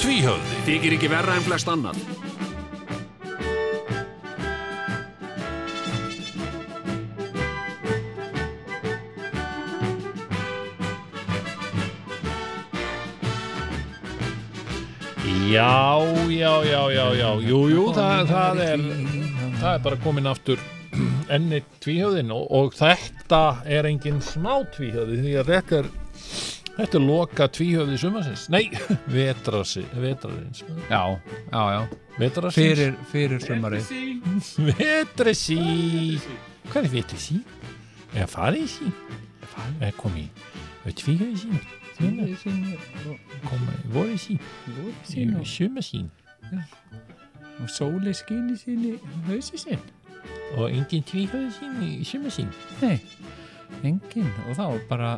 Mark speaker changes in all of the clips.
Speaker 1: Tvíhöfði
Speaker 2: Þykir ekki verra en flest annan.
Speaker 3: Já, já, já, já, já Jú, jú, það, það er það er bara komin aftur enni tvíhjöðin og, og þetta er engin smá tvíhjöði því að þetta er þetta er loka tvíhjöði sumarsins nei, vetrasi, vetrarins
Speaker 4: Já, já, já
Speaker 3: vetrasins,
Speaker 4: Fyrir, fyrir sumarið
Speaker 3: vetrasi hvað er vetrasi? er farið sí? er komið, er tvíhjöði sí? tvíhjöði komið, voru sí? sumar sí?
Speaker 4: Og sóli skinni síni Hauðsi sín
Speaker 3: og engin tvíhöðu sín í sumar sín
Speaker 4: Nei, engin Og þá bara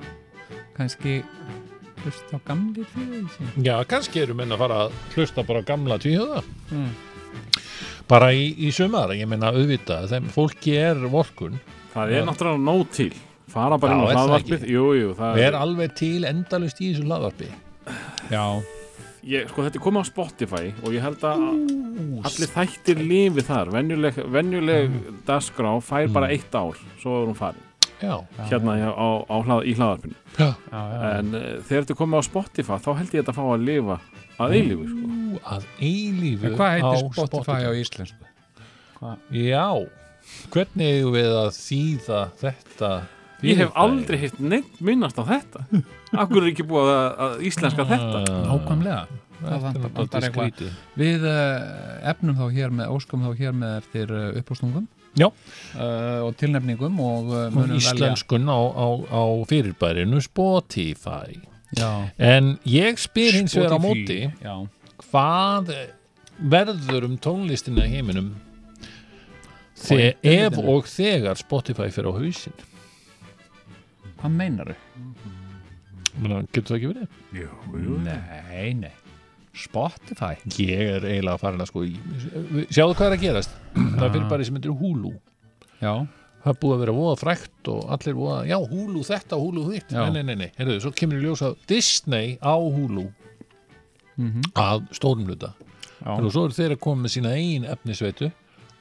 Speaker 4: kannski Hlust á gamli fyrir sín
Speaker 3: Já, kannski eru menn að fara að hlusta bara á gamla tvíhöða
Speaker 4: Mm.
Speaker 3: bara í, í sumar, ég meina auðvitað þeim fólki er vorkun
Speaker 5: Það er náttúrulega nóg til. Fara
Speaker 3: Já,
Speaker 5: bara inn á
Speaker 3: er það
Speaker 5: hlaðvarpið.
Speaker 3: ekki?
Speaker 5: Jú, jú, það
Speaker 3: er alveg til endalust í þessu laðvarpi
Speaker 4: Já,
Speaker 5: Ég, sko, þetta er komið á Spotify og ég held að allir þættir lifi þar. Venjuleg, venjuleg dagskrá fær bara eitt ár, svo er hún farin.
Speaker 3: Já,
Speaker 5: Hérna á, á, á hlað, í hlaðvarpinu.
Speaker 3: já,
Speaker 4: já, já
Speaker 5: En uh, þegar þetta er komið á Spotify, þá held ég þetta fá að lifa að eilífu, sko.
Speaker 3: Ú, að eilífu
Speaker 4: En Hvað
Speaker 3: á
Speaker 4: heitir Spotify á íslensku?
Speaker 3: Já, hvernig eigum við að þýða þetta
Speaker 5: Ég hef
Speaker 3: fyrirbæri?
Speaker 5: aldrei hitt neitt minnast á þetta. Akkur er ekki búið að, að íslenska þetta.
Speaker 3: Ah.
Speaker 4: Nákvæmlega Það
Speaker 3: Þetta er
Speaker 4: vantar- vantar
Speaker 3: náttúrulega
Speaker 4: eitthvað
Speaker 3: skrítið.
Speaker 4: Við uh, efnum þá hér með, óskum þá hér með eftir uh, uppástungum
Speaker 3: Já.
Speaker 4: uh, og tilnefningum og uh,
Speaker 3: Og
Speaker 4: munum
Speaker 3: Íslenskun á, á, á fyrirbærinu Spotify
Speaker 4: velja
Speaker 3: En ég spyr hins vegar á móti
Speaker 4: Spotify, Já,
Speaker 3: hvað verður um tónlistina í heiminum þegar ef
Speaker 4: internetinum.
Speaker 3: og þegar Spotify fer á hausin
Speaker 4: hvað meinaru?
Speaker 3: getur það ekki verið?
Speaker 4: Nei, nei Spotify
Speaker 3: Ég er eiginlega farin að sko í- sjáðu hvað er að gerast það er fyrir bara sem heitir Hulu
Speaker 4: Já,
Speaker 3: það er búið að vera voða frækt og allir voða já Hulu þetta og Hulu þitt
Speaker 4: Já.
Speaker 3: nei nei nei, nei. Herðu, svo kemur í ljós að Disney á Hulu
Speaker 4: Mhm.
Speaker 3: að stórum hluta
Speaker 4: Já.
Speaker 3: og svo eru þeir að koma með sína eigin efnisveitu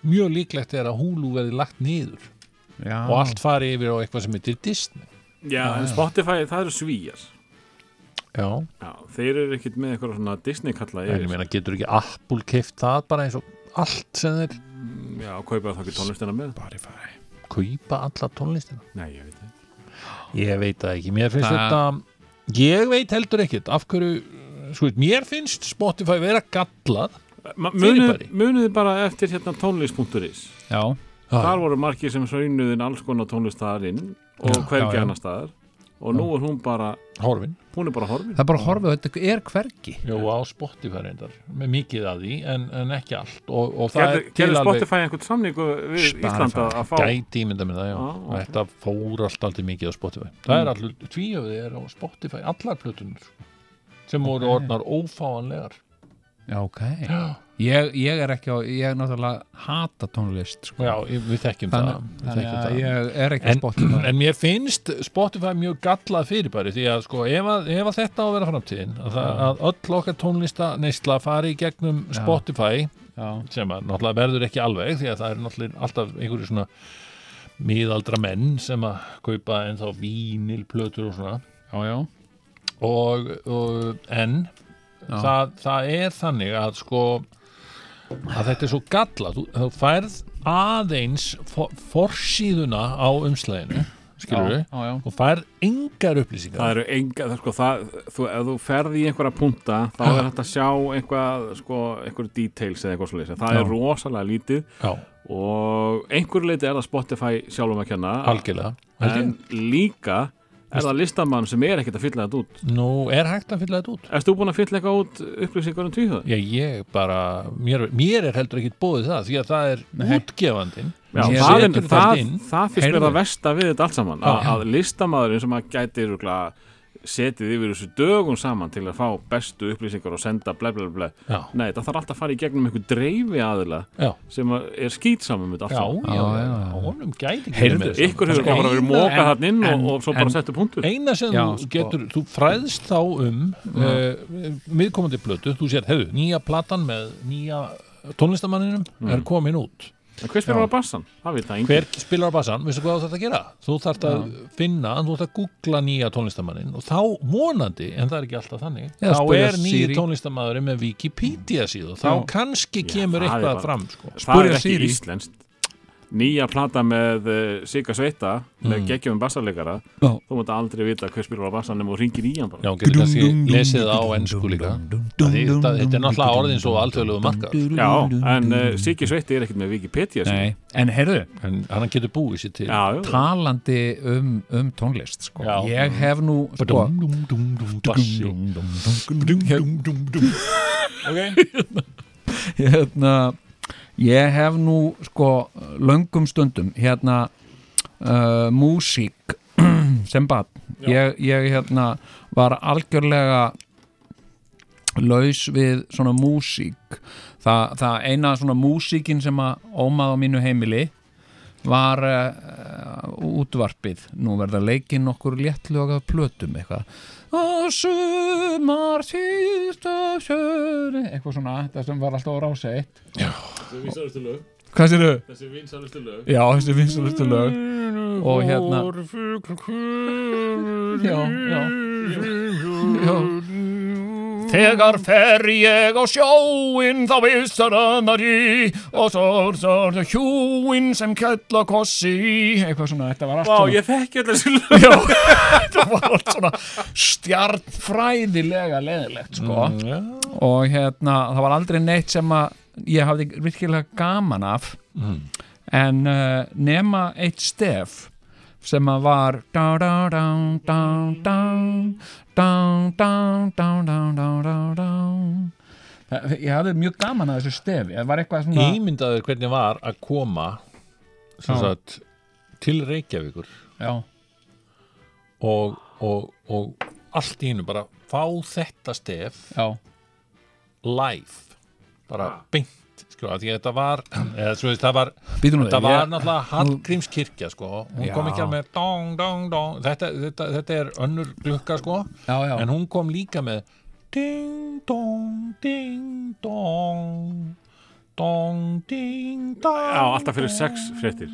Speaker 3: mjög líklegt er að Hulu verði lagt niður
Speaker 4: já
Speaker 3: og allt fari yfir á eitthvað sem heitir Disney
Speaker 5: Já, en Spotify, það eru svíjar.
Speaker 3: Já,
Speaker 5: Já, þeir eru ekkert með eitthvað svona Disney-kalla
Speaker 3: en ég
Speaker 5: yfir.
Speaker 3: meina getur ekki Apple keift það bara eins og allt sem þeir
Speaker 5: Já, kaupa þá ekki tónlistina með.
Speaker 3: Spotify kaupa alla tónlistina
Speaker 5: Nei, ég veit það.
Speaker 3: Ég veit það ekki, mér finnst
Speaker 4: Það-
Speaker 3: þetta ég veit heldur ekkert af hverju, sko, mér finnst Spotify vera gallað
Speaker 5: Munið
Speaker 3: Fyrirbæri.
Speaker 5: munið þið bara eftir hérna tónlist.is
Speaker 4: Já,
Speaker 3: Ah,
Speaker 5: Þar voru margir sem saunuðin alls konar tónlist þar inn og
Speaker 4: já, já.
Speaker 5: hvergi annar staðar og nú er hún bara
Speaker 3: horfin
Speaker 5: hún er bara horfin
Speaker 4: það er bara að horfa, þetta er hvergi
Speaker 3: Jú, á Spotify reyndar, með mikið að því en, en ekki allt og, og það
Speaker 5: Gerðu
Speaker 3: er til
Speaker 5: gerðu
Speaker 3: alveg
Speaker 5: Spotify einhvern samningu við
Speaker 4: Spotify.
Speaker 5: Íslanda að fá
Speaker 3: gæti ímynda með það, já
Speaker 5: Á, ok. Mm.
Speaker 3: Þetta fór allt aldrei mikið á Spotify Það er allir, tvíöfði er á Spotify allar plötunur sko, sem voru orðnar ófáanlegar
Speaker 4: Já, ok
Speaker 3: Já.
Speaker 4: Ég, ég er ekki á, ég er náttúrulega hata tónlist sko.
Speaker 3: Já, ég- við þekkjum það,
Speaker 4: Þannig,
Speaker 3: við
Speaker 4: þannig
Speaker 3: þekkjum
Speaker 4: að
Speaker 3: það.
Speaker 4: ég er ekki á
Speaker 3: En,
Speaker 4: Spotify
Speaker 3: en mér finnst Spotify mjög gallað fyrirbæri því að sko, ef, að, ef að þetta á að vera framtíðin að, það, að öll okkar tónlista neysla fari í gegnum Spotify
Speaker 4: Já,
Speaker 3: sem að náttúrulega verður ekki alveg því að það er náttúrulega alltaf einhverju svona miðaldra menn sem að kaupa ennþá vínilplötur og svona
Speaker 4: já, já
Speaker 3: og, og en það, það er þannig að sko að þetta er svo galla þú, þú færð aðeins for, forsíðuna á umslæðinu skilur
Speaker 4: Já, já, já.
Speaker 3: og færð engar upplýsingar
Speaker 5: Það eru enga, það, sko, það, þú, ef þú ferði í einhverja punta þá er hægt að sjá einhvað, sko, einhver details eða eitthvað svolítið það er rosalega lítið
Speaker 3: já,
Speaker 5: og einhver leiti er það Spotify sjálfum að kenna
Speaker 3: algjörlega
Speaker 5: en
Speaker 3: en,
Speaker 5: líka er það listamann sem er ekkert að fylla þetta út
Speaker 3: nú er hægt að fylla þetta út
Speaker 5: Erst þú búin að fylla eitthvað út upplýsingar um tvíhjóð?
Speaker 3: Já, ég bara, mér, mér er heldur ekkit bóðið það því að það er útgefandinn
Speaker 5: Já,
Speaker 4: Ég
Speaker 5: það, er,
Speaker 3: setur
Speaker 5: það,
Speaker 3: þetta inn.
Speaker 5: það finnst mér
Speaker 4: Heyrðu.
Speaker 5: það versta við þetta allt saman að, að listamaðurinn sem að gæti rúkla, setið yfir þessu dögum saman til að fá bestu upplýsingar og senda ble ble ble
Speaker 3: Já.
Speaker 5: Nei, það þarf alltaf að fara í gegnum einhver dreifi aðila
Speaker 3: Já.
Speaker 5: sem að er skýtsamum með allt
Speaker 3: Já,
Speaker 5: saman
Speaker 3: já,
Speaker 4: Já, já,
Speaker 3: já,
Speaker 4: já.
Speaker 3: honum gæti ekki
Speaker 4: Heyrðu,
Speaker 3: verið með þetta.
Speaker 5: Ykkur hefur
Speaker 3: Sko,
Speaker 5: bara verið
Speaker 3: eina-
Speaker 5: mókað
Speaker 3: en-
Speaker 5: hann inn og,
Speaker 4: en-
Speaker 5: og svo bara
Speaker 4: en-
Speaker 5: settu punktur
Speaker 3: Eina sem
Speaker 4: Já,
Speaker 3: þú
Speaker 4: sko.
Speaker 3: getur, þú fræðst þá um uh, miðkomandi plötu, þú sér, hefðu, nýja platan með nýja tónlistamanninum er komin út.
Speaker 5: En hver spyrir á bassan? Það veit það
Speaker 3: Hver
Speaker 5: enginn
Speaker 3: spilar á bassan, veistu hvað þú þarf að gera? Þú þarf að finna, þú þarf að googla nýja tónlistamannin og þá vonandi, en það er ekki alltaf þannig,
Speaker 4: Eða
Speaker 3: þá
Speaker 4: spyrja
Speaker 3: er nýji
Speaker 4: Siri.
Speaker 3: tónlistamadurinn með Wikipedia síðu, þá
Speaker 4: Já.
Speaker 3: kannski
Speaker 5: Já,
Speaker 3: kemur
Speaker 5: það er
Speaker 3: eitthvað
Speaker 5: bara-
Speaker 3: fram, sko.
Speaker 5: Það er
Speaker 4: Spurðu
Speaker 5: ekki
Speaker 4: Siri.
Speaker 5: íslenskt Nýja plata með uh, Sigga Sveita með geggjum bassarleikara
Speaker 4: Já.
Speaker 5: þú mátt aldrei vita hver spyrir á bassanum og ringir í hann bara
Speaker 3: Já, hún getur kannski lesið það á ennsku líka. Af því Þetta þetta er náttúrulega orðin svo alþjóðlegu markað.
Speaker 5: Já, en uh, Siggi Sveitti er ekkert með Wikipedia síðu.
Speaker 4: Nei, en heyrðu,
Speaker 3: En hann getur búið sér til.
Speaker 5: Já, já.
Speaker 4: talandi um, um tónlist sko.
Speaker 3: Já.
Speaker 4: ég hef nú sko,
Speaker 3: Bassi.
Speaker 4: hérna, ég hef nú sko löngum stundum hérna uh, músík sem bad ég, ég hérna var algjörlega laus við svona músík Þa, það eina svona músíkin sem að ómaði á mínu heimili var uh, útvarpið nú verða leikinn okkur léttlögað plötum eitthvað og sumar sísta sjöri eitthvað svona, þetta sem var alltaf á rása eitt
Speaker 5: Þessi vinsalustu lög.
Speaker 4: hvað sér þau?
Speaker 5: Þessi vinsalustu lög.
Speaker 4: já, þessi vinsalustu lög og hérna já, já já
Speaker 5: Mm,
Speaker 4: Þegar fer ég á sjóin þá vissar annar í og svo er það hjúin sem kella kossi í. eitthvað svona, þetta var allt
Speaker 5: Vá,
Speaker 4: svona
Speaker 5: ég þekki alltaf þessi lög.
Speaker 4: Já, þetta var allt svona stjarnfræðilega leðilegt sko. og hérna, það var aldrei neitt sem að ég hafði virkilega gaman af
Speaker 3: Mm.
Speaker 4: en uh, nema eitt stef sem að var dá, dá, dá, dá, dá, dá, dá, dá, dá, dá, dá, dá. Það- Ég hafði mjög gaman að þessu stefi Það var eitthvað svona
Speaker 3: Ímyndaðu hvernig var að koma sem
Speaker 4: Já.
Speaker 3: sagt, til Reykjavíkur
Speaker 4: Já,
Speaker 3: og, og, og allt í einu bara fá þetta stef
Speaker 4: já,
Speaker 3: live bara beint sko, af því að þetta var eða, svo veist, það var,
Speaker 4: býtum við
Speaker 3: það var náttúrulega Hallgrímskirkja sko, hún
Speaker 4: Já.
Speaker 3: kom ekki alveg með dong, dong, dong. Þetta, þetta, þetta er önnur glukka sko,
Speaker 4: Já, já,
Speaker 3: en hún kom líka með ding dong ding dong dong ding dong
Speaker 5: Já, alltaf fyrir sex fréttir.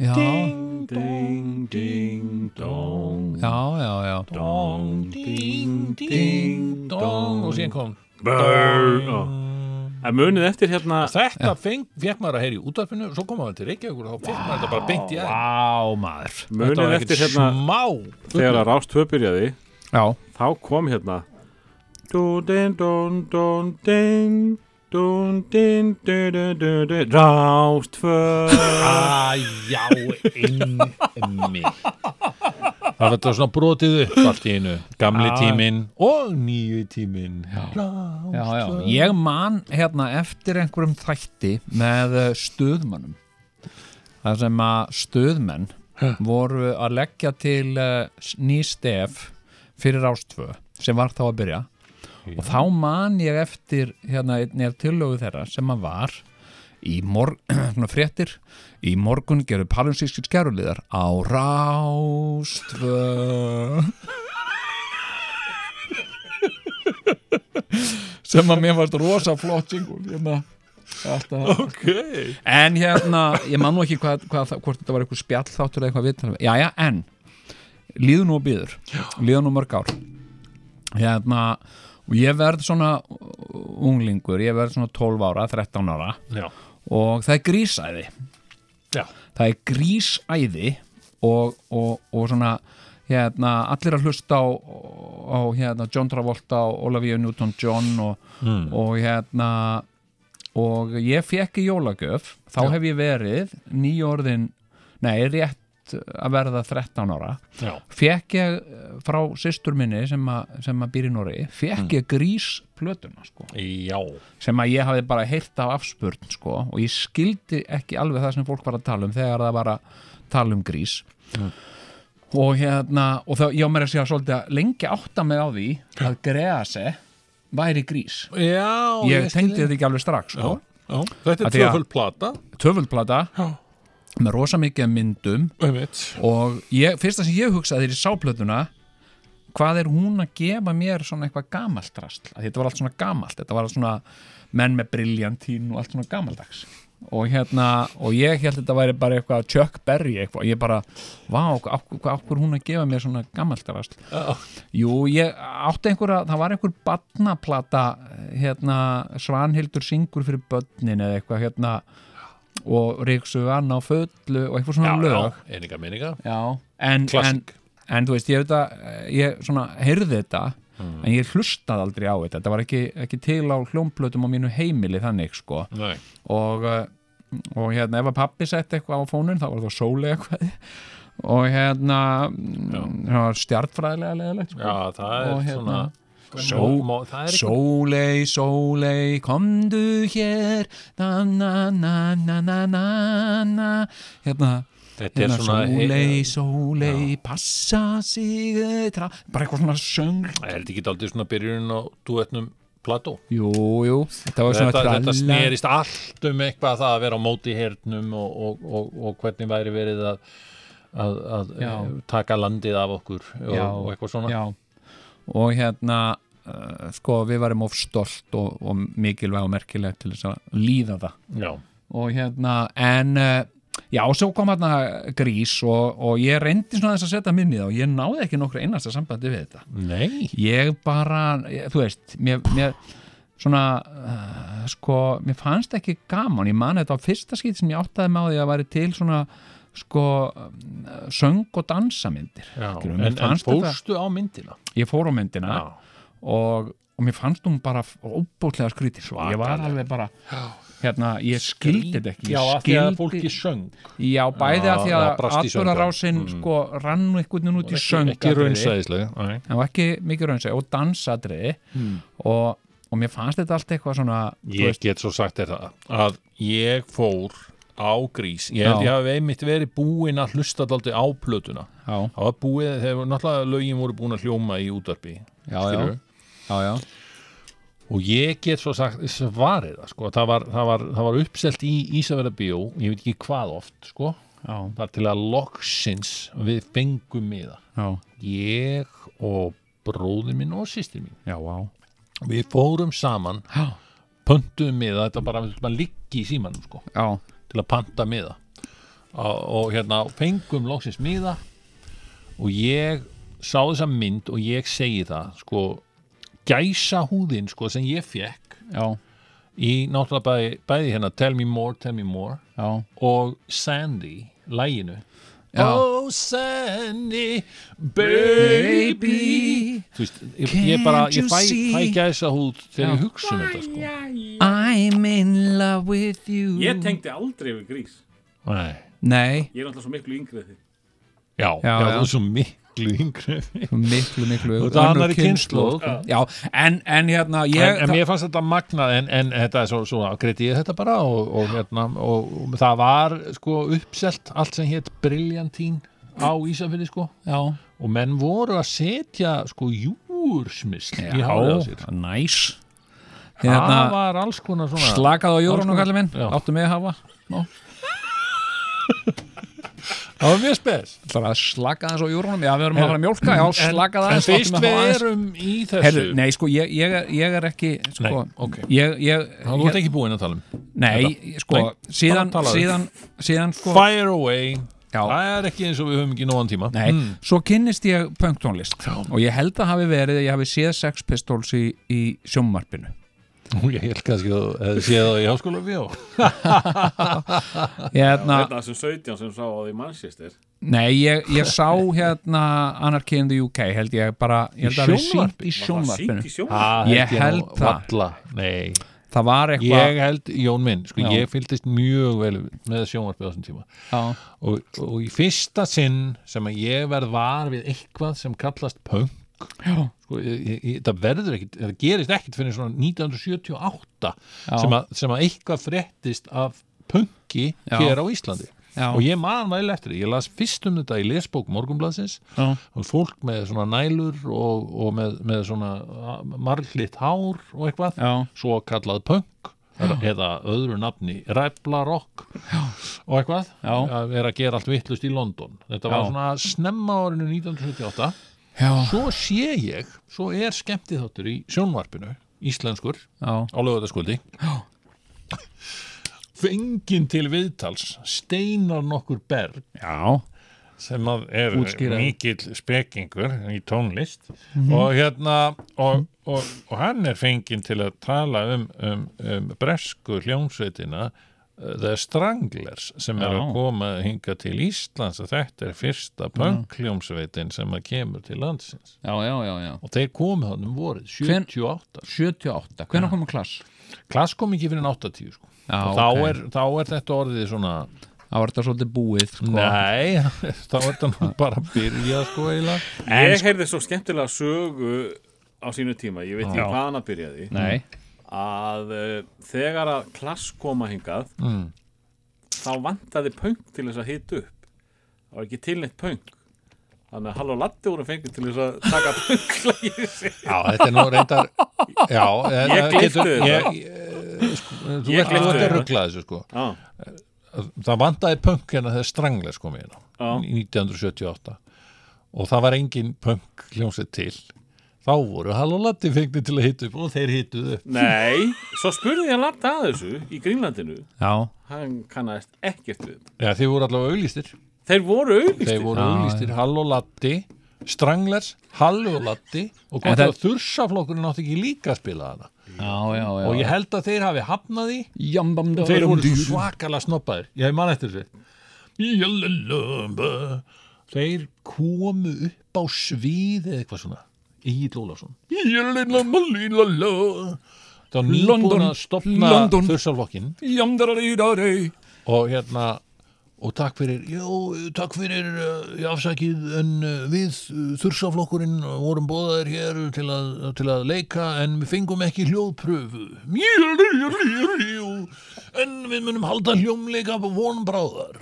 Speaker 4: já,
Speaker 3: ding
Speaker 5: Ding, ding, dong.
Speaker 4: já, já, já.
Speaker 3: dong ding ding dong og síðan kom
Speaker 5: Brrr. Já. En munið eftir hérna,
Speaker 3: þetta feng, fekk maður að heyra í útvarpinu svo kom maður til Reykjavíkur og þá fekk maður þetta bara beint í aðeins
Speaker 4: Vá, maður
Speaker 3: þetta
Speaker 5: munið
Speaker 3: var
Speaker 5: eftir
Speaker 3: ekkert
Speaker 5: hérna,
Speaker 3: smá
Speaker 5: þegar að Rást 2 byrjaði,
Speaker 4: Já,
Speaker 5: þá kom hérna. Dún, dún, dún, dún, dún, dún, dún, dún, dún, dún, dún, Rást 2.
Speaker 3: að já einmi það var þetta svona brotið upp allt í einu gamli tíminn og nýju tíminn
Speaker 4: já, já Ég man hérna eftir einhverjum þætti með eh, stöðmönnum þar sem að stöðmenn voru að leggja til eh, s- ný stef fyrir ástfö sem var þá að byrja og þá man ég eftir hérna einnig af tillögu þeirra sem að var í morgun, svona fréttir í morgun gerðu palinsískir skjæruliðar á rástfö sem að mér varst rosa flott jingle hérna Alltaf.
Speaker 5: Ok.
Speaker 4: en hérna, ég man nú ekki hvað, hvað, það- hvort þetta var eitthvað spjall þáttur eða eitthvað viðtal já, já, en líðu nú og býður, líðu nú mörg ár hérna og ég verð svona unglingur ég verð svona 12 ára, 13 ára
Speaker 3: já,
Speaker 4: og það er grísæði
Speaker 3: já.
Speaker 4: það er grísæði og, og, og svona hérna, allir að hlusta á, á hérna, John Travolta og Olivia Newton-John og, og hérna og ég fekk í jólagjöf þá hef ég verið nýjórðin nei, rétt fætt að verða 13 ára
Speaker 3: já,
Speaker 4: fekk ég eh, frá systur minni sem, a, sem að býr í Nóri fekk ég grísplötuna sko,
Speaker 3: já,
Speaker 4: sem að ég hafði bara heyrt af afspurn sko, og ég skildi ekki alveg það sem fólk var að tala um þegar það var að tala um grís og hérna og þá, ég á mér að segja svolítið að lengi átta mig á því að grease væri grís
Speaker 3: já
Speaker 4: ég
Speaker 3: skil
Speaker 4: tengdi þetta ekki alveg strax sko.
Speaker 3: já. Þetta er
Speaker 4: Af því að-
Speaker 3: tvöföld plata
Speaker 4: töfulplata
Speaker 3: Já.
Speaker 4: með rosa mikið af myndum
Speaker 3: einmitt,
Speaker 4: og ég, fyrsta sem ég hugsaði þegar ég sá plötuna hvað er hún að gefa mér svona eitthvað gamalt rastl að þetta var allt svona gamalt, þetta var allt svona menn með briljantín og allt svona gamaldags og hérna, og ég held þetta væri bara eitthvað Chuck Berry eitthvað, ég bara vá, hvað okkur hún að gefa mér svona gamalt rastl
Speaker 3: Já.
Speaker 4: jú, ég átti einhverja, það var einhver badnaplata, hérna Svanhildur syngur fyrir börnin eða eitthvað hérna og Ríksugan á fullu og eitthvað svona
Speaker 3: já,
Speaker 4: lög
Speaker 3: já, eininga minninga
Speaker 4: Já, en, en,
Speaker 3: Klassik.
Speaker 4: en þú veist, ég veit að eh, ég svona heyrði þetta en ég hlustaði aldrei á þetta þetta var ekki, ekki til á hljómplötum á mínu heimili þannig sko
Speaker 3: Nei.
Speaker 4: og, eh, og hérna ef að pappi sett eitthvað á fónun þá var það sólega eitthvað og hérna það var stjartfræðilega leðilegt sko.
Speaker 3: Já, það er
Speaker 4: Og hérna,
Speaker 3: svona
Speaker 4: sól-
Speaker 3: Má- það er eitthvað
Speaker 4: Sólei, sólei, komdu hér na na na na na na na hérna
Speaker 3: Þetta er
Speaker 4: hérna,
Speaker 3: svona
Speaker 4: sólei, sólei, passa sig eh, tra, bara eitthvað svona söng
Speaker 3: Það held ekki aldrei svona byrjun á duetnum plató
Speaker 4: jú, jú, þetta var svona
Speaker 3: Þetta, þetta
Speaker 4: tralla-
Speaker 3: snerist allt um eitthvað það að vera á móti hernum og, og, og, og hvernig væri verið að, að, að
Speaker 4: Já.
Speaker 3: eh, taka landið af okkur og,
Speaker 4: Já.
Speaker 3: og eitthvað svona
Speaker 4: já. og hérna uh, sko, við varum of stolt og, og mikilvæg og merkileg til þess að líða það
Speaker 3: Já.
Speaker 4: og hérna, en eh, já, svo kom hérna grís og, og ég reyndi svona þess að setja minni það og ég náði ekki nokkru einasta sambandi við þetta
Speaker 3: Nei
Speaker 4: ég bara, ég, þú veist mér, mér svona uh, sko, mér fannst ekki gaman ég man þetta á fyrsta skýt sem ég áttaði með á því að væri til svona sko, eh, söng og dansamyndir
Speaker 3: Já,
Speaker 4: skilurðu.
Speaker 3: en,
Speaker 4: Mér
Speaker 3: en
Speaker 4: fannst þetta-
Speaker 3: fórstu á myndina
Speaker 4: ég fór á myndina
Speaker 3: Já.
Speaker 4: og, og mér fannst hún bara óbútlega skrítir ég var
Speaker 3: Svakalega.
Speaker 4: alveg bara hérna, ég skildi þetta ekki
Speaker 3: Já,
Speaker 4: ég
Speaker 3: af því að
Speaker 4: skildi-
Speaker 3: fólki söng
Speaker 4: Já, bæði
Speaker 3: Já,
Speaker 4: að því
Speaker 3: það
Speaker 4: að
Speaker 3: brast í söng.
Speaker 4: atbyrðarásin sko rann einhvern veginn út í söng
Speaker 3: Ekki raunsaðislega
Speaker 4: Það var ekki mikið raunsaði og dansadriði og, og mér fannst þetta allt eitthvað svona þú
Speaker 3: Ég get svo sagt þér það að ég fór á grís ég held
Speaker 4: Já.
Speaker 3: ég hafi einmitt verið búinn að hlusta daldi á plötuna
Speaker 4: já,
Speaker 3: það var búið, þegar náttúrulega lögin voru búin að hljóma í útarpi
Speaker 4: já, já,
Speaker 3: skilurðu?
Speaker 4: já, já,
Speaker 3: og ég get svo sagt svarið það, sko. það, var, það, var, það var uppselt í Ísafjörða bíó ég veit ekki hvað oft sko.
Speaker 4: já,
Speaker 3: þar til að loksins við fengum miða
Speaker 4: já,
Speaker 3: ég og bróðir minn og sýstir mín
Speaker 4: já, já,
Speaker 3: við fórum saman,
Speaker 4: já,
Speaker 3: pöntuðum miða þetta bara, bara liggi í símanum sko.
Speaker 4: já,
Speaker 3: til að panta miða og, og hérna fengum loksins miða og ég sá þessa mynd og ég segi það sko gæsa húðin sko sem ég fekk
Speaker 4: já,
Speaker 3: í náttúrulega bæði, bæði hérna Tell Me More, Tell Me More
Speaker 4: já,
Speaker 3: og Sandy, læginu
Speaker 4: Já.
Speaker 3: Oh Sandy Baby Þú veist, ég, ég bara,
Speaker 4: Can't
Speaker 3: ég
Speaker 4: you
Speaker 3: fæ,
Speaker 4: see?
Speaker 3: fæ gæsa húð
Speaker 4: Já.
Speaker 3: þegar ég hugsa um þetta sko
Speaker 4: I'm in love with you
Speaker 5: Ég tengdi aldrei við grís
Speaker 3: Nei.
Speaker 4: Nei,
Speaker 5: Ég er alltaf svo miklu yngrið þig
Speaker 3: Já, já,
Speaker 4: Já,
Speaker 3: já,
Speaker 4: já.
Speaker 3: þú er svo miklu yngri
Speaker 4: miklu, miklu
Speaker 3: Þú ert annarri
Speaker 4: önnur
Speaker 3: kynslóð.
Speaker 4: sko. Já, en, en hérna ég,
Speaker 3: en, en
Speaker 4: það-
Speaker 3: mér fannst þetta magnað en, en þetta er svo, svo greiti ég þetta bara og, og, hérna, og, og það var sko uppselt allt sem hétt Briljantín á Ísafirði sko
Speaker 4: Já,
Speaker 3: og menn voru að setja sko júrsmisl í hárið á sér
Speaker 4: já, næs
Speaker 3: það
Speaker 4: Hérna,
Speaker 3: var alls konar svona
Speaker 4: slakaðu á jórun og
Speaker 3: konar-
Speaker 4: kallir minn
Speaker 3: Já.
Speaker 4: Láttu mig að hafa Nó
Speaker 3: það var mjög spes
Speaker 4: Það að slaka þess á júrunum, já við erum að fara að mjólka, já slaka það
Speaker 3: en
Speaker 4: aðeins, láttu
Speaker 3: fyrst
Speaker 4: mig
Speaker 3: við
Speaker 4: hafa aðeins.
Speaker 3: erum í þessu
Speaker 4: Herru, nei sko, ég, ég, er- ég er ekki, sko,
Speaker 3: Nei, ok.
Speaker 4: ég, ég,
Speaker 3: þá þú ert ekki búinn að tala um
Speaker 4: nei, sko,
Speaker 3: Nei, bara
Speaker 4: síðan,
Speaker 3: talaðu.
Speaker 4: síðan, síðan, sko,
Speaker 3: fire away
Speaker 4: Já.
Speaker 3: það er ekki eins og við höfum ekki nógan tíma Mm.
Speaker 4: nei, svo kynnist ég punktónlist og ég held að hafi verið, að ég hafi séð Sex Pistols í, í sjómmarpinu.
Speaker 3: Nú, ég held kannski að þú hefði séð það í háskóla bjó
Speaker 4: Hérna,
Speaker 5: Þetta sem 17 sem sá á því Manchester
Speaker 4: nei, ég, ég sá hérna Anarchy in the UK, held ég bara, ég held að
Speaker 3: sjónvarpi?
Speaker 5: Var
Speaker 4: hafi sínt í
Speaker 5: það
Speaker 4: sjómmarpinu.
Speaker 5: sýnt í sjónvarpinu
Speaker 4: Ég held það.
Speaker 3: valla, nei
Speaker 4: það var eitthvað
Speaker 3: Ég held, Jón minn, sko,
Speaker 4: Já.
Speaker 3: ég fylgdist mjög vel með sjónvarpið á þessum tíma
Speaker 4: já,
Speaker 3: og, og í fyrsta sinn sem að ég verð var við eitthvað sem kallast punk
Speaker 4: já,
Speaker 3: sko, ég, ég, ég- það verður ekkit, það gerist ekkit fyrir svona 1978
Speaker 4: Já.
Speaker 3: sem að, sem að eitthvað fréttist af punki
Speaker 4: Já.
Speaker 3: hér á Íslandi
Speaker 4: Já.
Speaker 3: og ég man væl eftir því, ég las fyrst um þetta í lesbók morgunblaðsins
Speaker 4: já,
Speaker 3: og fólk með svona nælur og, og með, með svona ah, marglitt hár og eitthvað
Speaker 4: já,
Speaker 3: svo kallað punk eða öðru nafni ræflarokk og eitthvað
Speaker 4: Já.
Speaker 3: að vera að gera allt vittlust í London þetta var
Speaker 4: Já.
Speaker 3: svona snemma á árinu 1978
Speaker 4: já,
Speaker 3: svo sé ég, svo er skemmtið þáttur í sjónvarpinu, íslenskur
Speaker 4: já,
Speaker 3: á lögutaskvöldi fengin til viðtals steinar nokkur berg
Speaker 4: já.
Speaker 3: sem að er
Speaker 4: Útskýraði.
Speaker 3: mikill spekingur í tónlist og hérna og, og, og hann er fenginn til að tala um, um, um bresku hljómsveitina uh, The Stranglers sem er
Speaker 4: Já.
Speaker 3: að koma hinga til Íslands og þetta er fyrsta punk-hljómsveitin sem að kemur til landsins
Speaker 4: já, já, já, já.
Speaker 3: og þeir komu hann um vorið, 78
Speaker 4: 78, hvernig komum klass?
Speaker 3: klass kom ekki fyrir en 80 sko.
Speaker 4: Já,
Speaker 3: og þá,
Speaker 4: ok.
Speaker 3: er, þá er þetta orðið svona
Speaker 4: Það var þetta svolítið búið sko.
Speaker 3: nei, þá er þetta nú bara byrja sko eiginlega
Speaker 5: Ég heyrði svo skemmtilega sögu á sínu tíma, ég veit ekki
Speaker 4: Já.
Speaker 5: hvað hana byrjaði
Speaker 4: Nei.
Speaker 5: að uh, þegar að klass koma hingað
Speaker 3: Mm.
Speaker 5: þá vantaði pöng til þess að hita upp það var ekki tilnett pöng þannig að halló latti voru fengið til þess að taka pönglægi sig
Speaker 3: Já, þetta er nú reyndar Já, en-
Speaker 5: Ég gleypti
Speaker 3: getur-
Speaker 5: þetta.
Speaker 3: ég- ég- sko, Þú
Speaker 5: Ég
Speaker 3: ert þú ert
Speaker 5: gleypti
Speaker 3: að
Speaker 5: þetta.
Speaker 3: ruggla þessu sko
Speaker 5: Já,
Speaker 3: Það vandaði punk hérna þegar Stranglers kom hérna
Speaker 5: Já.
Speaker 3: í 1978 og það var engin punk hljómsið til þá voru Hall og Latti fengni til að hitta upp og þeir hittuðu upp
Speaker 5: nei, svo spurði ég latta að þessu í Grínlandinu
Speaker 4: Já,
Speaker 5: hann kannaðist ekkert við
Speaker 3: Já, þeir voru allavega auglýstir
Speaker 5: þeir voru
Speaker 3: Þeir
Speaker 5: auðvistir
Speaker 3: voru
Speaker 4: Já,
Speaker 3: auglýstir Hall og Latti Stranglers, Hall og Latti og
Speaker 4: En
Speaker 3: gott
Speaker 4: það-
Speaker 3: að þursaflokkurinn átti ekki líka að spila hana
Speaker 4: já, já, já.
Speaker 3: og ég held að þeir hafi hafnaði
Speaker 4: Jambam,
Speaker 3: Þeir voru svo svakalega snoppaðir Ég man eftir þessu Jalalamba. Þeir komu upp á svið eða eitthvað svona Egil Ólafsson Jalalambalilala. Það var nýbúin
Speaker 4: London,
Speaker 3: að stopna
Speaker 4: London.
Speaker 3: þursalvokkin
Speaker 4: Jamdararýrarey
Speaker 3: og hérna og takk fyrir, já, takk fyrir uh, ég afsakið, en uh, við uh, þursaflokkurinn uh, vorum bóðaðir hér til að, til að leika en við fengum ekki hljóðpröfu en við munum halda hljómleika vonbráðar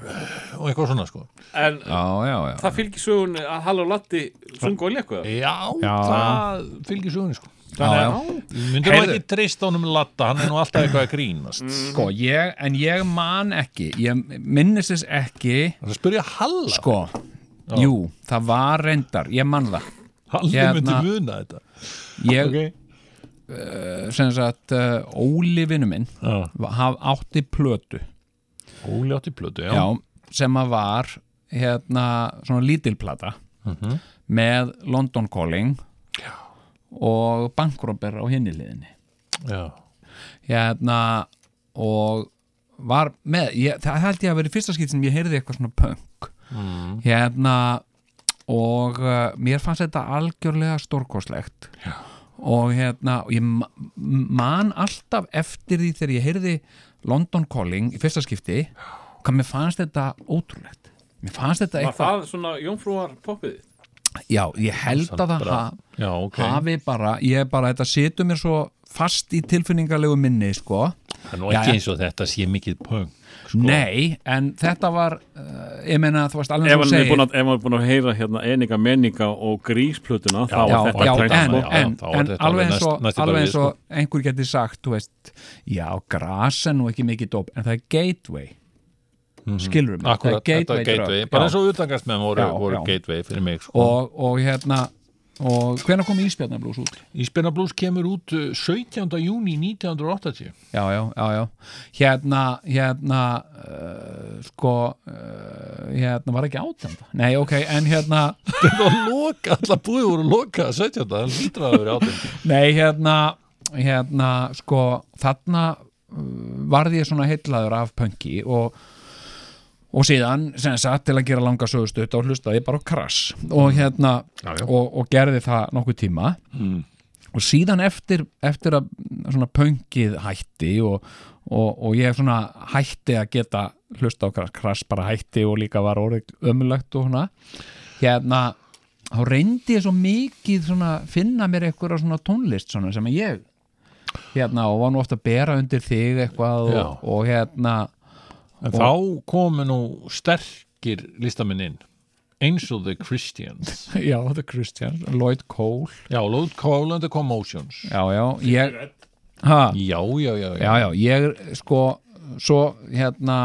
Speaker 3: og eitthvað svona sko
Speaker 5: en
Speaker 4: Já, já, já.
Speaker 5: það fylgir sögun að Hall og Latti sungu og leku það
Speaker 3: já,
Speaker 4: Já.
Speaker 3: það fylgir sögunni sko
Speaker 4: já.
Speaker 3: myndum
Speaker 4: Heyrðu.
Speaker 3: Heyrðu. ekki treysta honum latta hann er nú alltaf eitthvað að grínast mm.
Speaker 4: Sko, ég, en ég man ekki, ég minnist þess ekki,
Speaker 3: það spyrja Halla
Speaker 4: sko, jú, það var reyndar, ég man það.
Speaker 3: Halli myndi
Speaker 4: Hérna.
Speaker 3: muna þetta
Speaker 4: Ég,
Speaker 3: Ok.
Speaker 4: sem sagt, uh, Óli vinnu minn,
Speaker 3: Já.
Speaker 4: haf átti plötu,
Speaker 3: Óli átti plötu, já,
Speaker 4: já, sem að var, hérna, svona lítilplata, með London Calling og Bankrobber á hinni liðinni.
Speaker 3: já.
Speaker 4: hérna og var með, ég, það held ég að verið fyrsta skipt sem ég heyrði eitthvað svona punk mm. hérna og uh, mér fannst þetta algjörlega stórkoslegt Já. og hérna og ég ma- man alltaf eftir því þegar ég heyrði London Calling í fyrsta skipti hvað mér fannst þetta ótrúlegt mér fannst þetta
Speaker 5: var
Speaker 4: eitthvað,
Speaker 5: það svona jónfrúar poppið
Speaker 4: já, ég held að það ha,
Speaker 3: já ok
Speaker 4: hafi bara, ég bara, þetta situr mér svo fast í tilfinningarlegu minni, sko
Speaker 3: Það er nú
Speaker 4: Jæja.
Speaker 3: ekki eins og þetta sé mikið punk sko.
Speaker 4: Nei, en þetta var uh, ég meina þú veist alveg
Speaker 5: ef hann
Speaker 4: eins og þú
Speaker 5: er búin
Speaker 4: segir
Speaker 5: að, ef hann er búin að heyra hérna eninga, menninga og grísplötuna þá
Speaker 4: Já,
Speaker 5: var þetta
Speaker 4: já,
Speaker 5: tækt,
Speaker 4: en,
Speaker 5: sko.
Speaker 3: Já,
Speaker 4: en,
Speaker 3: þá er
Speaker 4: en
Speaker 3: þetta
Speaker 4: alveg
Speaker 3: alveg
Speaker 4: eins og,
Speaker 3: næst- sko. næsti bara
Speaker 4: alveg
Speaker 3: við,
Speaker 4: eins og einhver geti sagt, þú veist já, gras er nú ekki mikið dóp en það er gateway skilur mig,
Speaker 3: Mhm. Akkurat,
Speaker 4: það er
Speaker 3: þetta
Speaker 4: gateway,
Speaker 3: er gateway
Speaker 4: drög.
Speaker 3: Bara
Speaker 4: Já.
Speaker 3: eins og utangast með voru,
Speaker 4: Já,
Speaker 3: voru
Speaker 4: já.
Speaker 3: gateway fyrir mig sko.
Speaker 4: og, og hérna og hvenær kom Ísbjarnablús út?
Speaker 3: Íspenna Blues kemur út uh, 17. júni 1980
Speaker 4: Já, já, já, já hérna, hérna uh, sko uh, hérna var ekki átjönda, nei ok en hérna,
Speaker 3: Þetta var loka, allar búið voru loka 17. Það lítur að það verið átjönda
Speaker 4: nei hérna hérna sko þarna varði ég svona heitlaður af pönki og, og síðan sem sagt til að gera langa sögustutt og hlustaði ég bara á krass og hérna
Speaker 3: Mm. Já, Mm. já.
Speaker 4: Og, og gerði það nokkuð tíma og síðan eftir, eftir að svona pöngið hætti og, og, og ég svona hætti að geta hlusta á krass, krass bara hætti og líka var orðið ömulegt og svona hérna þá reyndi ég svo mikið svona finna mér eitthvað svona tónlist svona sem að ég hérna og var nú ofta að bera undir þig eitthvað
Speaker 3: Já.
Speaker 4: og, og hérna
Speaker 3: En þá komu nú sterkir listamenn inn eins og The Christians
Speaker 4: já, þetta er Christian, Lloyd Cole
Speaker 3: Já, Lóð Kólandi Commotions
Speaker 4: já, já, ég ha,
Speaker 3: Já, já, já, já,
Speaker 4: já, já, ég sko svo hérna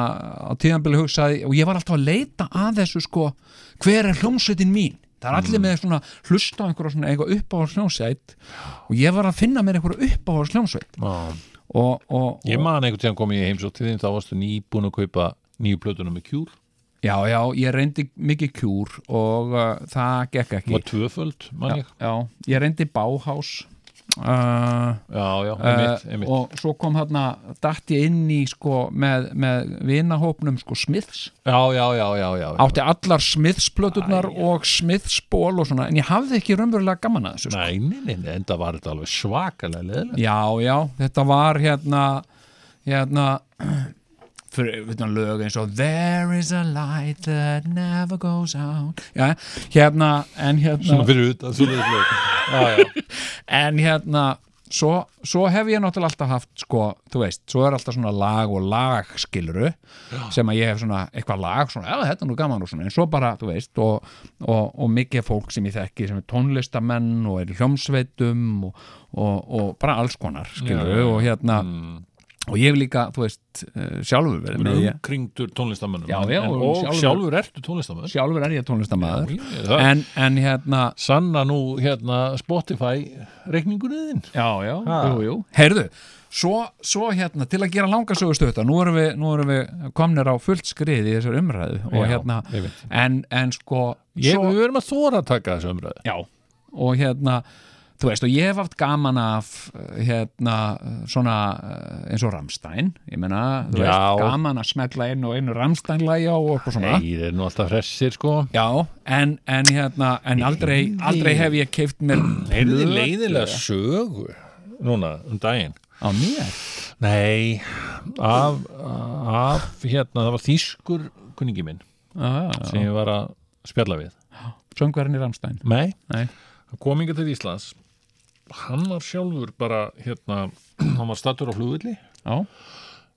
Speaker 4: á tíðanbili hugsaði og ég var alltaf að leita að þessu sko hver er hljómsveitin mín það er
Speaker 3: Mm.
Speaker 4: allir með svona hlusta á einhverja svona eitthvað uppáhars hljómsveit og ég var að finna mér einhverja uppáhars hljómsveit
Speaker 3: Já.
Speaker 4: og, og,
Speaker 3: Ég man einhvern tíðan komið í heimsótt til þín þá varstu nýbúin að kaupa nýju plötuna með kjúr
Speaker 4: já, já, ég reyndi mikið kjúr og uh, það gekk ekki
Speaker 3: var tvöföld, man ég
Speaker 4: já, ég reyndi báhás uh,
Speaker 3: Já, já, einmitt,
Speaker 4: Uh,
Speaker 3: einmitt
Speaker 4: og svo kom hérna datt ég inn í sko með, með vinahópnum sko Smiths
Speaker 3: Já, já, já, já, já, já.
Speaker 4: átti allar Smiths-plöturnar og Smiths-ból og svona en ég hafði ekki raunverulega gaman að þessu sko.
Speaker 3: Nei, nei, nei, nei, enda var þetta alveg svakalega leðilega
Speaker 4: já, já, þetta var hérna hérna fyrir utan lög eins og There is a light that never goes out já, hérna en hérna
Speaker 3: Svona fyrir utan, svona fyrir utan Já, já,
Speaker 4: en hérna svo, svo hef ég náttúrulega alltaf haft sko, þú veist, svo er alltaf svona lag og lag skiluru, sem að ég hef svona eitthvað lag, svona, eða þetta er nú gaman og svona, en svo bara, þú veist, og, og, og mikið fólk sem ég þekki, sem er tónlistamenn og er í hljómsveitum og, og, og bara alls konar, skiluru og hérna, og ég hef líka þú veist, eh, sjálfur verið með ég,
Speaker 3: umkringdur tónlistamönnum
Speaker 4: Já,
Speaker 3: en-
Speaker 4: já,
Speaker 3: en-
Speaker 4: og
Speaker 3: og
Speaker 4: sjálfur-
Speaker 3: sjálfur ertu tónlistamönn
Speaker 4: sjálfur er ég tónlistamæður
Speaker 3: Það
Speaker 4: en, en hérna,
Speaker 3: sanna nú hérna Spotify reikningunni þinn
Speaker 4: Já, já,
Speaker 3: Ha.
Speaker 4: jú, jú Heyrðu, svo, svo hérna til að gera langasögustöta, nú erum við, nú erum við komnir á fullt skrið í þessar umræðu og
Speaker 3: Já,
Speaker 4: hérna,
Speaker 3: ég veit.
Speaker 4: en, en sko
Speaker 3: ég,
Speaker 4: svo,
Speaker 3: við erum að þóra að taka þessu umræðu
Speaker 4: Já, og hérna þú veist, og ég hef haft gaman af eh, hérna, eh, svona eh, eins og Ramstein, ég meina þú veist,
Speaker 3: Já.
Speaker 4: gaman að smetla einu og einu Ramstein-lægja og eitthvað svona
Speaker 3: Nei, þeir eru nú alltaf hressir sko
Speaker 4: Já, en, en hérna, en aldrei, aldrei hef ég keift mér
Speaker 3: Heyrðu
Speaker 4: plötu.
Speaker 3: þið leiðilega sögu núna um daginn
Speaker 4: á mér
Speaker 3: Nei, af, af hérna, það var þýskur kunningi minn
Speaker 4: ah,
Speaker 3: sem ég var að spjalla við
Speaker 4: Söngverðin í Ramstein
Speaker 3: Nei,
Speaker 4: Nei.
Speaker 3: hann kom inga til Íslands hann var sjálfur bara hérna, hann var stattur á flugvilli
Speaker 4: Já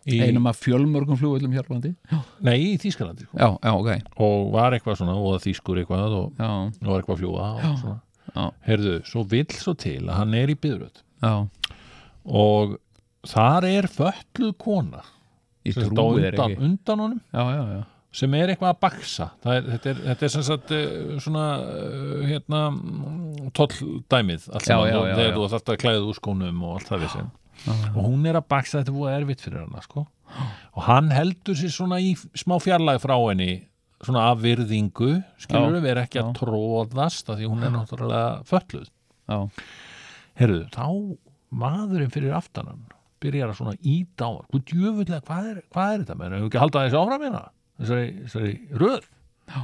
Speaker 3: í,
Speaker 4: einum af fjölmörgum flugvöllum hér á landi já,
Speaker 3: nei, í Þýskalandi sko.
Speaker 4: já, já ok
Speaker 3: og var eitthvað svona, og það þýskur eitthvað og
Speaker 4: já,
Speaker 3: og var eitthvað að fljúa og svona
Speaker 4: já.
Speaker 3: Herðu, svo vill svo til að hann er í byðröð
Speaker 4: já,
Speaker 3: og þar er fötluð kona
Speaker 4: ég
Speaker 3: sem sagt á
Speaker 4: trúi þér
Speaker 3: undan,
Speaker 4: ekki
Speaker 3: undan honum
Speaker 4: já, já, já,
Speaker 3: sem er eitthvað að baksa Það er, þetta, er, þetta er sem sagt eh, svona eh, hérna tolldæmið allt
Speaker 4: Já,
Speaker 3: saman
Speaker 4: já,
Speaker 3: og
Speaker 4: já,
Speaker 3: þegar
Speaker 4: já.
Speaker 3: þú þarft að klæða úr skónum og allt það við sem og hún er að baksa þetta búið erfitt fyrir hana sko. og hann heldur sér svona í smá fjarlæg frá henni svona af virðingu skilur við er ekki að
Speaker 4: já.
Speaker 3: tróðast af því hún er náttúrulega fötluð
Speaker 4: já,
Speaker 3: Herðu, þá maðurinn fyrir aftanan byrjar að svona íta á hann. Hvað djöfulega, hvað er, hvað er þetta? Menn, hefur ekki haldið þessi áfram hérna? Þessari, þessari röð?
Speaker 4: Já.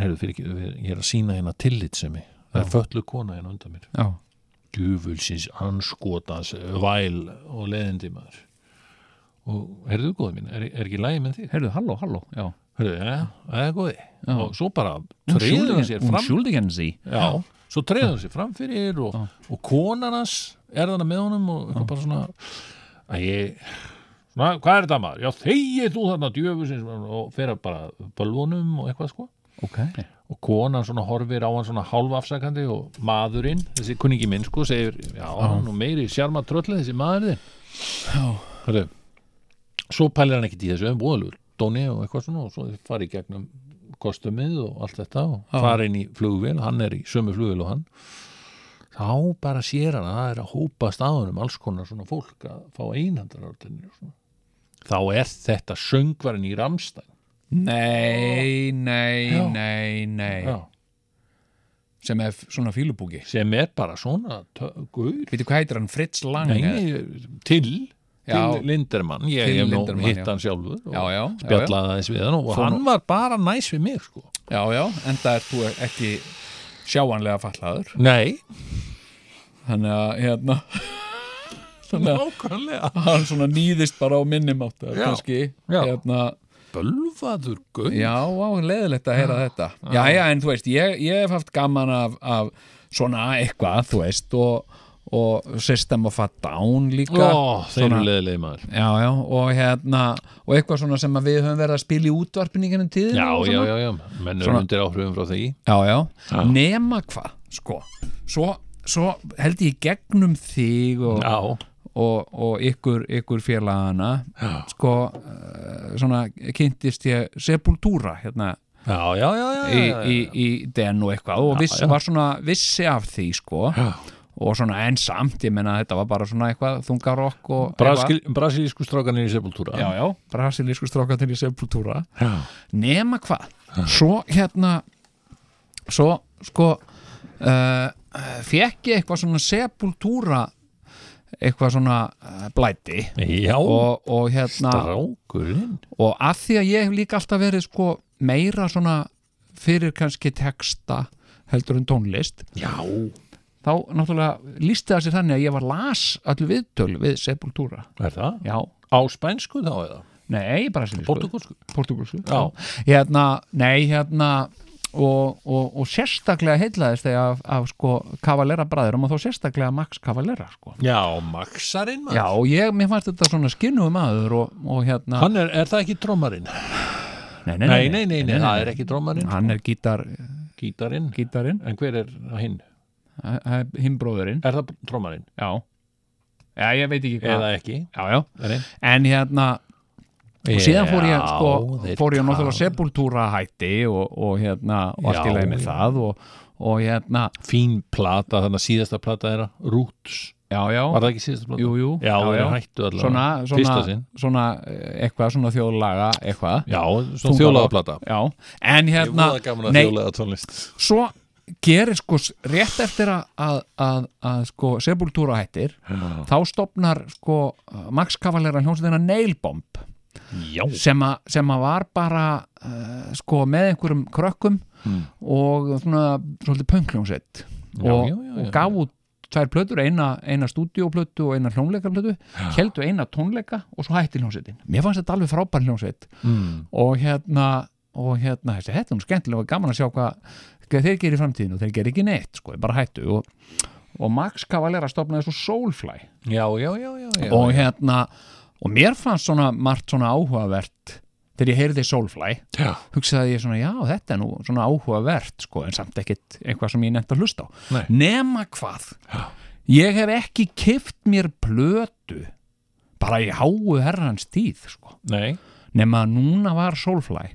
Speaker 3: Herðu, fyrir ekki, við- ég er að sína hérna tillitsemi. Það er föllu kona hérna undan mér.
Speaker 4: já,
Speaker 3: Djöfulsins, anskotans, væl og leðindi maður. Og herðu, góði mín, er, er ekki lægi með þig?
Speaker 4: heyrðu, halló, halló já,
Speaker 3: Herðu, ja, það er góði.
Speaker 4: Já.
Speaker 3: Og svo bara
Speaker 4: hún
Speaker 3: treður hann sér fram
Speaker 4: skjúldi henni sí
Speaker 3: Já, svo treður hann sér fram fyrir og, og konan hans er þarna með honum og eitthvað bara svona að ég svona, hvað er þetta maður? Já, þegið þú þarna djöfusins og fer að bara bölvunum og eitthvað sko
Speaker 4: ok,
Speaker 3: og konan svona horfir á hann svona hálfafsakandi og maðurinn, þessi kunningi minn sko, segir, já, nú meiri sjarma tröllið þessi maðurinn Hörðu, svo pælir hann ekkit í þessu voðalur, dóni og eitthvað svona og svo þeir fara í gegnum kostumið og allt þetta og fara inn í flugvél hann er í sömu flugvél og hann þá bara sér hann að það er að hópa staðunum alls konar svona fólk að fá einhandarartinni þá er þetta söngvarinn í Ramstæn
Speaker 4: nei, nei,
Speaker 3: Já.
Speaker 4: nei, nei sem er f- svona fílubúki
Speaker 3: sem er bara svona tö- gaur
Speaker 4: veitu hvað heitir hann, Fritz Lang eða?
Speaker 3: Nei, til,
Speaker 4: Já.
Speaker 3: til Lindermann ég
Speaker 4: Till
Speaker 3: hef nú
Speaker 4: Lindermann,
Speaker 3: hitt
Speaker 4: já.
Speaker 3: hann sjálfur og
Speaker 4: já, já, já, já,
Speaker 3: spjallaði aðeins við hann og
Speaker 4: Fór
Speaker 3: hann
Speaker 4: nú-
Speaker 3: var bara næs við mig sko.
Speaker 4: já, já en það er þú ekki sjáanlega fallaður
Speaker 3: Nei,
Speaker 4: þannig að hérna þannig
Speaker 6: Nákvæmlega
Speaker 4: að hann svona nýðist bara á minnimáttu
Speaker 6: Já.
Speaker 4: kannski
Speaker 3: Já.
Speaker 4: Hérna,
Speaker 6: Bölvaður guð
Speaker 4: já, á, leðilegt að
Speaker 3: Ah,
Speaker 4: heyra þetta já, já, en þú veist, ég, ég hef haft gaman af, af svona eitthvað, þú veist og, og System of a Down líka
Speaker 3: Ó, þeir eru
Speaker 4: Svona-
Speaker 3: leðilegi maður
Speaker 4: Já, já, og hérna og eitthvað svona sem að við höfum verið að spila í útvarpinu í gennum tíðin
Speaker 3: Já, já, já, já, menn eru
Speaker 4: Svona-
Speaker 3: undir áhrifum frá því
Speaker 4: já, já. nema hvað, sko svo, svo held ég í gegnum þig og,
Speaker 3: Já,
Speaker 4: og, og ykkur, ykkur félagana
Speaker 3: Já.
Speaker 4: sko uh, svona kynntist ég Sepultura hérna
Speaker 3: já, já, já, já,
Speaker 4: í,
Speaker 3: já,
Speaker 4: í, í den og eitthvað og viss, var svona vissi af því sko
Speaker 3: Já.
Speaker 4: og svona enn samt, ég menna þetta var bara svona eitthvað þungarokk og
Speaker 3: Brasil, Brasilísku strákanir í sepultúra
Speaker 4: Já, já, brasilísku strákandir í Sepultura
Speaker 3: já,
Speaker 4: nema hvað svo hérna svo sko uh, fekk ég eitthvað svona sepultúra eitthvað svona uh, blæti
Speaker 3: já
Speaker 4: og, og hérna
Speaker 3: strákurinn
Speaker 4: og að því að ég hef líka alltaf verið sko meira svona fyrir kannski texta heldur en tónlist
Speaker 3: Já,
Speaker 4: þá náttúrulega lísti það sér þannig að ég var las allu viðtöl við sepultúra
Speaker 3: er það?
Speaker 4: já,
Speaker 3: Á spænsku þá eða?
Speaker 4: nei, bara sem
Speaker 3: Portugalsku?
Speaker 4: portugalsku
Speaker 3: Já.
Speaker 4: hérna, nei, hérna og, og, og sérstaklega heillaðist þegar af, af sko Cavalera bræðurum og þá sérstaklega Max Cavalera sko.
Speaker 3: Já, Maxarinn maður
Speaker 4: já, og ég, mér fannst þetta svona skinnum aður og, og hérna
Speaker 3: Hann er, er það ekki trómarinn?
Speaker 4: nei,
Speaker 3: Nei, nei, nei, nei, það er ekki trómarinn
Speaker 4: hann er gítar,
Speaker 3: Gítarinn
Speaker 4: gítarinn
Speaker 3: En hver er hinn?
Speaker 4: hinn bróðurinn,
Speaker 3: Er það trómarinn?
Speaker 4: já já, ég veit ekki hvað
Speaker 3: Eða ekki?
Speaker 4: já, já.
Speaker 3: Nei.
Speaker 4: en hérna og síðan fór ég sko,
Speaker 3: þeir
Speaker 4: fór ég
Speaker 3: tala.
Speaker 4: náttúrulega sepultúra hætti og, og hérna, og allt
Speaker 3: Já,
Speaker 4: í leið með
Speaker 3: já.
Speaker 4: það og, og hérna,
Speaker 3: Fín plata, þannig að síðasta plata er Roots,
Speaker 4: já, já
Speaker 3: var það ekki síðasta plata?
Speaker 4: jú, jú,
Speaker 3: Já, já, já. hættu allavega
Speaker 4: svona,
Speaker 3: Fyrsta
Speaker 4: svona,
Speaker 3: sinn
Speaker 4: svona eh, eitthvað, svona þjóðlaga eitthvað,
Speaker 3: Já, svona þjólaða plata
Speaker 4: já, en hérna nei,
Speaker 3: þjólaða tónlist
Speaker 4: svo gerir sko s- rétt eftir að, að, að, að sko sepultúra hættir þá stopnar sko eh, Max Cavalera hljómsveitina Nailbomb
Speaker 3: Já,
Speaker 4: sem, a, sem að var bara uh, sko með einhverjum krökkum og svona svolítið pöngljónsett
Speaker 3: Hmm. Já,
Speaker 4: og,
Speaker 3: já, já, já,
Speaker 4: og
Speaker 3: já.
Speaker 4: gaf út tvær plötur, eina, eina stúdíóplötu og eina hljónleikaplötu, heldu eina tónleika og svo hætti hljónsettin. Mér fannst þetta alveg frábær hljónsett
Speaker 3: mm.
Speaker 4: og hérna og hérna, þessi, þetta er nú skemmtilega og gaman að sjá hvað, hvað þeir gerir í framtíðinu og þeir gerir ekki neitt, sko, þeir bara hættu og, og Max Cavalera stopnaði svo Soulfly
Speaker 3: já, já, já, já, já.
Speaker 4: og hérna og mér fannst svona margt svona áhugavert þegar ég heyrði Soulfly
Speaker 3: já.
Speaker 4: hugsaði ég svona já þetta er nú svona áhugavert sko en samt ekkit eitthvað sem ég nefnt að hlusta á
Speaker 3: Nei.
Speaker 4: nema hvað ég hef ekki kift mér plötu bara í háu herrans tíð sko
Speaker 3: Nei,
Speaker 4: nema að núna var Soulfly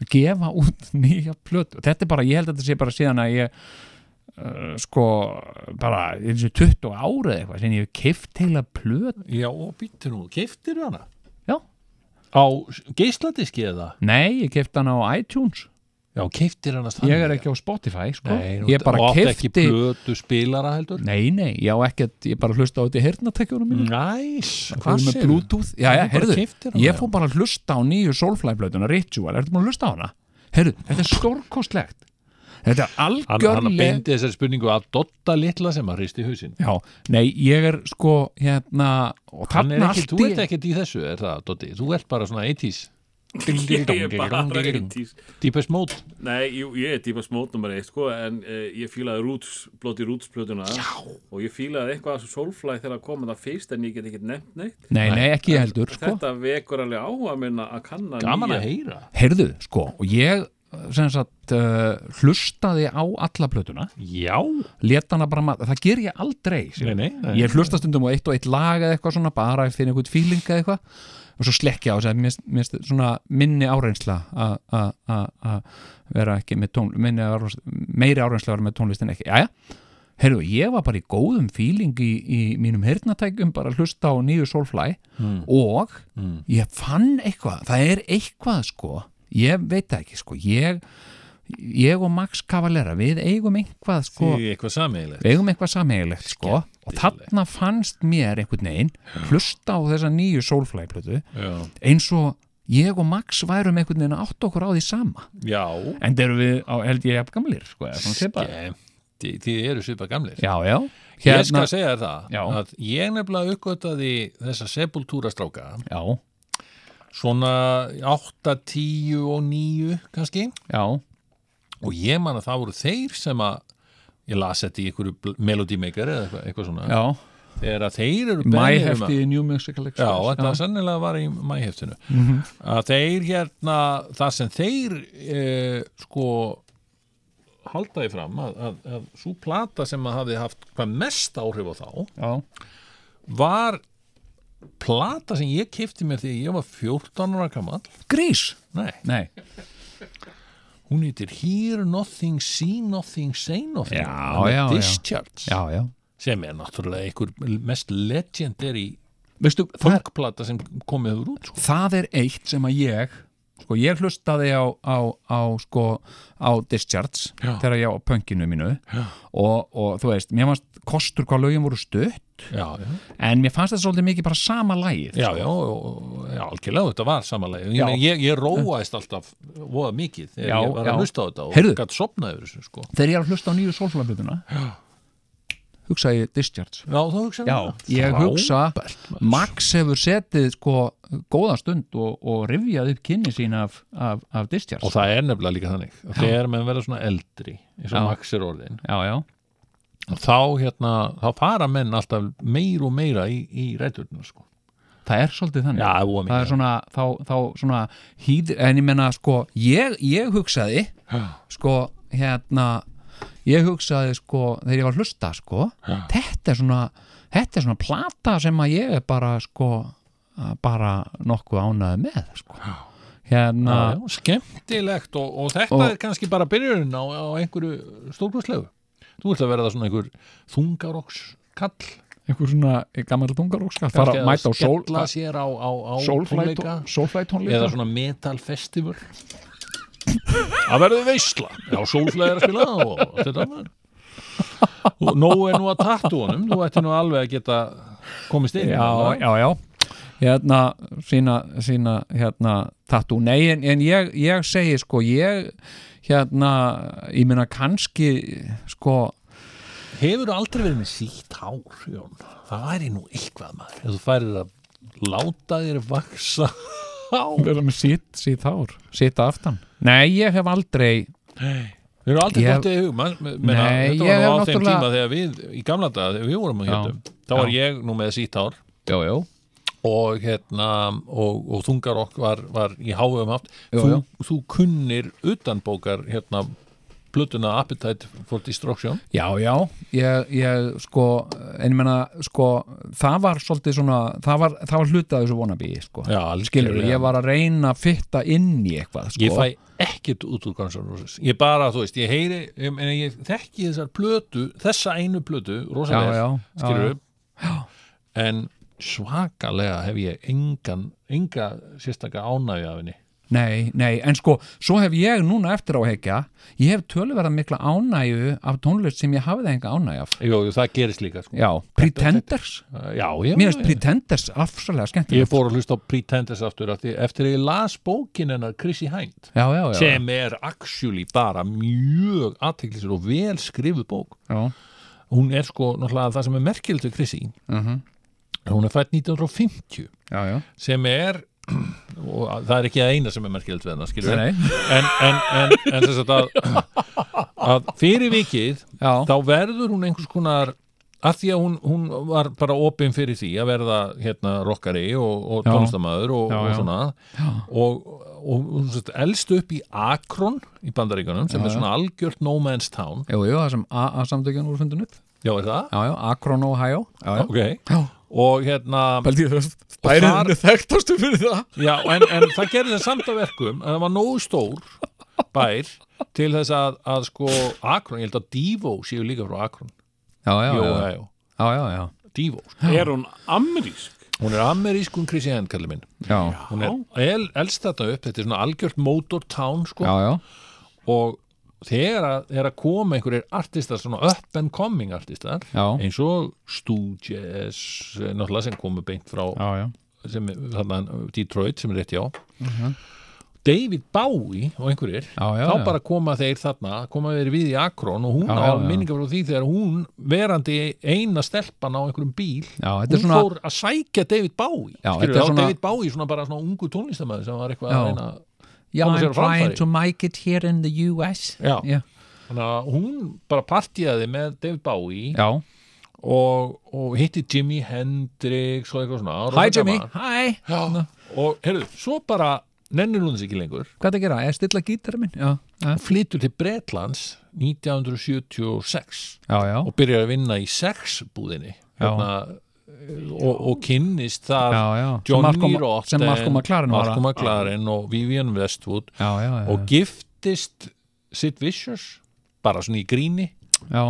Speaker 4: að gefa út nýja plötu þetta er bara, ég held að þetta sé bara síðan að ég uh, sko bara eins og 20 árið eitthvað sem ég hef kift heila plötu
Speaker 3: já, og býttu nú, keiftir hana?
Speaker 4: Já.
Speaker 3: Á geisladiski eða?
Speaker 4: Nei, ég kefti hann á iTunes
Speaker 3: Já, keiftir hana
Speaker 4: Ég er ekki á Spotify, sko
Speaker 3: Nei, nú-
Speaker 4: Ég bara
Speaker 3: Og átti
Speaker 4: kefti
Speaker 3: ekki plötu spilara heldur?
Speaker 4: Nei, nei, ég á ekkert Ég bara hlusta á þetta í heyrnatekjunum mínu
Speaker 3: Næs,
Speaker 4: Mm. Hvað með
Speaker 3: segirðu?
Speaker 4: Bluetooth Já, já,
Speaker 3: Þú bara
Speaker 4: heyrðu
Speaker 3: keyptir hana,
Speaker 4: Ég
Speaker 3: já.
Speaker 4: fór bara að hlusta á nýju Soulfly-blötuna Ritual Ertu búin að hlusta á hana? Heyrðu, þetta er stórkostlegt Þetta er
Speaker 3: Hann, hann
Speaker 4: algjörlega
Speaker 3: beindi þessari spurningu að Dotta litla sem að hristi hausinn
Speaker 4: Já, nei, ég er sko Hérna Og
Speaker 3: Hann er
Speaker 4: þarna
Speaker 3: ekki,
Speaker 4: allt
Speaker 3: þú
Speaker 4: í
Speaker 3: ert ekkert í þessu, er það, Dotti? Þú ert bara svona 80s
Speaker 5: Ég er bara reyndís
Speaker 3: Deepest Mode
Speaker 5: Nei, jú, ég er típa smót nummer eitt sko, en uh, ég fílaði roots, blóti rootsplötuna og ég fílaði eitthvað að Soulfly þegar að koma það fyrst en ég get ekkert nefnt neitt
Speaker 4: Nei, nei, ekki ég heldur sko.
Speaker 5: Þetta vekur alveg áhuga minna að kanna
Speaker 3: Gaman að
Speaker 5: nýja-
Speaker 3: heyra
Speaker 4: Heyrðu, sko Og ég sem sagt uh, hlustaði á alla plötuna
Speaker 3: Já
Speaker 4: leta hana bara maður, það ger ég aldrei
Speaker 3: Nei,
Speaker 4: Sigrún.
Speaker 3: nei, nei.
Speaker 4: ég hlusta stundum á eitt og eitt lag eða eitthvað svona bara ef finn eitthvað fíling eða eitthvað og svo slekki á þess að mér finnst svona minni áreynsla að- að að- að vera ekki með tón minni áreynsla, meiri áreynsla að vera með tónlistin ekki jæja, heyrðu, ég var bara í góðum fíling í, í mínum hirnatækjum bara að hlusta á nýju Soulfly
Speaker 3: Hmm.
Speaker 4: og ég fann eitthvað það er eitthvað sko ég veit það ekki sko ég, ég og Max Cavalera við eigum einhvað sko
Speaker 3: Því eitthvað sameiginlegt
Speaker 4: við eigum eitthvað sameiglegt sko og þarna fannst mér einhvern veginn hlusta á þessa nýju sólflæplötu
Speaker 3: Já,
Speaker 4: eins og ég og Max værum einhvern veginn að átta okkur á því sama
Speaker 3: já.
Speaker 4: en þeir eru við á held ég jafn gamlir sko, eða svona svipað.
Speaker 3: Skemmtilegt þætti því þið eru svipa gamlir
Speaker 4: já, já
Speaker 3: ég skal segja þér það
Speaker 4: Hérna- Já.
Speaker 3: að ég nefnilega uppgötaði þessa sepultúrastráka
Speaker 4: já,
Speaker 3: svona 8, 10 og 9 kannski
Speaker 4: já,
Speaker 3: og ég man að það voru þeir sem að ég las þetta í einhverju bl- Melody Maker eða eitthvað, eitthvað svona
Speaker 4: já
Speaker 3: þegar að þeir eru
Speaker 4: My
Speaker 3: beðnir um að-
Speaker 4: hefti í New Mexico
Speaker 3: Já,
Speaker 4: Express
Speaker 3: þetta var sennilega var í mæheftinu
Speaker 4: Mhm.
Speaker 3: að þeir hérna það sem þeir eh, sko haldaði fram að, að, að svo plata sem að hafði haft hvað mest áhrif á þá
Speaker 4: já,
Speaker 3: var plata sem ég kefti mér þegar ég var 14 ára gamall
Speaker 4: grís
Speaker 3: Nei,
Speaker 4: Nei,
Speaker 3: hún heitir Hear Nothing, See Nothing, Say Nothing
Speaker 4: Já,
Speaker 3: með
Speaker 4: já, já.
Speaker 3: Discharge
Speaker 4: já, já
Speaker 3: sem er náttúrulega einhver mest legendary
Speaker 4: Veistu, það, er,
Speaker 3: funkplata sem komið hefur út sko.
Speaker 4: það er eitt sem að ég sko, ég hlustaði á, á, á sko, á Discharge
Speaker 3: Já.
Speaker 4: þegar ég á pönkinu mínu og, og þú veist, mér fannst kostur hvað lögin voru stutt
Speaker 3: Já, já
Speaker 4: en mér fannst þetta svolítið mikið bara sama lagið
Speaker 3: Já, já, og- já, algjörlega þetta var samanlega ég,
Speaker 4: Já.
Speaker 3: meina, ég, ég róaðist alltaf voða mikið þegar
Speaker 4: Já,
Speaker 3: ég var
Speaker 4: já.
Speaker 3: að hlusta á þetta og
Speaker 4: Heyrðu.
Speaker 3: gætt sopnaði yfir þessu sko
Speaker 4: þegar ég er að hlusta á nýju sólflagblöðuna hugsaði ég Discharge
Speaker 3: Já, þú hugsaði
Speaker 4: Já, um
Speaker 3: það.
Speaker 4: ég hugsa
Speaker 3: Frábært, maður.
Speaker 4: Max hefur setið sko góða stund og, og rifjað upp kynni sín af, af, af Discharge
Speaker 3: Og það er nefnilega líka þannig að þegar menn verða svona eldri eins og
Speaker 4: Já.
Speaker 3: Max er orðin
Speaker 4: Já, já,
Speaker 3: og þá, hérna, þá fara menn alltaf meir og meira í, í rætturnar sko
Speaker 4: það er svolítið þannig
Speaker 3: Já, voða
Speaker 4: það er
Speaker 3: mikið
Speaker 4: svona, þá, þá svona hýðir, en ég menna sko ég, ég hugsaði sko hérna ég hugsaði sko, þegar ég var að hlusta sko þetta er svona þetta er svona plata sem að ég er bara sko að bara nokkuð ánæði með sko hérna,
Speaker 3: Já, já, skemmtilegt og, og þetta
Speaker 4: Og-
Speaker 3: er kannski bara byrjun á, á einhverju stórkurslegu Þú ert að verða svona einhver þungarokkskall
Speaker 4: einhver svona gammal tungar og skal fara
Speaker 3: Kannski
Speaker 4: að mæta á sól
Speaker 3: skella sér á, á, á tónleika
Speaker 4: sólflætónleika
Speaker 3: eða svona metal festival það verður veisla já, sólflæði er að spila og allt þetta maður. og nóg er nú að tattu honum þú ætti nú alveg að geta komist inn
Speaker 4: já, já, já hérna, sína, sína hérna, tattoo, nei, en, en ég, ég segi, sko, ég hérna, ég meina kannski sko,
Speaker 3: hefur þú aldrei verið með sítt hár Jón? það væri nú eitthvað maður ef þú færir að láta þér vaksa hár
Speaker 4: vera með sitt, sitt hár, sitt aftan nei, ég hef aldrei
Speaker 3: Við erum aldrei
Speaker 4: Ég-
Speaker 3: dottið í hug man, men, Nei,
Speaker 4: Nei,
Speaker 3: Þetta var nú
Speaker 4: ég hef
Speaker 3: á þeim
Speaker 4: náttúrulega-
Speaker 3: tíma þegar við í gamla daga, þegar við vorum á hétum þá var ég nú með sítt hár
Speaker 4: já, já,
Speaker 3: og hérna og, og þungarokk var, var í háum haft
Speaker 4: Jú,
Speaker 3: þú,
Speaker 4: jú.
Speaker 3: þú kunnir utanbókar hérna blötuna Appetite for Destruction
Speaker 4: já, já ég, ég, sko, en ég meina sko, það var svolítið svona það var, það var hluta þessu vonabí, sko
Speaker 3: Já, algjörlega.
Speaker 4: skilur, ég var að reyna að fytta inn í eitthvað, sko
Speaker 3: ég fæ ekkert út úr Guns N' Roses ég bara, þú veist, ég heyri ég, en ég þekki þessar blötu, þessa einu blötu
Speaker 4: já,
Speaker 3: rosalega,
Speaker 4: já, já,
Speaker 3: skilur
Speaker 4: já.
Speaker 3: upp en svakalega hef ég engan, enga sérstaka ánægju af henni
Speaker 4: Nei, nei, en sko, svo hef ég núna eftir á að hekja, ég hef töluverða mikla ánægju af tónlist sem ég hafði enga ánægju af.
Speaker 3: jú, jú, það gerist líka sko.
Speaker 4: Já, Pretenders,
Speaker 3: já, já,
Speaker 4: mér finnst
Speaker 3: já.
Speaker 4: Pretenders afsvölega
Speaker 3: ég
Speaker 4: skemmtilegt.
Speaker 3: fór að hlusta á Pretenders aftur af því- eftir að ég las bókin hennar Chrissy Hind
Speaker 4: Já, já, já.
Speaker 3: sem er actually bara mjög aðteklisir og vel skrifuð bók
Speaker 4: Já,
Speaker 3: hún er sko náttúrulega það sem er merkilegt við Krissi
Speaker 4: Mhm.
Speaker 3: hún er fætt 1950
Speaker 4: já, já.
Speaker 3: sem er og það er ekki að eina sem er merkilegt við hennar skilur við.
Speaker 4: Nei, nei.
Speaker 3: en, en, en, en þess að, að, að fyrir vikið
Speaker 4: Já.
Speaker 3: þá verður hún einhvers konar að því að hún, hún var bara opin fyrir því að verða hérna rockari og, og
Speaker 4: Já.
Speaker 3: tónlistamæður og,
Speaker 4: Já, já.
Speaker 3: og svona já. og, og, og sett, elst upp í Akron í bandaríkanum sem er svona algjört no man's town
Speaker 4: Jú, jú, það sem AA-samtökjan voru fundin upp.
Speaker 3: já er það?
Speaker 4: Já, já, Akron, Ohio. Já, já.
Speaker 3: ok
Speaker 4: Já,
Speaker 3: og hérna
Speaker 4: pældi ég þess,
Speaker 3: bærinn þar- er
Speaker 4: þekktastu fyrir það.
Speaker 3: já, en, en það gerði það samt að verkum að það var nógu stór bær til þess að, að sko Akron, ég held að Divo séu líka frá Akron
Speaker 4: Já, já,
Speaker 3: Jó,
Speaker 4: já,
Speaker 3: já, já,
Speaker 4: já, já, já,
Speaker 3: Divo sko.
Speaker 5: Er hún amerísk?
Speaker 3: hún er amerískun Chrissy Henn kallir minn
Speaker 4: já,
Speaker 3: hún er el, elst þarna upp, þetta er svona algjört motor town sko
Speaker 4: já, já,
Speaker 3: og þegar að, þegar að koma einhverjir artistar, svona up and coming artistar
Speaker 4: Já.
Speaker 3: eins og Stooges eh, náttúrulega sem komu beint frá
Speaker 4: já, já.
Speaker 3: sem, er- þarna, Detroit sem er rétt hjá David Bowie og einhverjir
Speaker 4: Já, já,
Speaker 3: þá
Speaker 4: já.
Speaker 3: bara koma þeir þarna, koma þeir við í Akron og hún
Speaker 4: Já,
Speaker 3: á
Speaker 4: já, já.
Speaker 3: minningar frá því þegar hún verandi eina stelpan á einhverjum bíl
Speaker 4: Já,
Speaker 3: hún
Speaker 4: þetta er svona-
Speaker 3: fór að sækja David Bowie
Speaker 4: Já,
Speaker 3: Skilurðu,
Speaker 4: þetta er
Speaker 3: þá
Speaker 4: svona-
Speaker 3: David Bowie svona bara svona ungu tónlistamæður sem var eitthvað
Speaker 4: Já.
Speaker 3: að reyna að-
Speaker 4: Já,
Speaker 3: Koma sér
Speaker 4: I'm
Speaker 3: á framfæri.
Speaker 4: trying to make it here in the US
Speaker 3: Já.
Speaker 4: Já,
Speaker 3: Þannig að hún bara partíaði með David Bowie
Speaker 4: já.
Speaker 3: og, og hitti Jimi Hendrix og eitthvað svona
Speaker 4: Hi
Speaker 3: rosa
Speaker 4: Jimmy,
Speaker 3: gaman.
Speaker 4: hi
Speaker 3: Já, og heyrðu, svo bara nennir hún þess ekki lengur
Speaker 4: Hvað það gera, er stilla gítara minn? Já, já,
Speaker 3: flytur til Bretlands 1976
Speaker 4: já, já.
Speaker 3: og byrjar að vinna í sexbúðinni
Speaker 4: Já.
Speaker 3: hérna, og, og kynnist þar
Speaker 4: Já, já. Sem Malcolm-
Speaker 3: Johnny
Speaker 4: sem
Speaker 3: Rotten
Speaker 4: Malcolm McLaren var að-
Speaker 3: Malcolm McLaren og Vivian Westwood
Speaker 4: já, já, já,
Speaker 3: og giftist Sid Vicious bara svona í gríni
Speaker 4: já.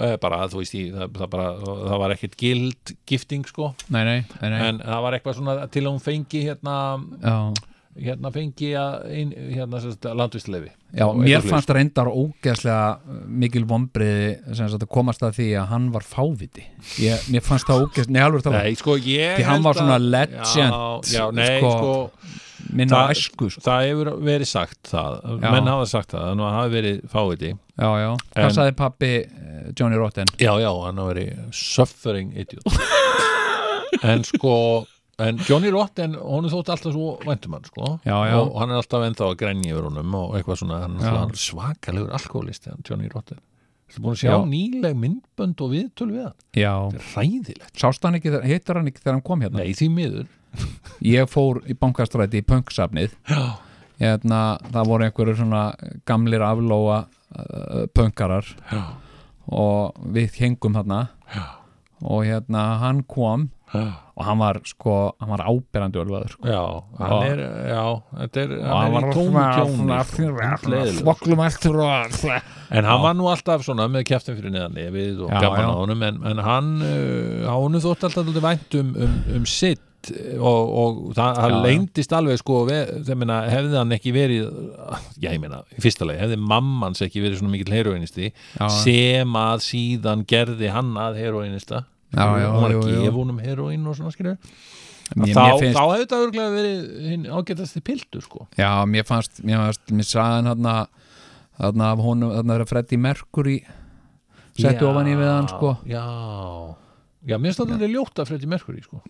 Speaker 3: eh, bara þú veist í, það, það, bara, það var ekkert gild gifting sko
Speaker 4: Nei, nei, nei, nei.
Speaker 3: en það var eitthvað svona til að hún fengi hérna,
Speaker 4: já.
Speaker 3: hérna fengi að inn- hérna sem sagt, landvistleifi
Speaker 4: Já,
Speaker 3: Og
Speaker 4: mér
Speaker 3: eitthvað
Speaker 4: fannst reyndar ógeðslega uh, mikil vombriði sem sagt að komast að því að hann var fáviti ég, Mér fannst það ógeðslega, nei alveg tala
Speaker 3: Nei, sko, ég
Speaker 4: Því hann
Speaker 3: held
Speaker 4: var svona
Speaker 3: að-
Speaker 4: legend,
Speaker 3: Já, já nei,
Speaker 4: sko,
Speaker 3: sko,
Speaker 4: minn á
Speaker 3: það-
Speaker 4: æsku sko.
Speaker 3: það hefur verið sagt það
Speaker 4: Já.
Speaker 3: menn hafa sagt það, þannig að það hafi verið fáiði
Speaker 4: Já, já, hvað
Speaker 3: En-
Speaker 4: saði pappi eh, Johnny Rotten?
Speaker 3: Já, já, hann hafi verið suffering idiot En sko En Johnny Rotten, honum þótti alltaf svo væntum hann, sko
Speaker 4: Já, já.
Speaker 3: Og hann er alltaf ennþá að grenja yfir honum og eitthvað svona, hann
Speaker 4: Já.
Speaker 3: er svakalegur alkoholist, hann Johnny Rotten Þú búin að sjá
Speaker 4: Já.
Speaker 3: nýleg myndbönd og viðtöl við hann
Speaker 4: Já,
Speaker 3: Ræðilegt
Speaker 4: sást hann ekki, þegar- hittir hann ekki þegar hann kom hérna
Speaker 3: Nei, því miður
Speaker 4: Ég fór í bankastræti í pöngsafnið
Speaker 3: Já,
Speaker 4: hérna, það voru einhverju svona gamlir aflóa uh, pönkarar
Speaker 3: já,
Speaker 4: og við hengum þarna
Speaker 3: já,
Speaker 4: og hérna hann kom
Speaker 3: já
Speaker 4: og hann var sko, hann var áberandi ölvaður sko.
Speaker 3: Já, hann
Speaker 4: Já.
Speaker 3: er, já, þetta er,
Speaker 4: og
Speaker 3: hann
Speaker 4: hann
Speaker 3: er
Speaker 4: var sko.
Speaker 3: í tómu tjóni sko.
Speaker 4: svona
Speaker 3: hundleiðilegur.
Speaker 4: svoklum eftir og
Speaker 3: En hann var nú alltaf svona með kjæftin fyrir neðan nefið og
Speaker 4: Já,
Speaker 3: gaman
Speaker 4: já.
Speaker 3: á honum en, en hann, uh, honum þótt alltaf alltaf vænt um, um, um sitt og, og það, hann
Speaker 4: Já, já.
Speaker 3: leyndist alveg sko, ve- þegar meina, hefði hann ekki verið já, ég meina, í fyrsta lagi hefði mammans ekki verið svona mikill heroinisti
Speaker 4: Já.
Speaker 3: sem að síðan gerði hann að heroinista
Speaker 4: Já, já,
Speaker 3: hún var
Speaker 4: jú,
Speaker 3: að
Speaker 4: jú.
Speaker 3: gefa honum heroin og svona skilur
Speaker 4: Mér-
Speaker 3: þá,
Speaker 4: mér finnst-
Speaker 3: þá hefði þetta örglega verið hinn ágætasti piltur sko
Speaker 4: já, mér fannst, mér fannst mér sagðan hann þarna af honum, þarna er að Freddy Mercury
Speaker 3: Já,
Speaker 4: settu ofan í við hann sko
Speaker 3: já, já, mér finnst það alveg ljótt að Freddy Mercury sko.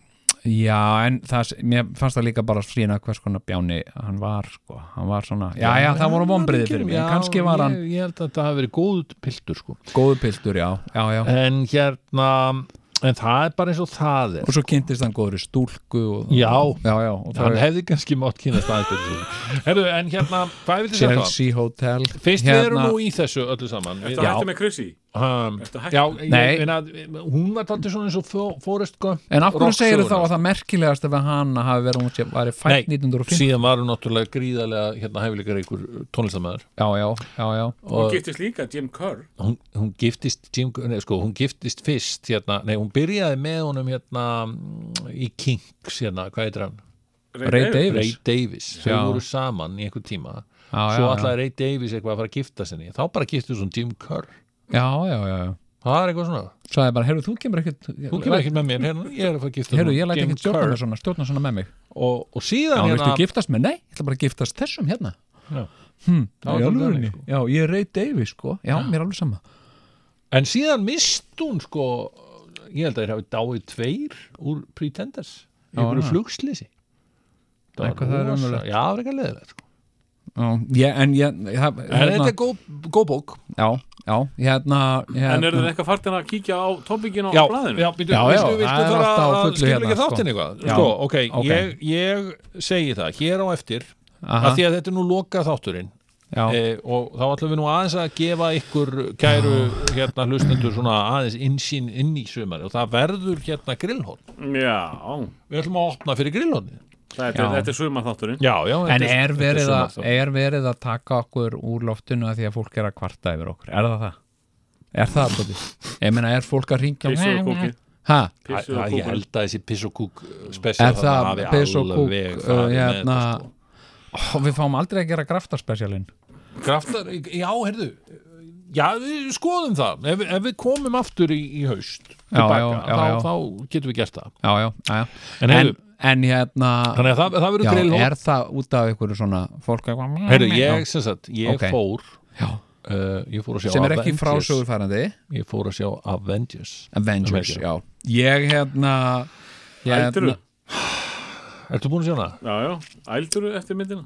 Speaker 4: já, en það, mér fannst það líka bara sína hvers konar bjáni hann var sko, hann var svona, já, já, það voru vonbriði fyrir mig,
Speaker 3: Já,
Speaker 4: en kannski var hann
Speaker 3: ég, ég held að það hafi verið góð piltur sko.
Speaker 4: góðu piltur, já, já, já
Speaker 3: en hérna en það er bara eins og það er
Speaker 4: og svo kynntist hann góðri stúlku og,
Speaker 3: Já.
Speaker 4: já, já, og það
Speaker 3: hann
Speaker 4: er
Speaker 3: hefði kannski mátt kynast aðeins betur fyrir. Herru, en hérna, hvað vil þið
Speaker 4: um
Speaker 3: segja það?
Speaker 4: Chelsea Hotel Hérna.
Speaker 3: Fyrst við erum nú í þessu öllu saman við,
Speaker 5: Þetta hætti með Chrissy
Speaker 3: um,
Speaker 5: Ertu hættur?
Speaker 3: Já, ég,
Speaker 4: Nei.
Speaker 3: minna, hún var taldið svona eins og Fo- Forrest Gump
Speaker 4: En af hverju segir þá
Speaker 3: rocksögunar.
Speaker 4: að það merkilegast ef hana hafi verið hún sem væri fætt
Speaker 3: Nei,
Speaker 4: 1905
Speaker 3: síðan var hún náttúrulega gríðarlega hérna, hæfileikar ykkur tónlistamæður
Speaker 4: Já, já, já, já
Speaker 5: og getist líka Jim Kerr
Speaker 3: hún, hún giftist Jim, nei, sko, hún giftist fyrst hérna, nei, hún byrjaði með honum hérna mm, í Kings hérna, hvað heitir hann?
Speaker 4: Ray Davies.
Speaker 3: Ray Davis, þau
Speaker 4: Já.
Speaker 3: voru saman í einhver tíma
Speaker 4: Já, já,
Speaker 3: svo
Speaker 4: já.
Speaker 3: alltaf Ray Davis eitthvað að fara að gifta sinni þá bara giftist hún Jim Kerr
Speaker 4: Já, já, já, já
Speaker 3: það er eitthvað svona,
Speaker 4: Sæði bara, heyrðu, þú kemur ekkert
Speaker 3: hún kemur ekkert með mér hérna, ég er að fara að gifta
Speaker 4: Heyrðu, ég
Speaker 3: honum
Speaker 4: læt
Speaker 3: Jim
Speaker 4: ekkert stjórna
Speaker 3: Kerr
Speaker 4: með svona, stjórna svona með mig
Speaker 3: og, og
Speaker 4: Já,
Speaker 3: síðan hérna,
Speaker 4: viltu giftast með? Nei, ég ætla bara að giftast þessum hérna
Speaker 3: Já.
Speaker 4: Hm,
Speaker 3: Það var
Speaker 4: í
Speaker 3: svolítið
Speaker 4: alvörunni.
Speaker 3: þannig, sko.
Speaker 4: Já, ég er Ray Davis, sko Já, mér er alveg sama
Speaker 3: en síðan mist hún sko ég held að þeir hafi dáið tveir úr Pretenders í
Speaker 4: Já,
Speaker 3: einhverju
Speaker 4: já.
Speaker 3: flugslýsi
Speaker 4: Eitthvað það er ömurlegt.
Speaker 3: já, það er eitthvað leðilegt sko.
Speaker 4: Já, ég, en ég það-
Speaker 3: en þetta
Speaker 4: hérna-
Speaker 3: er góð, góð bók
Speaker 4: Já, já, hérna
Speaker 5: En
Speaker 4: hérna-
Speaker 5: eru þið eitthvað fartin að kíkja á topikinu á
Speaker 3: já,
Speaker 5: blæðinu?
Speaker 3: já, býtu,
Speaker 4: Já, já,
Speaker 3: viltu,
Speaker 4: það
Speaker 3: viltu
Speaker 4: er
Speaker 3: fara
Speaker 4: alltaf á
Speaker 3: að
Speaker 4: fullu
Speaker 3: skilja
Speaker 4: hérna,
Speaker 3: ekki
Speaker 4: sko.
Speaker 3: þáttin eitthvað
Speaker 4: Já,
Speaker 3: sko, ok,
Speaker 4: ok.
Speaker 3: Ég, ég segi það hér á eftir
Speaker 4: Aha.
Speaker 3: að því að þetta er nú loka þátturinn
Speaker 4: Já.
Speaker 3: e, og þá ætlum við nú aðeins að gefa ykkur kæru hérna hlustendur svona aðeins innsýn inn í sumari og það verður hérna grillhorn
Speaker 5: Já,
Speaker 3: við ætlum að opna fyrir grillhorni
Speaker 5: þetta,
Speaker 4: Já.
Speaker 5: þetta er sumarþátturinn
Speaker 3: já, já,
Speaker 4: En
Speaker 3: þetta
Speaker 4: er verið,
Speaker 3: þetta er
Speaker 4: að,
Speaker 3: sumarþáttur.
Speaker 4: er verið að taka okkur úr loftinu að því að fólk er að kvarta yfir okkur? Er það það? Er það það? Ég meina, er fólk að ringja?
Speaker 5: Pissu og kúki
Speaker 4: Hæ?
Speaker 5: Pissu
Speaker 3: Æ,
Speaker 5: og
Speaker 3: ég
Speaker 5: kúki
Speaker 3: held að þessi piss og kúk
Speaker 4: Er
Speaker 3: spesial
Speaker 4: það piss og kúk? Uh, hérna,
Speaker 3: hérna
Speaker 4: ó, við fáum aldrei að gera graftarspecialin.
Speaker 3: sko. Graftar, já, heyrðu Já, við skoðum það Ef, ef við komum aftur í, í haust
Speaker 4: Já,
Speaker 3: tilbaka,
Speaker 4: já, já,
Speaker 3: þá,
Speaker 4: já.
Speaker 3: þá getum við gert það
Speaker 4: Já, já, já. já.
Speaker 3: En, heyrðu,
Speaker 4: en hérna
Speaker 3: þannig að það, það verður
Speaker 4: já,
Speaker 3: grillhótt
Speaker 4: er það út af einhverju svona fólk eitthvað-
Speaker 3: Heyrðu, ég, sem sagt, ég
Speaker 4: Ok.
Speaker 3: fór
Speaker 4: Já.
Speaker 3: uh, ég fór að sjá
Speaker 4: sem er ekki
Speaker 3: Avengers
Speaker 4: frásögurfærandi
Speaker 3: ég fór að sjá Avengers
Speaker 4: Avengers,
Speaker 3: Avengers.
Speaker 4: já ég hérna
Speaker 5: Ældur
Speaker 4: hérna,
Speaker 3: Ertu búin að sjá hana?
Speaker 5: Já, já, ældur eftir myndina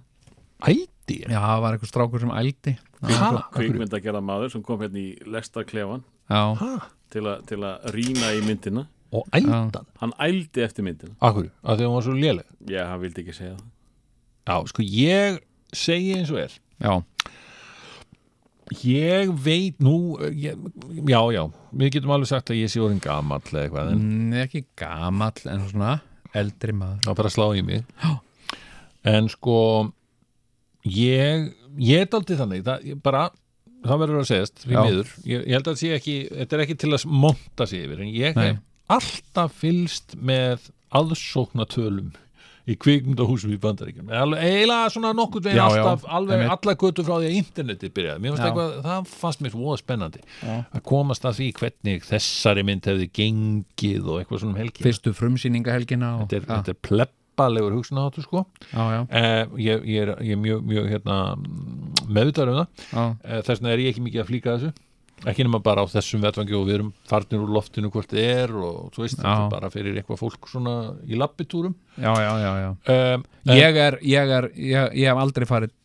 Speaker 3: Æti
Speaker 4: já, það var einhver strákur sem ældi
Speaker 3: Ha?
Speaker 5: Kvikmynd að gera maður sem kom hérna í lestarklefan
Speaker 4: já,
Speaker 5: til, a, til að rýna í myndina
Speaker 3: Og ældan
Speaker 5: Hann ældi eftir myndina
Speaker 3: Akkur, af því að hún var svo léleg
Speaker 5: Já, hann vildi ekki segja það
Speaker 3: Já, sko, ég segi eins og er
Speaker 4: já,
Speaker 3: Ég veit nú eh, ég, Já, já, við getum alveg sagt að ég sé orðin gamall eða eitthvað en
Speaker 4: Mm, ekki gamall en svona eldri maður
Speaker 3: það bara slá í mig En sko ég, ég er aldrei þannig það, ég bara, það verður að segjast því
Speaker 4: Já.
Speaker 3: miður, ég, ég held að það sé ekki þetta er ekki til að monta sig yfir en ég
Speaker 4: Nei.
Speaker 3: hef alltaf fylst með aðsóknatölum í kvikmyndahúsum í bandaríkjum eiginlega svona nokkuð veginn
Speaker 4: Já, já,
Speaker 3: alltaf alveg
Speaker 4: einmitt.
Speaker 3: alla götu frá því að interneti byrjaði mér fannst
Speaker 4: Já.
Speaker 3: eitthvað, það fannst mér svo spennandi að komast að því hvernig þessari mynd hefði gengið og eitthvað svona um helgi
Speaker 4: fyrstu frumsýningahelgina og,
Speaker 3: þetta er,
Speaker 4: já,
Speaker 3: þetta er plebbalegur hugsunaháttur sko
Speaker 4: já, já,
Speaker 3: Eh, ég, ég, er, ég er mjög, mjög hérna, meðvitaður um það
Speaker 4: já,
Speaker 3: eh, þess vegna er ég ekki mikið að flýka þessu ekki nema bara á þessum vetfangi og við erum farnir úr loftinu hvort þið er og þú veist þetta er bara fyrir eitthvað fólk svona í lappitúrum
Speaker 4: já, já, já, já.
Speaker 3: um,
Speaker 4: Eh, ég er, ég er ég, ég hef aldrei farið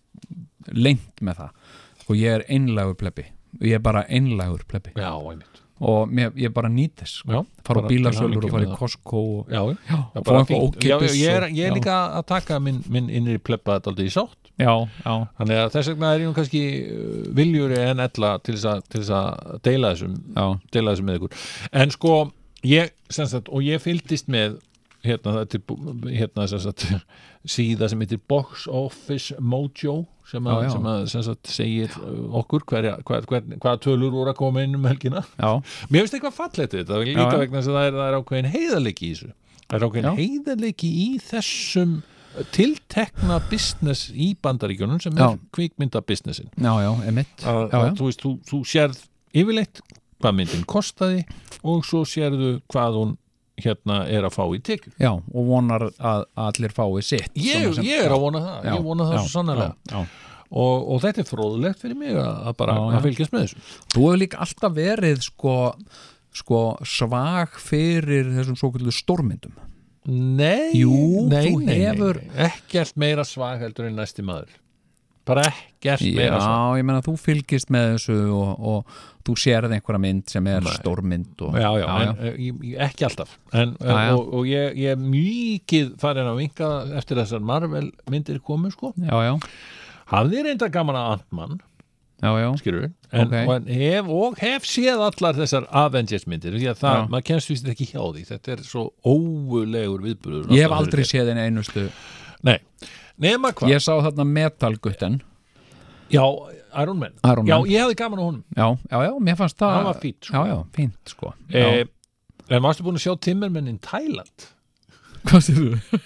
Speaker 4: lengt með það sko ég er einlægur plebbi ég er bara einlægur plebbi
Speaker 3: Já, einmitt
Speaker 4: og mér, ég bara nýt þess sko.
Speaker 3: Já,
Speaker 4: fara
Speaker 3: bara
Speaker 4: á
Speaker 3: til
Speaker 4: bílasölur
Speaker 3: hamingju
Speaker 4: og fara
Speaker 3: með
Speaker 4: í Costco og,
Speaker 3: Já, já,
Speaker 4: já,
Speaker 3: já,
Speaker 4: og
Speaker 3: bara
Speaker 4: fá
Speaker 3: fínt.
Speaker 4: eitthvað
Speaker 3: já, já,
Speaker 4: ókipis
Speaker 3: ég er,
Speaker 4: og-
Speaker 3: ég er
Speaker 4: já.
Speaker 3: líka að taka minn, minn innri plebba þetta aldrei í sátt
Speaker 4: já, já,
Speaker 3: þannig að þess vegna er ég nú kannski uh, viljuri en ella til þess að- til þess að deila þessum
Speaker 4: já,
Speaker 3: deila þessu með ykkur en sko, ég, sem sagt, og ég fylgdist með hérna, það er til, bú- hérna sem sagt, síða sem heitir Box Office Mojo sem, að,
Speaker 4: Já, já.
Speaker 3: sem, að, sem sagt, segir uh, okkur hverja, hver, hver, hvaða tölur voru að koma inn um helgina
Speaker 4: já,
Speaker 3: mér finnst eitthvað fallegt við þetta, líka
Speaker 4: já.
Speaker 3: vegna þess að það er, það er ákveðin heiðarleiki í þessu það er ákveðin
Speaker 4: Já.
Speaker 3: heiðarleiki í þessum tiltekna business í bandaríkjunum sem
Speaker 4: Já.
Speaker 3: er kvikmyndabusinessin
Speaker 4: já, já, emitt já,
Speaker 3: að,
Speaker 4: já,
Speaker 3: að þú veist, þú, þú sérð yfirleitt hvað myndin kostaði og svo sérðu hvað hún hérna er að fá í tekjur
Speaker 4: já, og vonar að allir fái sitt
Speaker 3: ég,
Speaker 4: svona sem-
Speaker 3: ég er að vona það,
Speaker 4: Já,
Speaker 3: ég vona það
Speaker 4: já,
Speaker 3: svo sannlega
Speaker 4: já, já.
Speaker 3: og, og þetta er fróðlegt fyrir mig að að bara
Speaker 4: Já, já.
Speaker 3: að fylgjast með þessu
Speaker 4: Þú hefur líka alltaf verið sko, sko svag fyrir þessum svo kvöldu stórmyndum
Speaker 3: nei,
Speaker 4: Jú,
Speaker 3: nei,
Speaker 4: þú
Speaker 3: nei, nei,
Speaker 4: hefur-
Speaker 3: nei, ekkert meira svag heldur en næsti maður bara ekkert meira svag
Speaker 4: Já, ég meina þú fylgist með þessu og, og þú sérð einhverja mynd sem er stórmynd og,
Speaker 3: já, já,
Speaker 4: já,
Speaker 3: en, eh, ég- ég- ekki alltaf en, en,
Speaker 4: Já, já.
Speaker 3: og, og ég, ég er mikið farin að vinka eftir þessar Marvel myndir komu sko
Speaker 4: já, já,
Speaker 3: hafði reynda gaman að Ant-Man
Speaker 4: já, já,
Speaker 3: skilur en,
Speaker 4: Ok.
Speaker 3: og, en hef, og hef séð allar þessar Avengers myndir því að það,
Speaker 4: Já.
Speaker 3: maður kemst vist ekki hjá því þetta er svo óulegur viðbúður
Speaker 4: Ég hef aldrei séð einu einustu
Speaker 3: nei, nema hvað
Speaker 4: Ég sá þarna metalgutten
Speaker 3: já, Iron Man,
Speaker 4: Iron Man.
Speaker 3: já, ég hafði gaman á honum
Speaker 4: Já, já, já, mér fannst það
Speaker 3: Hann var fínn, sko.
Speaker 4: Já, já, fínt sko já.
Speaker 3: eh, en varstu búin að sjá Timmermann in Thailand
Speaker 4: Hvað sér þú?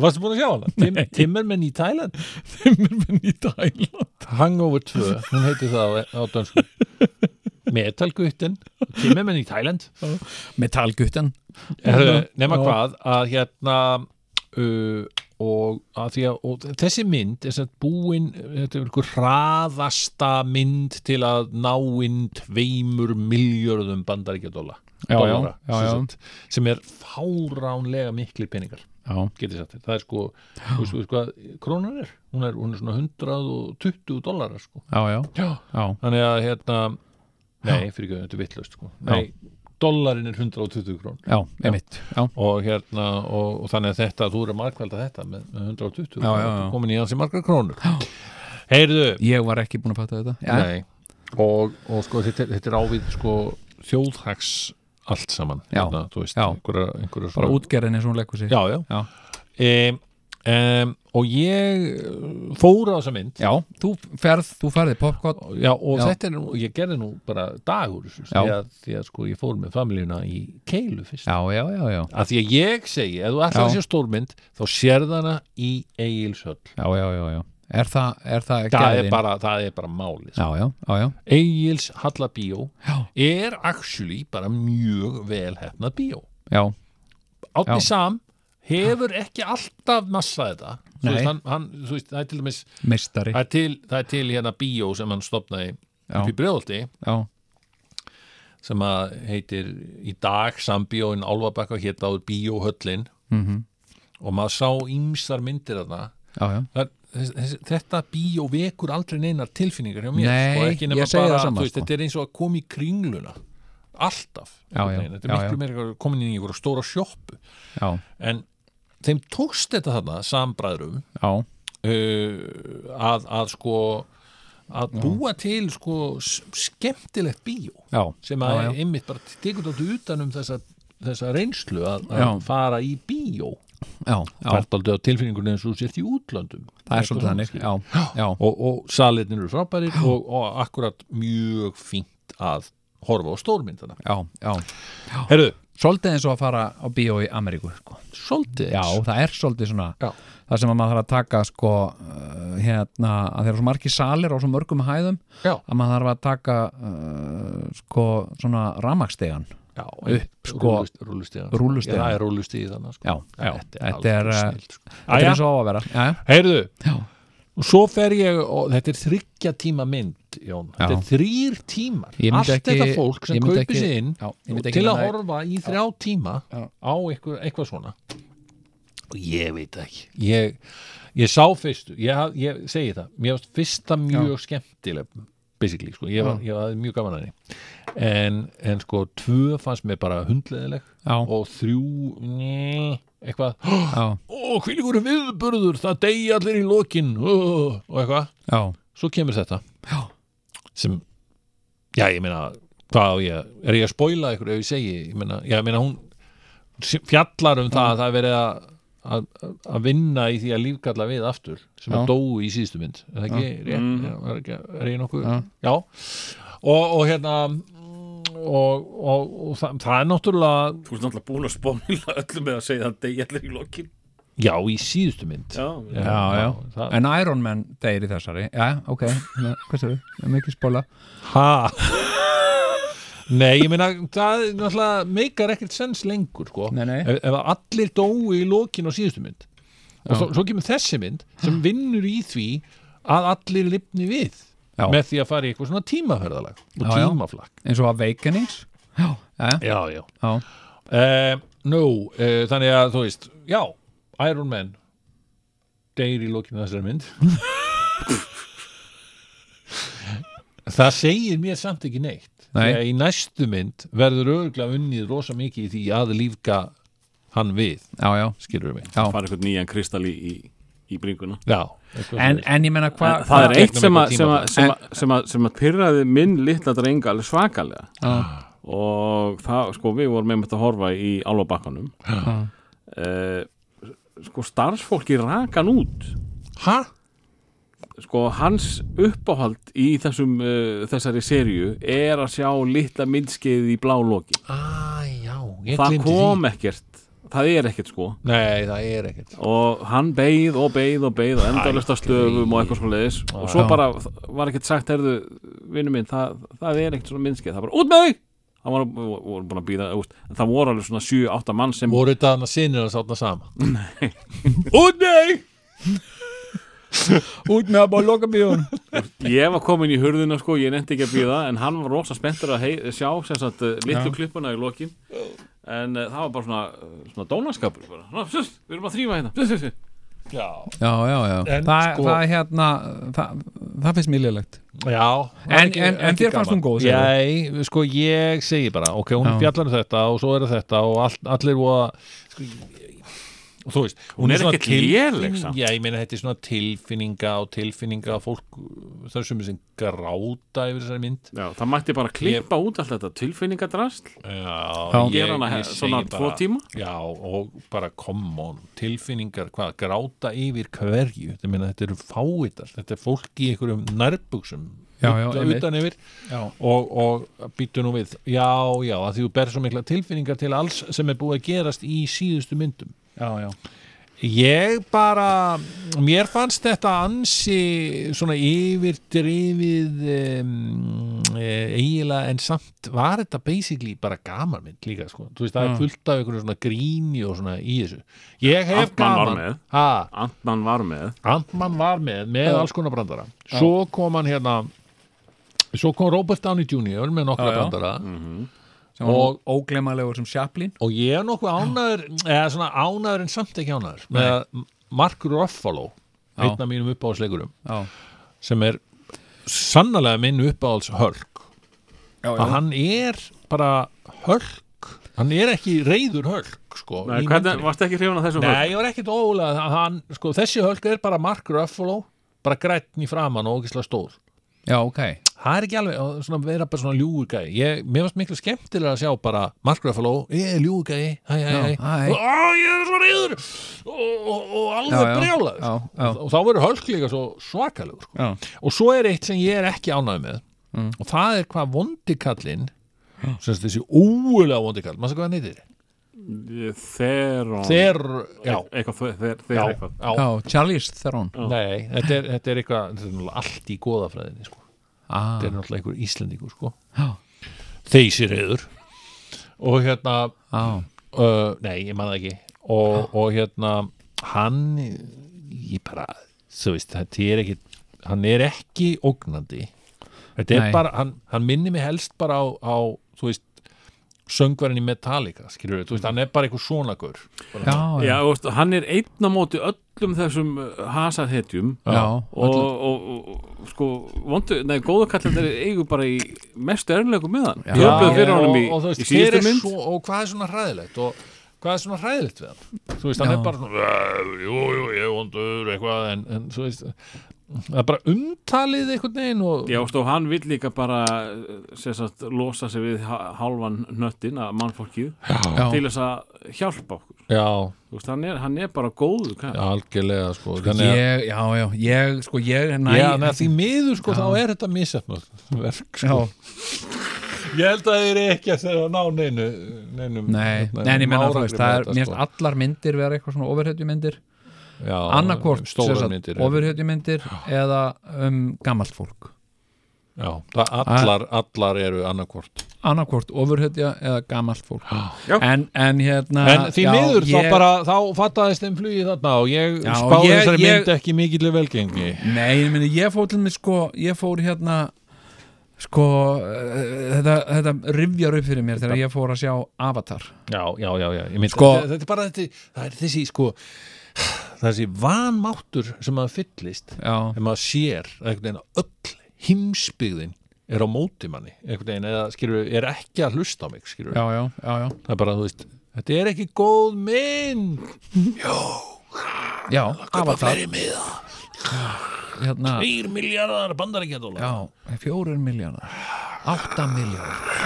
Speaker 3: varstu búin að sjá hana? Tim, Timmermann í Thailand
Speaker 4: Timmermann í Thailand
Speaker 3: Hangover 2, hún heitir það á, á dansku Metalgutten Timmermann í Thailand
Speaker 4: Metalgutten
Speaker 3: Herðu, nema
Speaker 4: Já.
Speaker 3: hvað að hérna uh, og, að því að, og þessi mynd þess að búin, þetta er einhver hraðasta mynd til að ná inn tveimur miljörðum bandaríkjadóla
Speaker 4: Já, já,
Speaker 3: dollara,
Speaker 4: já,
Speaker 3: sem
Speaker 4: já.
Speaker 3: sagt, sem er fáránlega miklir peningar
Speaker 4: Já,
Speaker 3: getið sagt þér, það er sko þú veist, þú veist hvað krónan er, hún er, hún er svona 120 dólarar sko
Speaker 4: já, já,
Speaker 3: já.
Speaker 4: já,
Speaker 3: þannig að hérna nei, fyrir ekki, þetta er vitlaust sko nei, dollarin er 120 krón
Speaker 4: já, einmitt Já,
Speaker 3: og hérna og, og þannig að þetta, þú eru markvælda þetta með með 120,
Speaker 4: Já, já,
Speaker 3: Þú ert
Speaker 4: já.
Speaker 3: komin í hans í margar krónur heyrðu
Speaker 4: ég var ekki búin að fatta þetta Já,
Speaker 3: Nei. og, og sko þetta, er- þetta er ávið sko þjóðhags allt saman
Speaker 4: Já.
Speaker 3: hérna, þú veist,
Speaker 4: Já.
Speaker 3: einhverja, einhverja
Speaker 4: bara útgerðin eins og hún leggur sig
Speaker 3: já, já,
Speaker 4: já.
Speaker 3: Em, em, og ég eh, fór á þessa mynd
Speaker 4: Já, þú ferð, þú ferði popcorn
Speaker 3: Já, og
Speaker 4: Já.
Speaker 3: þetta er nú, ég gerði nú bara dagur þessu,
Speaker 4: Já.
Speaker 3: því að, því að sko ég fór með familíuna í keilu fyrst
Speaker 4: Já, já, já, já,
Speaker 3: að því að ég segi, ef þú ætlar að
Speaker 4: Já.
Speaker 3: sé stórmynd þá sérð hana í Egilshöll
Speaker 4: já, já, já, já. Er, það, er það
Speaker 3: það er
Speaker 4: gæðin?
Speaker 3: bara, það er bara máli sko.
Speaker 4: Já, já, já, já,
Speaker 3: Egils Hallabíó
Speaker 4: Já.
Speaker 3: er actually bara mjög vel hefnað bíó
Speaker 4: já,
Speaker 3: Átni
Speaker 4: Já.
Speaker 3: Sam hefur ekki alltaf massa þetta Þú
Speaker 4: Nei.
Speaker 3: veist, hann, hann, þú veist, það er til dæmis
Speaker 4: meistari
Speaker 3: það er til, það er til hérna bíó sem hann stopnaði
Speaker 4: Já.
Speaker 3: upp í brjóðaldi
Speaker 4: já,
Speaker 3: sem að heitir í dag sambíóin Álfabakka hétt áður bíóhöllin
Speaker 4: Mhm.
Speaker 3: og maður sá ýmsar myndir þarna
Speaker 4: já, já
Speaker 3: Það er- þess- þess- þetta bíó vekur aldrei neinar tilfinningar hjá mér
Speaker 4: Nei,
Speaker 3: sko, ekki nema
Speaker 4: ég segi
Speaker 3: bara,
Speaker 4: það sama,
Speaker 3: þú veist,
Speaker 4: sko.
Speaker 3: þetta er eins og að koma í kringluna alltaf
Speaker 4: Já, já,
Speaker 3: Nei, þetta er
Speaker 4: já,
Speaker 3: miklu
Speaker 4: já.
Speaker 3: meira komin inn í einhverja stóra sjoppu
Speaker 4: já,
Speaker 3: en þeim tókst þetta þarna sambræðrum
Speaker 4: já,
Speaker 3: uh, að, að sko að búa til sko s- skemmtilegt bíó
Speaker 4: já
Speaker 3: sem
Speaker 4: já,
Speaker 3: að
Speaker 4: já.
Speaker 3: einmitt bara tekur þetta utan um þessa, þessa reynslu að, að
Speaker 4: Já.
Speaker 3: fara í bíó
Speaker 4: já, já,
Speaker 3: fært aldrei á tilfinningunni eins og þú sért í útlöndum
Speaker 4: það er svolítið þannig já, já,
Speaker 3: og, og salinir eru frábærir og, og akkurat mjög fínt að horfa á stórmyndana
Speaker 4: já, já
Speaker 3: Herru,
Speaker 4: svolítið eins og að fara á bíó í Ameríku sko.
Speaker 3: svolítið
Speaker 4: já,
Speaker 3: eins.
Speaker 4: það er svolítið svona
Speaker 3: Já.
Speaker 4: það sem að maður þarf að taka sko uh, hérna, að þeir eru svo margir salir á svo mörgum hæðum
Speaker 3: Já.
Speaker 4: að maður þarf að taka uh, sko svona ramakstegan
Speaker 3: já,
Speaker 4: upp, sko,
Speaker 3: rúlustíðan
Speaker 4: rúllustígan.
Speaker 3: það er rúlustíð þannig sko.
Speaker 4: já, já, þetta er,
Speaker 3: alveg
Speaker 4: uh,
Speaker 3: snilt, sko.
Speaker 4: þetta er
Speaker 3: Jæja.
Speaker 4: eins og á að vera já, já,
Speaker 3: Heyrðu,
Speaker 4: Já.
Speaker 3: og svo fer ég og þetta er þryggja tíma mynd Jón,
Speaker 4: Já.
Speaker 3: þetta er þrýr tímar
Speaker 4: Ég myndi
Speaker 3: allt
Speaker 4: ekki-
Speaker 3: þetta fólk sem
Speaker 4: ég myndi
Speaker 3: kaupir
Speaker 4: ekki-
Speaker 3: sig inn
Speaker 4: Já, ég myndi ekki
Speaker 3: til að
Speaker 4: nenna-
Speaker 3: horfa í þrjá tíma
Speaker 4: Já.
Speaker 3: á eitthvað, eitthvað svona og ég veit ekki ég, ég sá fyrstu, ég, haf- ég segi það mér varst fyrsta mjög skemmtileg basically, sko, ég, var, ég var mjög gaman að henni en, en sko tvö fannst mér bara hundleðileg
Speaker 4: Já.
Speaker 3: og þrjú, njö, eitthvað
Speaker 4: já,
Speaker 3: ó, hvílíkur viðburður, það degi allir í lokin ó, og eitthvað,
Speaker 4: já,
Speaker 3: svo kemur þetta
Speaker 4: Já.
Speaker 3: sem, já, ég meina hvað á ég, er ég að spoila ykkur ef ég segi, ég meina, já, ég meina hún s- fjallar um það að það er verið að að að vinna í því að lífgalla við aftur sem
Speaker 4: Já.
Speaker 3: að dóu í síðustu mynd er það ekki, rétt,
Speaker 5: Mm.
Speaker 3: já, er, ekki, er ég nokkuð já,
Speaker 4: Já.
Speaker 3: Og, og hérna og, og, og, það, það er náttúrulega
Speaker 5: Þú ert náttúrulega búin að spónila öllum með að segja það degi allir í lokin
Speaker 3: já, í síðustu mynd
Speaker 5: Já, já.
Speaker 4: já, já.
Speaker 3: það,
Speaker 4: en Iron Man deyr í þessari já, ok, Nei, hvað sér við, mikið spóla
Speaker 3: Ha? Nei, ég meina, það er náttúrulega meikar ekkert sens lengur, sko
Speaker 4: Nei, nei.
Speaker 3: Ef, ef allir dóu í lokin á síðustu mynd og svo, svo kemur þessi mynd sem vinnur í því að allir lifni við
Speaker 4: Já.
Speaker 3: með því að fara í eitthvað svona tímaferðalag og
Speaker 4: Já, já.
Speaker 3: tímaflakk
Speaker 4: eins og Awakenings já, já,
Speaker 3: Já, já
Speaker 4: já,
Speaker 3: uh, Nú, uh, þannig að þú veist Já, Iron Man deyr í lokinu þessari mynd Það segir mér samt ekki neitt
Speaker 4: Nei.
Speaker 3: Þegar í næstu mynd verður örgla unnið rosa mikið í því að lífga hann við,
Speaker 4: já, já.
Speaker 3: skilur við mig
Speaker 4: já.
Speaker 5: fara eitthvað nýjan kristall í, í, í bringuna
Speaker 3: Já, eitthvað
Speaker 4: En,
Speaker 3: svoleiðis.
Speaker 4: en ég menna
Speaker 5: það,
Speaker 4: hvað
Speaker 5: það er eitt
Speaker 3: gegnum
Speaker 5: sem að,
Speaker 3: eitthvað
Speaker 5: sem, að, sem, að, sem, að, sem að pyrraði minn litla drenga alveg svakalega
Speaker 4: Já.
Speaker 5: og það, sko, við vorum einmitt að horfa í álfabakkanum
Speaker 4: Já.
Speaker 5: uh, sko, starfsfólki rakan út
Speaker 3: Ha?
Speaker 5: sko, hans uppáhald í þessum, uh, þessari serju er að sjá litla myndskeiði í bláloki
Speaker 3: Æ, já, ég
Speaker 5: það
Speaker 3: glimti því
Speaker 5: kom ekkert, það er ekkert sko
Speaker 3: Nei, það er ekkert
Speaker 5: og hann beið og beið og beið og endalist að stöfum og eitthvað svo leiðis og svo
Speaker 4: Já.
Speaker 5: bara var ekkert sagt herðu, vinnu minn, það, það er ekkert svona minnskið það var bara út með þig það var, voru búin að býða, úst, það voru alveg svona 7-8 mann sem
Speaker 3: Voru þetta hann að sinna að sátna sama
Speaker 5: út með þig
Speaker 4: út með að bóða loka bíón
Speaker 5: ég var komin í hurðina sko, ég nefndi ekki að býða en hann var rosa spenntur að hei, sjá sem sagt, eh, litlu klippuna í lokin en uh, það var bara svona, eh, svona dónaskapur bara. Ná, sus, við erum að þrýfa hérna sus, sus, sus.
Speaker 3: Já,
Speaker 4: Já, já, já,
Speaker 3: En
Speaker 4: það,
Speaker 3: sko-
Speaker 4: það er hérna það, það finnst mér liðlegt
Speaker 3: Já, það
Speaker 4: En-
Speaker 3: er
Speaker 4: en- en þér fannst hún góð, segirðu?
Speaker 3: Nei, sko ég segi bara, ok, hún
Speaker 4: Já.
Speaker 3: fjallar um þetta og svo er þetta og all, allir voða sko, ég- og þú veist
Speaker 5: Hún er
Speaker 3: svona
Speaker 5: ekkert
Speaker 3: tilfinning-
Speaker 5: léleg samt.
Speaker 3: Já, ég meina þetta er svona tilfinninga og tilfinninga að fólk þessum sem gráta yfir þessari mynd
Speaker 5: Já, það mætti bara klippa út allt þetta tilfinningadrasl
Speaker 3: Já,
Speaker 5: gera hana svona
Speaker 3: segi
Speaker 5: tvo tíma?
Speaker 3: Já, og bara come on, tilfinningar hvað, gráta yfir hverju ég meina, þetta eru fáitar, þetta er fólk í einhverjum nærbuxum
Speaker 4: Já, já,
Speaker 3: utan-
Speaker 4: einmitt.
Speaker 3: utan yfir
Speaker 4: Já,
Speaker 3: og, og býttu nú við já, já, að því þú berð svo mikla tilfinningar til alls sem er búið að gerast í síðustu myndum
Speaker 4: já, já
Speaker 3: Ég bara, mér fannst þetta ansi svona yfirdrifið um, eiginlega en samt var þetta basically bara gamanmynd líka sko. Þú veist,
Speaker 5: Mm.
Speaker 3: það er fullt af einhverju svona gríni og svona í þessu. Ég hef
Speaker 5: Ant-Man var
Speaker 3: gaman.
Speaker 5: með.
Speaker 3: Ha,
Speaker 5: Antman var með
Speaker 3: Antman var með, með alls konar brandara svo kom hann hérna svo kom Robert Downey Jr. með nokkra
Speaker 4: Já, já.
Speaker 3: brandara
Speaker 4: sem var
Speaker 3: Og-
Speaker 4: og, óglemalegur sem Chaplin
Speaker 3: og ég er nokkuð ánæður eða svona ánæður en samt ekki ánæður með að Mark Ruffalo
Speaker 4: Já.
Speaker 3: einn af mínum uppáhaldsleikurum
Speaker 4: já,
Speaker 3: sem er sannlega minn uppáhalds hörk
Speaker 4: já,
Speaker 3: að hann er bara hörk hann er ekki reyður hörk sko,
Speaker 5: Nei,
Speaker 3: í
Speaker 5: hvernig,
Speaker 3: myndinni.
Speaker 5: varstu ekki hrifun á þessum
Speaker 3: Nei, ég var ekkit ólega hann, sko, þessi hörk er bara Mark Ruffalo bara grætn í framan og ógislega stór
Speaker 4: já, ok
Speaker 3: það er ekki alveg, og svona vera bara svona ljúgugæi ég, mér varst miklu skemmtilega að sjá bara Mark Ruffalo, ég er ljúgugæi hæ, hæ, hæ,
Speaker 4: Já, hæ.
Speaker 3: og á, ég er svo reyður og, og, og
Speaker 4: Já,
Speaker 3: alveg
Speaker 4: já.
Speaker 3: brjálaður sko.
Speaker 4: Já, já.
Speaker 3: og, og þá verður hölk líka svo svakalegur sko.
Speaker 4: já, Mm.
Speaker 3: og svo er eitt sem ég er ekki ánægð með og það er hvað vondikallinn sem sagt þessi óulega vondikall maður svo hvað hann heitir,
Speaker 5: Þeron
Speaker 3: þeir já,
Speaker 5: E- Eitthvað þe- þeir, þeir
Speaker 3: já,
Speaker 5: eitthvað
Speaker 3: já,
Speaker 4: já, Charlize Theron
Speaker 3: nei, þetta er, þetta er eitthvað þetta er náttúrulega allt í goðafræðinni sko.
Speaker 4: ah,
Speaker 3: þetta er náttúrulega einhver íslendingur sko.
Speaker 4: já,
Speaker 3: þeysir reyður og hérna
Speaker 4: já,
Speaker 3: uh, nei, ég man það ekki og, og hérna, hann ég bara, þú veist þetta er ekki, hann er ekki ógnandi þetta er
Speaker 4: Nei.
Speaker 3: bara hann, hann minnir mig helst bara á, á þú veist, söngvarinn í Metallica skilur þú veist, hann er bara einhver svonakur
Speaker 4: já,
Speaker 5: Já,
Speaker 4: já,
Speaker 5: þú veist, hann er einn á móti öllum þessum hasarhetjum
Speaker 4: já,
Speaker 5: og, og, og, og sko vondu, nei, góðu kallandir eigu bara í mestu erunlegu með hann Töpuðu fyrir
Speaker 3: og,
Speaker 5: honum í,
Speaker 3: og, þú veist,
Speaker 5: í
Speaker 3: hver
Speaker 5: síðustu
Speaker 3: er
Speaker 5: mynd
Speaker 3: svo, og hvað er svona hræðilegt og hvað er svona hræðilegt við hann þú veist, hann
Speaker 4: Já.
Speaker 3: er bara svona "Æ, jú, jú, ég er vondur, eitthvað en, en þú veist, það er bara umtalið einhvern veginn og
Speaker 5: Já, og stó, hann vill líka bara eh, sem sagt, losa sig við ha- hálfan nöttin að mannfólkið
Speaker 4: Já.
Speaker 5: til þess að hjálpa okkur
Speaker 3: já
Speaker 5: Þú veist, hann, er, hann er bara góður
Speaker 3: Já,
Speaker 5: kall.
Speaker 3: algjörlega sko Þannig að,
Speaker 4: ég, já, já, ég, sko, ég næ,
Speaker 3: já, þannig að því miður sko þá er þetta misjafnöld verk
Speaker 4: já,
Speaker 3: sko. Ég held að þeir eru ekki að þeirra ná neinu neinum,
Speaker 4: nei,
Speaker 3: hérna,
Speaker 4: nei, en ég menna,
Speaker 3: árangri
Speaker 4: þú veist, það
Speaker 3: með þetta,
Speaker 4: er,
Speaker 3: sko.
Speaker 4: mér finnst allar myndir vera eitthvað svona ofurhetjumyndir,
Speaker 3: Já, um
Speaker 4: annarkvort,
Speaker 3: stórar myndir eru-
Speaker 4: ofurhetjumyndir eða um gamalt fólk,
Speaker 3: Já, það allar, allar eru annarkvort
Speaker 4: annarkvort ofurhetja eða gamalt fólk,
Speaker 5: Já.
Speaker 4: en, en hérna,
Speaker 3: En því
Speaker 4: já,
Speaker 3: miður
Speaker 4: ég-
Speaker 3: þá bara þá fattaðist þeim flugi þarna og ég
Speaker 4: Já,
Speaker 3: spáði
Speaker 4: ég-
Speaker 3: þessari
Speaker 4: ég-
Speaker 3: mynd ekki mikill velgengi
Speaker 4: Nei, ég, meni, ég fór til mig sko ég fór hérna sko, eh, þetta, þetta rifjar upp fyrir mér þegar ég fór að sjá Avatar
Speaker 3: Já, já, já, já, ég mynd
Speaker 4: Sko-
Speaker 3: þetta, þetta er bara þetta, það er þessi sko þessi vanmáttur sem maður fyllist
Speaker 4: Já,
Speaker 3: ef maður sér að einhvern veginn að öll heimsbyggðin er á móti manni einhvern veginn eða skilur er ekki að hlusta á mig skilur
Speaker 4: já, já, já, já,
Speaker 3: það er bara þú veist þetta er ekki góð mynd
Speaker 4: já Avatar
Speaker 3: fleiri miða
Speaker 4: hérna,
Speaker 3: 4 miljardar bandarækjadóla
Speaker 4: Já, fjórir miljónar Átta miljónar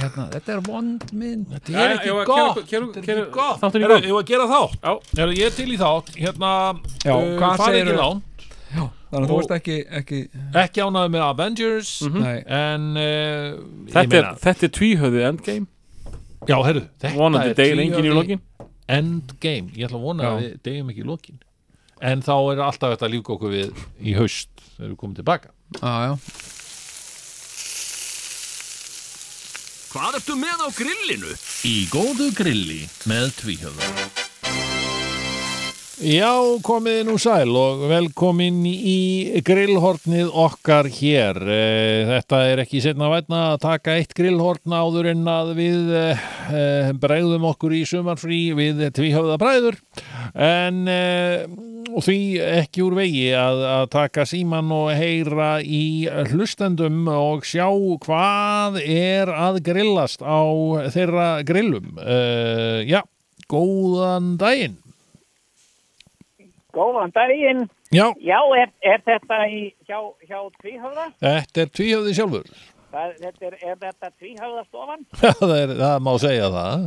Speaker 4: hérna, Þetta er vond minn
Speaker 3: þetta er
Speaker 5: Já,
Speaker 3: ekki
Speaker 5: já, já,
Speaker 3: gott
Speaker 5: kerum- kerum-
Speaker 3: þetta er
Speaker 5: kerum-
Speaker 3: ekki gott
Speaker 5: þáttinn í
Speaker 3: Herru,
Speaker 5: gang.
Speaker 3: ég var að gera þátt
Speaker 5: Já.
Speaker 3: Herru, ég er til í þátt hérna
Speaker 4: Já, hvað
Speaker 3: farið
Speaker 4: segirðu?
Speaker 3: ekki langt
Speaker 4: Þannig að þú veist ekki, ekki
Speaker 3: ekki ánaði með Avengers
Speaker 4: Nei,
Speaker 3: en uh,
Speaker 5: þetta, er, þetta er tvíhöðið endgame
Speaker 3: já, herru þetta
Speaker 5: vonandi
Speaker 3: er
Speaker 5: degir engin í
Speaker 3: tvíhöfði-
Speaker 5: lokin
Speaker 3: endgame, ég ætla að vona
Speaker 4: Já.
Speaker 3: að við degjum ekki í lokin en þá er alltaf þetta lífga okkur við í haust þegar við komum tilbaka
Speaker 4: já, já
Speaker 7: Hvað ertu með á grillinu?
Speaker 3: Í góðu grilli með tvíhjöða Já, komið nú sæl og velkomin í grillhornið okkar hér. Eh, Þetta er ekki setna vætna að taka eitt grillhorn áður en að við eh, bregðum okkur í sumarfrí við tvíhöfða bræður. En eh, og því ekki úr vegi að, að taka síman og heyra í hlustendum og sjá hvað er að grillast á þeirra grillum. Eh, Já, góðan daginn.
Speaker 8: Góðan daginn.
Speaker 3: Já,
Speaker 8: Já, er, er þetta í, hjá, hjá tvíhöfða?
Speaker 3: Þetta er tvíhöfði sjálfur.
Speaker 8: Það, þetta er, er þetta tvíhöfðastofan?
Speaker 3: það, er, það má segja það.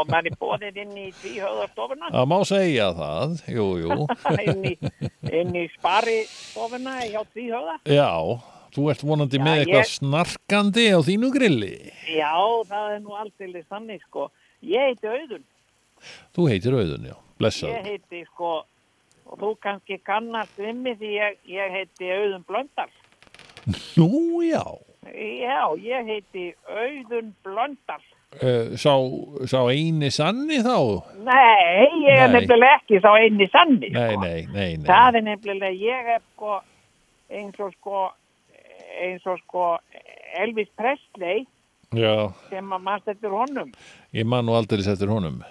Speaker 8: Man er bóðið inn í tvíhöfðastofuna?
Speaker 3: Það má segja það. Jú, jú.
Speaker 8: inn, í, inn í sparistofuna hjá tvíhöfða?
Speaker 3: Já, þú ert vonandi
Speaker 8: Já,
Speaker 3: með eitthvað
Speaker 8: ég-
Speaker 3: snarkandi á þínu grilli.
Speaker 8: Já, það er nú aldrei sannig sko. Ég heiti Auðun.
Speaker 3: Þú heitir auðun, já. blessað
Speaker 8: Ég heiti sko, og þú kannski kannast við mig því ég, ég heiti Auðun Blöndal.
Speaker 3: Nú já
Speaker 8: Já, ég heiti Auðun Blöndal.
Speaker 3: uh, sá, sá eini sanni þá
Speaker 8: Nei, ég er
Speaker 3: Nei.
Speaker 8: nefnilega ekki þá einni sanni.
Speaker 3: Nei,
Speaker 8: sko.
Speaker 3: nei, nei, nei
Speaker 8: Það er nefnilega, ég er sko, eins og sko, eins og sko Elvis Presley
Speaker 3: Já,
Speaker 8: sem að mannst eftir honum,
Speaker 3: ég man nú aldrei settur honum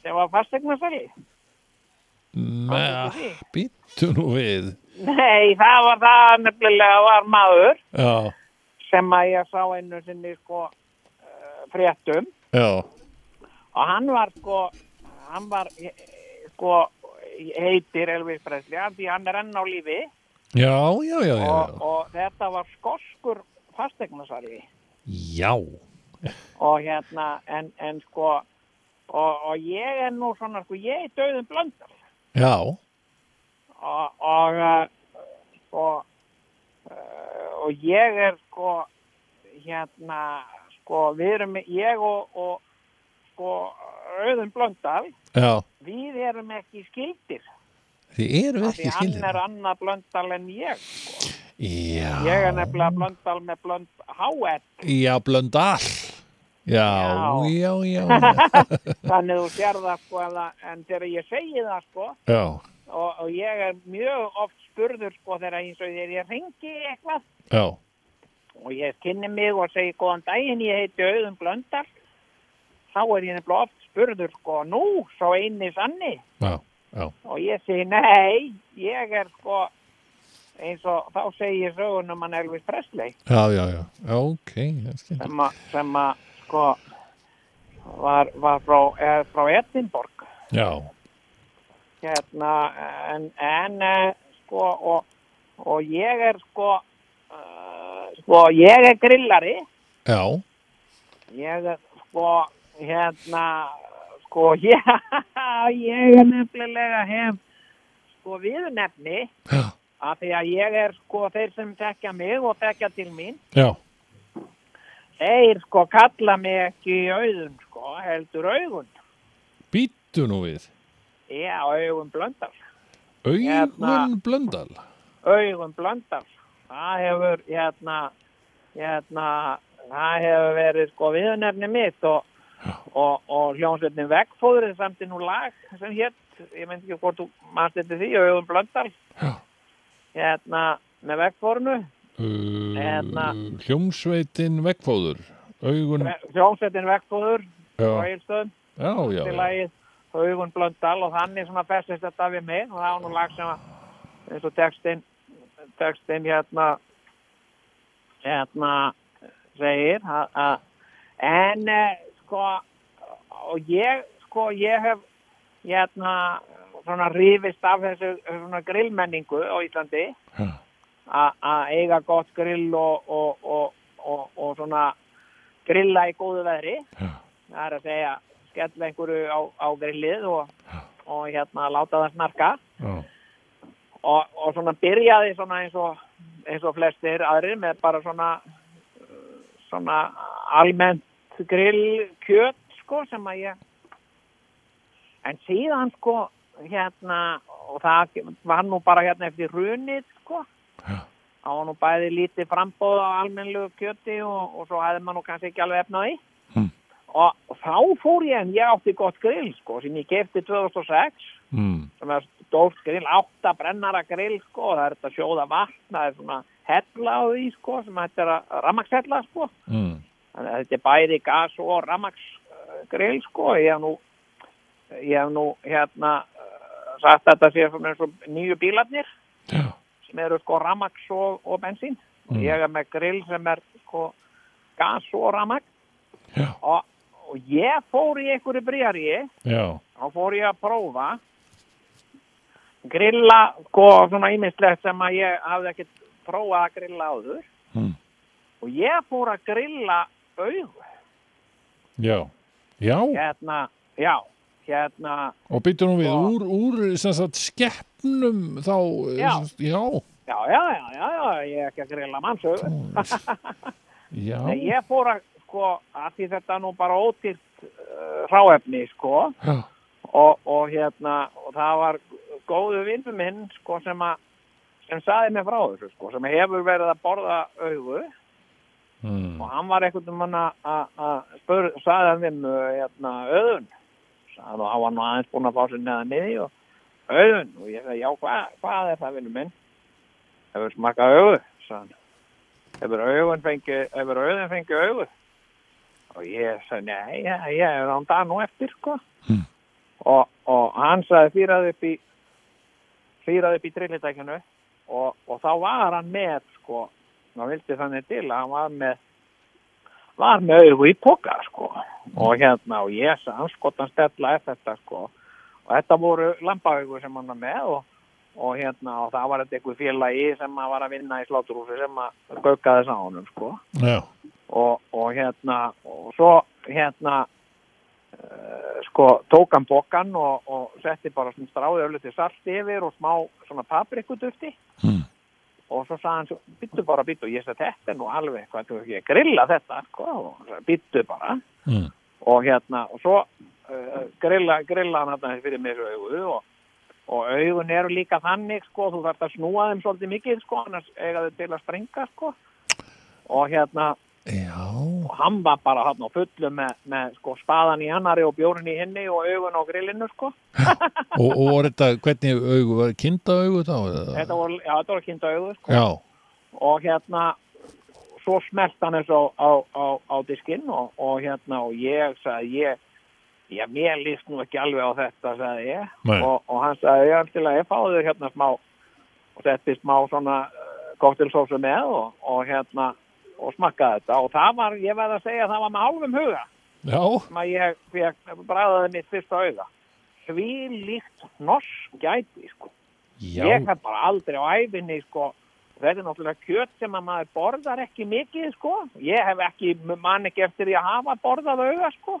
Speaker 8: sem var fastegnarsari.
Speaker 3: Mæ,
Speaker 8: Áttu við?
Speaker 3: býttu nú við
Speaker 8: Nei, það var það nefnilega var maður.
Speaker 3: Já,
Speaker 8: sem að ég sá einu sinni sko eh, fréttum
Speaker 3: já,
Speaker 8: og hann var sko hann var eh, sko heitir Elvis Presley af því hann er enn á lífi
Speaker 3: já, já, já, já,
Speaker 8: og,
Speaker 3: já.
Speaker 8: og þetta var skoskur fastegnasari
Speaker 3: Já,
Speaker 8: og hérna en, en sko og, og ég er nú svona sko ég er döðum blöndal
Speaker 3: já,
Speaker 8: og og, eh, sko, eh, og ég er sko hérna sko við erum ég og, og sko auðum blöndal
Speaker 3: já
Speaker 8: við erum ekki skildir
Speaker 3: Þið eru
Speaker 8: af
Speaker 3: ekki
Speaker 8: því hann er
Speaker 3: skildir
Speaker 8: annað blöndal en ég
Speaker 3: Já,
Speaker 8: ég er nefnilega blöndal með blönd háett
Speaker 3: já, blöndal Já,
Speaker 8: Já.
Speaker 3: já, já, já,
Speaker 8: þannig þú sér það sko en, en þegar ég segi það sko
Speaker 3: já,
Speaker 8: og, og ég er mjög oft spurður sko þegar eins og þegar ég ringi eitthvað
Speaker 3: já,
Speaker 8: og ég kynni mig og segi góðan daginn, ég heiti Auðun Blöndal þá er ég nefnilega oft spurður sko, nú, svo einni sanni
Speaker 3: já, já,
Speaker 8: og ég segi, nei, ég er sko eins og þá segi ég sögunum hann Elvis Presley
Speaker 3: já, já, já, já, ok, já, skildir.
Speaker 8: sem að, sem að, sko var, var frá, er frá Edinborg
Speaker 3: já,
Speaker 8: hérna, en, en eh, sko, og, og ég er sko uh, sko, ég er grillari
Speaker 3: já,
Speaker 8: Ég er sko, hérna, sko, já, ég er nefnilega hef, sko, viðnefni
Speaker 3: já,
Speaker 8: að því að ég er, sko, þeir sem tekja mig og tekja til mín,
Speaker 3: já,
Speaker 8: þeir, sko, kalla mig ekki í auðum, sko, heldur augun.
Speaker 3: býttu nú við
Speaker 8: Já, augun blöndal.
Speaker 3: Augun
Speaker 8: Hérna.
Speaker 3: blöndal
Speaker 8: Augun blöndal. Það hefur, hérna, hérna, það hefur verið, sko, viðnefni mitt og, og, og hljómsveitin vegfóðrið samt í nú lag sem hétt, ég meint ekki hvort þú mannst eftir því, auðvun blöndal
Speaker 3: Já.
Speaker 8: hérna með vegfórnu
Speaker 3: Uh,
Speaker 8: Hérna.
Speaker 3: hljómsveitin veggfóður augun
Speaker 8: hljómsveitin vegfóður og
Speaker 3: já,
Speaker 8: eilstöðum
Speaker 3: já, já,
Speaker 8: til
Speaker 3: já,
Speaker 8: lagið auðvun blöndal og þannig svona bestist þetta við mig og það var nú lag sem að eins og textin textin hérna hérna segir að- að en eh, sko og ég sko ég hef hérna svona rífist af þessu svona grillmenningu á Íslandi
Speaker 3: Já.
Speaker 8: a- að eiga gott grill og, og, og, og, og svona grilla í góðu veðri
Speaker 3: Já.
Speaker 8: það er að segja skella einhverju á, á grillið og, og hérna láta það snarka
Speaker 3: já,
Speaker 8: og, og svona byrjaði svona eins og, eins og flestir aðrir með bara svona uh, svona almennt grillkjöt sko sem að ég en síðan sko hérna og það var nú bara hérna eftir runið sko það var nú bæði lítið frambóð á almennlegu kjöti og, og svo hefði maður nú kannski ekki alveg efnaði
Speaker 3: Hmm.
Speaker 8: og þá fór ég en ég átti gott grill sko sem ég kefti 2006
Speaker 3: mm,
Speaker 8: sem er stórt grill, átta brennara grill sko, og það er þetta sjóða vatn, það er svona hella á því sko, sem þetta er að rammakshella sko,
Speaker 3: mm.
Speaker 8: þannig að þetta er bæði gas og rammaksgrill sko, ég hef nú, ég hef nú hérna eh, sagt að þetta sé svona eins og nýju bílarnir
Speaker 3: Já.
Speaker 8: sem eru sko rammaks og, og bensín, ég er með grill sem er sko gas og rammaks
Speaker 3: Já.
Speaker 8: og, og ég fór í einhverju brýjarið
Speaker 3: já,
Speaker 8: þá fór ég að prófa grilla sko svona ímislegt sem að ég hafði ekkert prófað að grilla áður
Speaker 3: Mm.
Speaker 8: og ég fór að grilla auð
Speaker 3: já já,
Speaker 8: hérna, já hérna,
Speaker 3: og býttu nú við
Speaker 8: Og-
Speaker 3: úr, úr sem sagt, skeppnum þá, eh,
Speaker 8: Já.
Speaker 3: sem sagt, já
Speaker 8: já, já, já, já, já ég er ekki að grilla mannsöð
Speaker 3: já,
Speaker 8: Nei, ég fór að eh, sko að því þetta er nú bara ótyrt uh, ráefni sko
Speaker 3: já,
Speaker 8: og, og hérna og það var góðu vinnu minn sko sem að sem saði mér frá þessu sko sem hefur verið að borða auðu
Speaker 3: Mm.
Speaker 8: og hann var einhvern veginn að að spur, saði hann við mjög hérna, auðun sagði og hann var nú aðeins búin að fá sér neða niði og auðun og ég sagði já hva, hvað er það vinnu minn hefur smakað auðu sagði hann hefur auðun fengið hefur auðun fengið auðu og ég sagði nei ég, ég er án dag nú eftir sko og, og hann sagði fýrað upp í fýrað upp í trillitækinu og, og þá var hann með sko, hann vildi þannig til að hann var með var með augu í poka sko og hérna og ég sagði hann skot hann stella eftir þetta sko og þetta voru lampaaugu sem hann var með og, og hérna og það var þetta eitthvað félagi sem að var að vinna í sláturhúsi sem að gaukaði sá honum sko
Speaker 3: Já.
Speaker 8: og, og hérna og svo hérna uh, sko tók hann bókan og, og setti bara svona stráði öfluti salt yfir og smá svona paprikudufti
Speaker 3: Mm.
Speaker 8: og svo sagði hann svo, byttu bara byttu og ég sagði þetta er nú alveg hvað þú ekki að grilla þetta sko, og hann sagði, byttu bara
Speaker 3: Mm.
Speaker 8: og hérna og svo uh, grilla, grilla hann hérna fyrir mér þessu augu og, og augun eru líka þannig sko þú þarft að snúa þeim svolítið mikið sko annars eiga þau til að springa sko og hérna
Speaker 3: Já.
Speaker 8: og hann var bara hann á fullu með, með sko, spaðan í annari og bjórin í henni og augun á grillinu sko.
Speaker 3: Og, og var þetta, hvernig augu, var kinda augu þá? eða?
Speaker 8: þetta voru, já, þetta voru kynnta augu sko.
Speaker 3: Já.
Speaker 8: og hérna svo smelt hann eins og á, á, á diskinn og, og hérna og ég sagði ég Já, mér líst nú ekki alveg á þetta, sagði ég.
Speaker 3: Nei.
Speaker 8: Og, og hann sagði, já, til að ég fáði þér hérna smá og setti smá svona uh, koktelsósu með og, og hérna, og smakkaði þetta. Og það var, ég verð að segja, það var með hálfum huga.
Speaker 3: Já.
Speaker 8: sem að ég fekk bræðaði mitt fyrsta auða því líkt norsk gæti sko.
Speaker 3: Já.
Speaker 8: ég hef bara aldrei á æfinni sko. þetta er náttúrulega kjöt sem að maður borðar ekki mikið sko. ég hef ekki, man ekki eftir því að hafa borðað auða sko.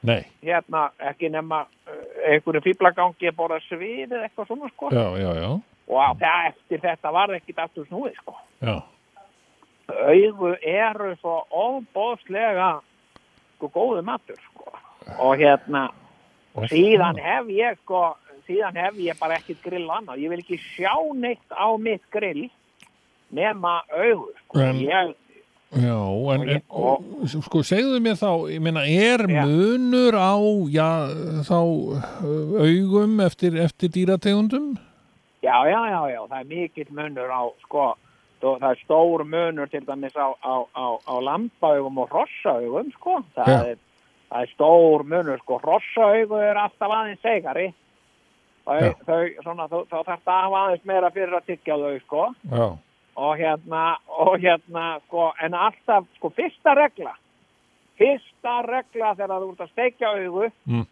Speaker 3: Nei.
Speaker 8: hérna ekki nema uh, einhverju fýblagangi að borða svið eða eitthvað svona sko.
Speaker 3: Já, já, já.
Speaker 8: og á- það, eftir þetta var ekkit aftur snúið sko.
Speaker 3: Já.
Speaker 8: auðu eru svo óbóðslega sko góðu matur sko. og hérna og síðan hef ég sko síðan hef ég bara ekkert grill annað ég vil ekki sjá neitt á mitt grill nema auðu sko.
Speaker 3: En-
Speaker 8: ég,
Speaker 3: Já, en, en
Speaker 8: Og-
Speaker 3: sko, segðu mér þá, ég meina, er
Speaker 8: Já.
Speaker 3: munur á, já, þá uh, augum eftir, eftir dýrategundum?
Speaker 8: já, já, já, já, það er mikill munur á sko þó- það er stór munur til dæmis á, á, á, á lampaugum og hrossaugum sko það,
Speaker 3: Já.
Speaker 8: er, það er stór munur sko hrossaugum er alltaf aðeins segari þau,
Speaker 3: Já.
Speaker 8: þau, svona, þau, þá þarf það að hafa aðeins meira fyrir að tyggja þau sko
Speaker 3: Já.
Speaker 8: og hérna, og hérna sko, en alltaf, sko, fyrsta regla fyrsta regla þegar þú ert að steikja augu
Speaker 3: Mm.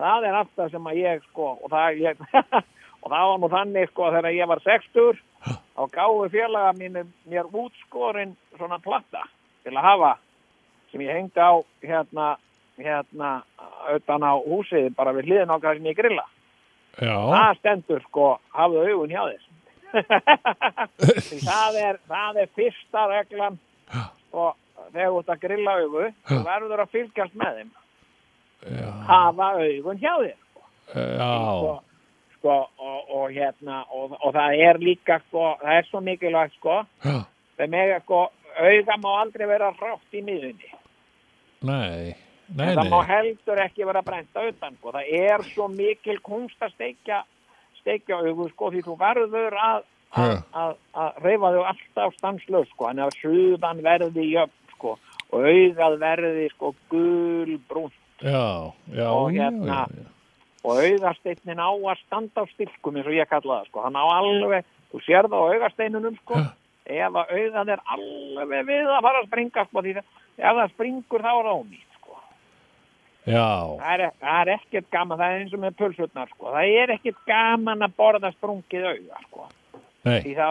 Speaker 8: það er alltaf sem að ég sko, og það ég, og það var nú þannig sko, þegar ég var sextur þá gáðu félaga mínu mér útskorin svona platta til að hafa sem ég hengdi á hérna, hérna utan á húsið, bara við hliðin okkar sem ég grilla,
Speaker 3: Já.
Speaker 8: það stendur sko, hafðu augun hjá þess Því það er, það er fyrsta reglan og þegar þú ert að grilla augu þú verður að fylgjast með þeim hafa augun hjá þér
Speaker 3: Já.
Speaker 8: sko, sko, og, og hérna og, og það er líka sko, það er svo mikilvægt sko,
Speaker 3: Já.
Speaker 8: þeim er sko auga má aldrei vera rátt í miðunni
Speaker 3: Nei. Nei,
Speaker 8: en það
Speaker 3: nei.
Speaker 8: má heldur ekki vera brenta utan sko. það er svo mikil kunst að steikja steikja augu sko því þú verður að að,
Speaker 3: Já.
Speaker 8: að, að reyfa þau alltaf stanslöð sko en að suðan verði jöfn sko og augað verði sko gul brún
Speaker 3: Já, já,
Speaker 8: Og
Speaker 3: já,
Speaker 8: hérna,
Speaker 3: já,
Speaker 8: og augasteinnin á að standa á stilkum eins og ég kalla það sko hann á alveg, þú sér það á augasteinunum sko ef að augað er alveg við að fara að springa sko því að ef það springur þá er það ónýtt sko
Speaker 3: já, já,
Speaker 8: það er, það er ekkert gaman, það er eins og með pulsutnar sko. það er ekkert gaman að borða sprungið auða sko.
Speaker 3: nei,
Speaker 8: því þá,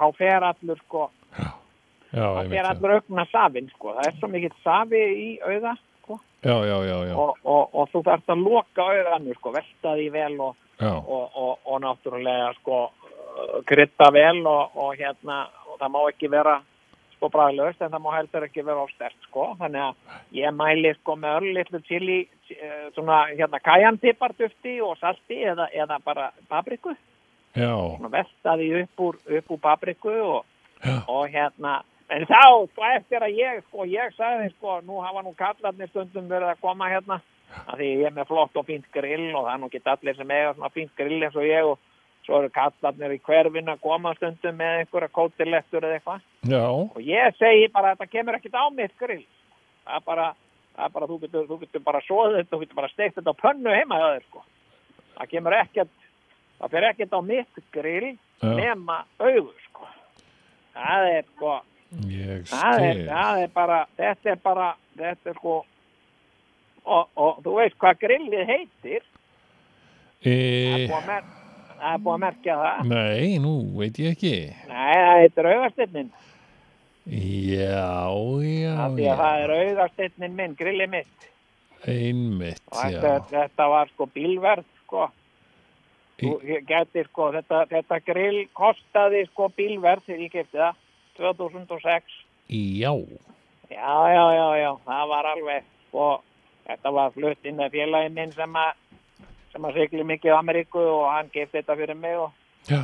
Speaker 8: þá fer allur sko,
Speaker 3: já,
Speaker 8: þá
Speaker 3: einmitt,
Speaker 8: fer
Speaker 3: já,
Speaker 8: allur augna safin sko. það er svo mikill safi í auða sko.
Speaker 3: já, já, já, já,
Speaker 8: og, og, og þú þarft að loka auðanu sko, velta því vel og,
Speaker 3: já,
Speaker 8: og, og, og náttúrulega sko, krytta vel og, og hérna og það má ekki vera sko, sko bræðlaust en það má heldur ekki vera á stert sko þannig að ég mæli sko með öll litlu chili, eh, svona hérna kajantipartufti og salti eða, eða bara papriku
Speaker 3: já,
Speaker 8: svona veltaði upp úr, upp úr papriku og, og hérna en þá sko eftir að ég sko ég sagði sko nú hafa nú kallarnir stundum verið að koma hérna að því ég er með flott og fínt grill og það er nú ekki allir sem eiga svona fínt grill eins og ég og svo eru kallarnir í hverfin að koma stundum með einhverja kótilettur eða eitthvað
Speaker 3: já,
Speaker 8: og ég segi bara að þetta kemur ekkert á mitt grill það er bara, það er bara þú, getur, þú getur bara svoðið þetta þú getur bara steikt þetta á pönnu heima hjá þér sko. það kemur ekkert það fer ekkert á mitt grill
Speaker 3: Já.
Speaker 8: nema augur sko. það er sko
Speaker 3: ég
Speaker 8: það er,
Speaker 3: skil
Speaker 8: það er bara þetta er bara þetta er sko og, og þú veist hvað grillið heitir það er
Speaker 3: e,
Speaker 8: búið að mer- það er búið að merkja það
Speaker 3: nei, nú veit ég ekki
Speaker 8: nei það heitir augastinnin
Speaker 3: já, já,
Speaker 8: af því að
Speaker 3: já
Speaker 8: það er augastinnin minn grillið mitt
Speaker 3: einmitt,
Speaker 8: og þetta,
Speaker 3: já
Speaker 8: þetta var sko bílverð sko Þú, ég geti sko þetta, þetta grill kostaði sko bílverð þegar ég kefti það 2006
Speaker 3: já,
Speaker 8: já já já já það var alveg sko þetta var flutt inn að félagi minn sem að sem að sigli mikið á Ameríku og hann kefti þetta fyrir mig og
Speaker 3: já,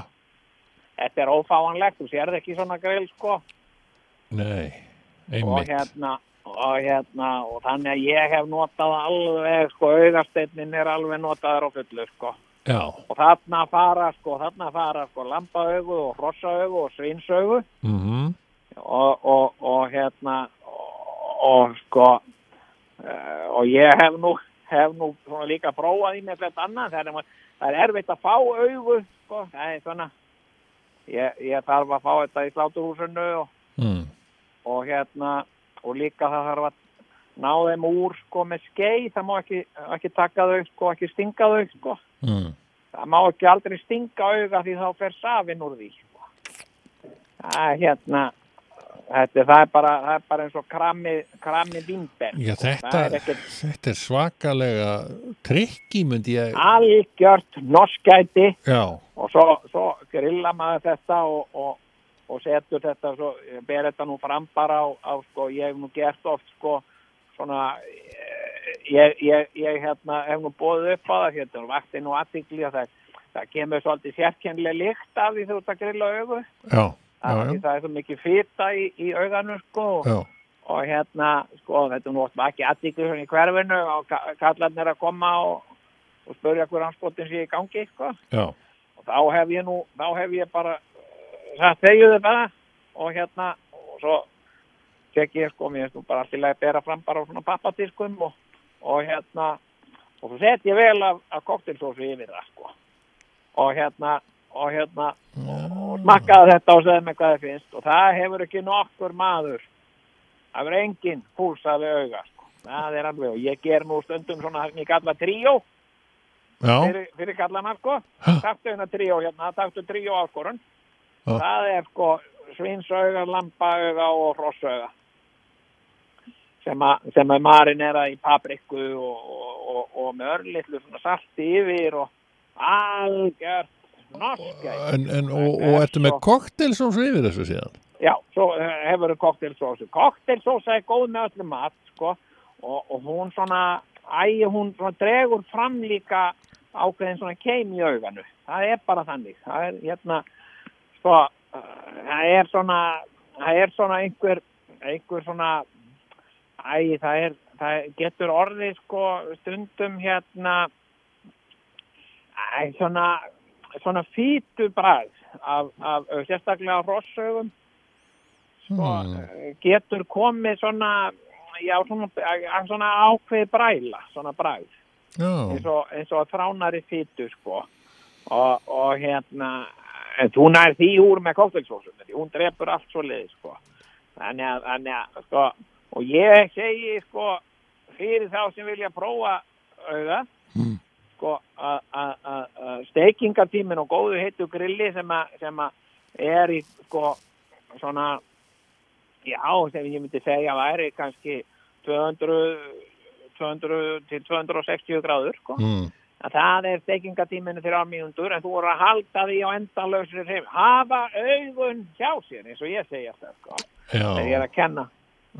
Speaker 8: þetta er ófáanlegt þú sérð ekki svona grill sko
Speaker 3: nei
Speaker 8: og
Speaker 3: einmitt,
Speaker 8: hérna og hérna og þannig að ég hef notað alveg sko augasteinnin er alveg notaður á fullu sko
Speaker 3: já
Speaker 8: og þarna fara sko, þarna fara sko lambaaugu og hrossaaugu og svinsaugu
Speaker 3: mhm,
Speaker 8: og, og, og hérna og, og sko eh, og ég hef nú hef nú svona líka prófað í með þetta annað það er, ma- það er erfitt að fá augu sko, það er svona ég, ég þarf að fá þetta í sláturhúsinu og,
Speaker 3: mm.
Speaker 8: og hérna og líka það þarf að ná þeim úr sko með skeið, það má ekki, ekki taka þau sko, ekki stinga þau sko
Speaker 3: Mm.
Speaker 8: það má ekki aldrei stinga auga því þá fer safin úr því sko. það er hérna þetta, það, er bara, það er bara eins og krammi, krammi vimber
Speaker 3: Já, þetta,
Speaker 8: sko. það er ekkert-
Speaker 3: þetta er svakalega trikki, myndi ég
Speaker 8: algjört norskæti
Speaker 3: Já,
Speaker 8: og svo, svo grilla maður þetta og, og, og setur þetta svo, ber þetta nú fram bara á, á sko, ég hef nú gert oft sko, svona eh, ég, ég, ég hérna, hef nú bóðið upp á það hérna og vakti nú aðtikli að það, það kemur svolítið sérkennilega lykt af því þú ert að grilla augu
Speaker 3: já,
Speaker 8: af
Speaker 3: já,
Speaker 8: því það er svo mikið fýta í, í auganum sko og,
Speaker 3: já,
Speaker 8: og hérna sko þetta er nú oft ekki aðtikli svona í hverfinu og ka- kallarnir að koma og, og spurja hver anskotin sé í gangi sko
Speaker 3: já,
Speaker 8: og þá hef ég nú, þá hef ég bara eh, sagt þegiðu bara og hérna, og svo tek ég sko, mér finnst nú bara allir að bera fram bara á svona pappadiskum og, og hérna, og svo set ég vel af, af koktilsósu yfir það sko og hérna, og hérna og smakkaði þetta og segði mig hvað það finnst og það hefur ekki nokkur maður það hefur enginn púlsaði auga sko, það er alveg og ég ger nú stundum svona það sem ég kalla tríó
Speaker 3: já,
Speaker 8: fyrir, fyrir kallana sko
Speaker 3: Ha?
Speaker 8: taktu hérna tríó hérna, taktu tríó áskorun
Speaker 3: Ha?
Speaker 8: það er sko svinsauga, lampaauga og hrossauga sem, a, sem er marinera í paprikku og, og, og, og með örlitlu svona salti yfir og algjört norskæ
Speaker 3: en, en, og, og ertu með koktel sem svo yfir þessu síðan?
Speaker 8: já, svo eh, hefur við koktelsósu koktelsósa er góð með öllum mat sko, og, og hún svona æ, hún svona dregur fram líka ákveðin svona keim í auganu það er bara þannig það er hérna sko, eh, það er svona það er svona einhver einhver svona æ, það er, það getur orðið sko stundum hérna æ, svona svona fítubræð af, af sérstaklega hrossaugum sko, getur komið svona, já, svona, að svona ákveði bræla, svona bræð, eins
Speaker 3: Já,
Speaker 8: og, eins og þránari fýtu, sko, og, og hérna, en þú nær því úr með kóktelsósunni, því hún drepur allt svo leiði, sko, þannig að, þannig að, sko, og ég segi, sko, fyrir þá sem vilja prófa auða, sko, að- að að- að steikingartímin og góðu heitu grilli sem að, sem að er í, sko, svona, Já, sem ég myndi segja væri kannski 200, 200 til 260 gráður, sko.
Speaker 3: mm.
Speaker 8: Að það er steikingatíminu þrjá mínútur en þú voru að halda því á endalausri hreif. Hafa augun hjá sér, eins og ég segja það, sko. þegar ég er að kenna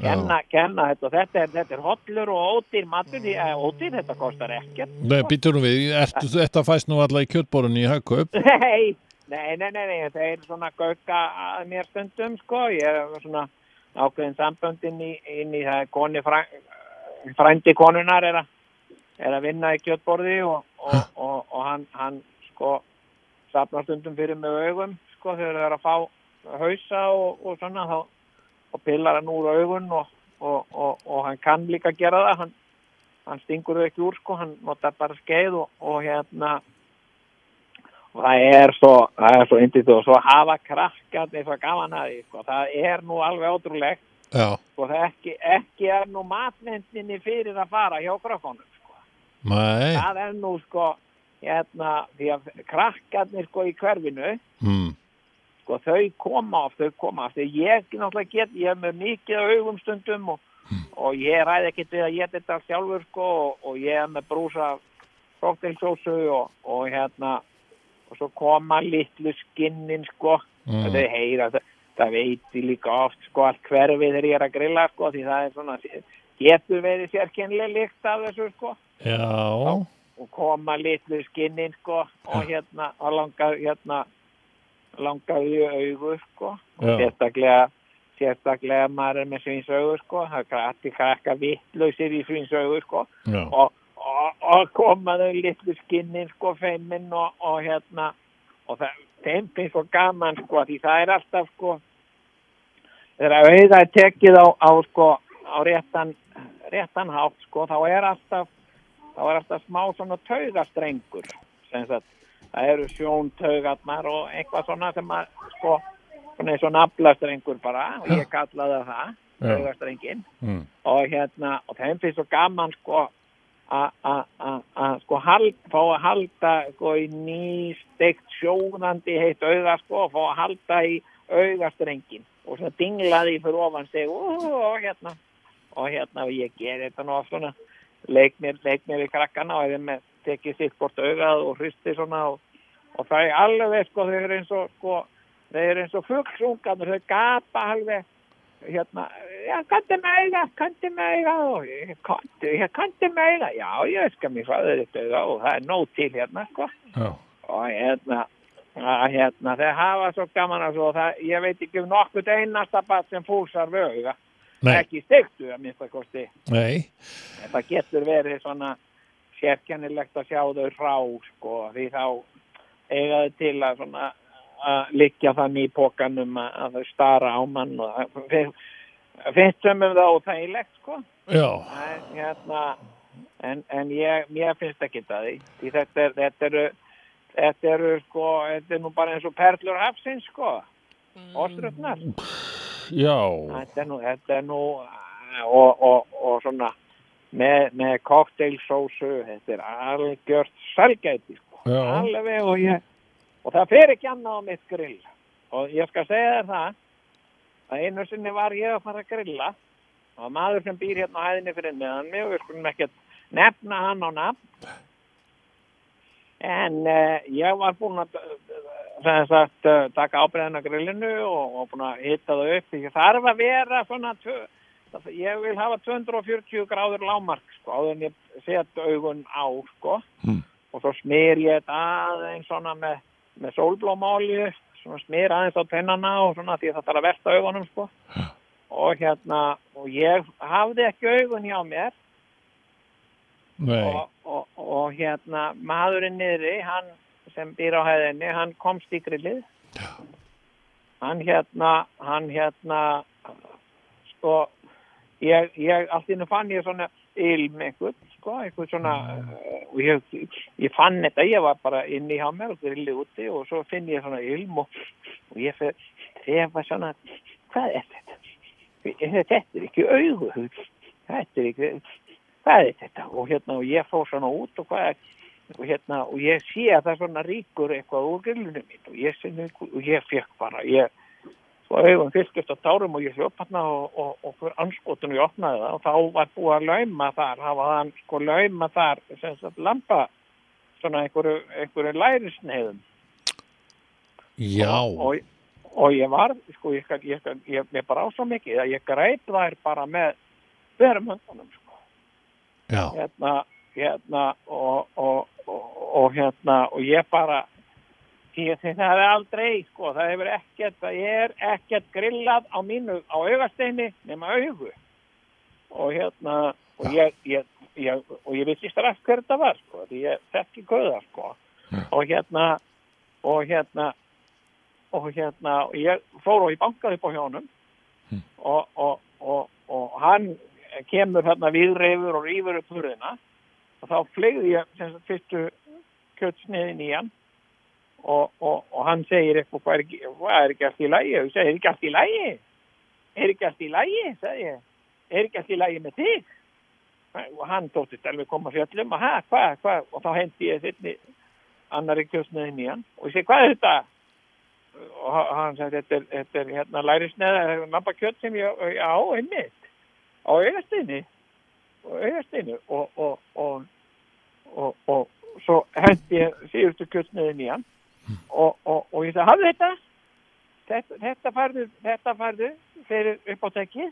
Speaker 8: kenna, kenna þetta og þetta er, þetta er hollur og ódýr matur því að ódýr þetta kostar ekkert
Speaker 7: Nei, býturum við, ertu, þetta fæst nú alla í kjötborunni í hagkaup
Speaker 8: nei, nei, nei, nei, nei þeir svona gauka að mér stundum sko ég er svona ákveðin sambönd inn í, inn í það er koni fræ, frændi konunar er að, er að vinna í kjötborði og, og, og, og hann, hann sko safnar stundum fyrir með augum sko þegar þeir eru að fá hausa og, og svona þá og pillar hann úr augun og, og, og, og hann kann líka gera það hann, hann stingur þau ekki úr sko hann notar bara skeið og, og hérna og það er svo það er svo yndið og svo hafa krakkat eins og gaman að því sko það er nú alveg ótrúlegt
Speaker 7: Já,
Speaker 8: og það ekki, ekki er nú matvendinni fyrir að fara hjá krakkonum sko
Speaker 3: Eh.
Speaker 7: nei
Speaker 8: það er nú sko hérna því að krakkarnir sko í hverfinu
Speaker 3: Hmm.
Speaker 7: mm.
Speaker 8: sko þau koma oft, þau koma oft ég náttúrulega get, ég er með mikið á augum stundum og, og ég ræði ekkert við að ég þetta allt sjálfur sko og, og ég er með brúsa cocktailsósu og, og hérna og svo koma litlu skinnin sko, mm. þau heyra það, það veit ég líka oft sko allt hverfið þegar ég er að grilla sko því það er svona, getur verið sérkennileg líkt af þessu sko
Speaker 7: Já,
Speaker 8: og koma litlu skinnin sko og hérna og langar hérna langaði í augu sko
Speaker 7: Já.
Speaker 8: og sérstaklega sérstaklega maður er með svinsaugu sko það er allir krakka vittlausir í svinsaugu sko
Speaker 7: já,
Speaker 8: og, og, og koma þau litlu skinnin sko feiminn og, og hérna og það, þeim finnst svo gaman sko því það er alltaf sko þegar auða er tekið á, á sko á réttan réttan hátt sko þá er alltaf þá er alltaf smá svona taugastrengur sem sagt það eru sjóntaugarnar og eitthvað svona sem að sko svona eins og naflastrengur bara og ég kallaði það taugastrengin
Speaker 7: Mm.
Speaker 8: og hérna og þeim finnst svo gaman sko að- að að- að sko hald, fá að halda sko í nýstegt sjóðandi heitt auga sko og fá að halda í augastrengin og svona dinglaði fyrir ofan sig "Ú, og hérna og hérna og ég ger þetta nú oft svona leik mér, leik mér í krakkana og þeim með tekið sitt bort augað og hristi svona og, og það er alveg sko þau eru eins og sko þau eru eins og fuggsunganur þau gapa alveg hérna, já, kanti með auga, kanti með auga og ég, kanti, ég kanti með auga, já, ég skal mér fæða þetta auga og það er nóg til hérna, sko
Speaker 7: já
Speaker 8: og hérna að hérna, þeir hafa svo gaman að svo það, ég veit ekki um nokkurt einasta bat sem fúsar við auga
Speaker 7: Nei,
Speaker 8: ekki stegtu að minnsta kosti
Speaker 7: nei,
Speaker 8: En það getur verið svona sérkennilegt að sjá þau rá sko, því þá eiga þau til að svona að liggja þannig í pokanum að, að þau stara á mann og það fin- finnst sem um það óþægilegt sko
Speaker 7: já,
Speaker 8: en, hérna, en, en ég, mér finnst ekki það því, því þetta, er, þetta eru þetta eru sko þetta er nú bara eins og perlur hafsins sko ostrutnar
Speaker 7: já
Speaker 8: þetta er nú, þetta er nú og, og, og svona með, með cocktailsósu þetta er algjört sælgæti sko.
Speaker 7: Já.
Speaker 8: alveg og ég og það fer ekki annað á mitt grill og ég skal segja þér það að einu sinni var ég að fara að grilla og maður sem býr hérna á hæðinni fyrir meðan mig og við skulum ekkert nefna hann á nafn en uh, ég var búinn að sem sagt, uh, taka ábyrðin á grillinu og, og búinn að hitta það upp því þarf að vera svona tvö, það- ég vil hafa 240 gráður lámark sko, áður en ég set augun á sko,
Speaker 7: Mm.
Speaker 8: og svo smyr ég þetta aðeins svona með, með sólblómálju svona smyr aðeins á tennana og svona því það þarf að verta augunum sko og hérna, og ég hafði ekki augun hjá mér
Speaker 7: Nei,
Speaker 8: og, og, og hérna maðurinn niðri, hann sem býr á hæðinni, hann komst í grillið hann hérna hann hérna sko ég, ég allt innu fann ég svona ilm einhvern, sko, einhvern svona eh, og ég, ég fann þetta, ég var bara inni hjá mér og grillið úti og svo finn ég svona ilm og, og ég fer, ég var svona hvað er þetta? Þetta er ekki augu þetta er ekki hvað er þetta og hérna og ég fór svona út og hvað er og hérna og ég sé að það svona ríkur eitthvað úr grillinu mín og ég sinni og ég fekk bara ég svo auðvun fylgist á tárum og ég sé upp hérna og, og, og fyrir anskotinu ég opnaði það og þá var búið að lauma þar hafa hann sko lauma þar sem sagt lampa svona einhverju, einhverju lærisneiðum
Speaker 7: já
Speaker 8: og, og ég var, sko, ég, ég, ég, ég, ég bara á svo mikið að ég greip þær bara með berum höndunum, sko.
Speaker 3: Já.
Speaker 8: Hérna, hérna, og, og, og, og hérna, og ég bara, ég segi það er aldrei, sko, það hefur ekkert, það er ekkert grillað á mínu, á augasteini nema augu. Og hérna, og ég, ég, ég, og ég vissi strax hver þetta var, sko, því ég þekki göða, sko. Og hérna, og hérna, og hérna, og ég fór og ég bankaði upp á hjónum og, og, og, og hann kemur hérna viðreifur og rýfur upp hurðina og þá flegði ég sem sagt fyrstu kjötsniðin í hann og, og, og hann segir eitthvað, hvað er, ekki- hvað er ekki allt í lægi? Og ég segi, er ekki allt í lægi? Er ekki allt í lægi? Segði ég, er ekki allt í lægi með þig? Og hann tóttist alveg koma fjöllum og hæ, hvað, hvað? Og þá hendi ég þittni annari kjötsniðin í hann og ég segi, hvað er þetta? og ha- hann sagði þetta er, þetta er hérna lærisneða nabakjöt sem ég ég á einmitt á augasteinu á augasteinu og, og, og, og, og, svo hendi ég síðustu kjötsneðin í hann og, og, og ég sagði hafðu þetta þetta, þetta færðu þetta færðu fyrir upp á tekið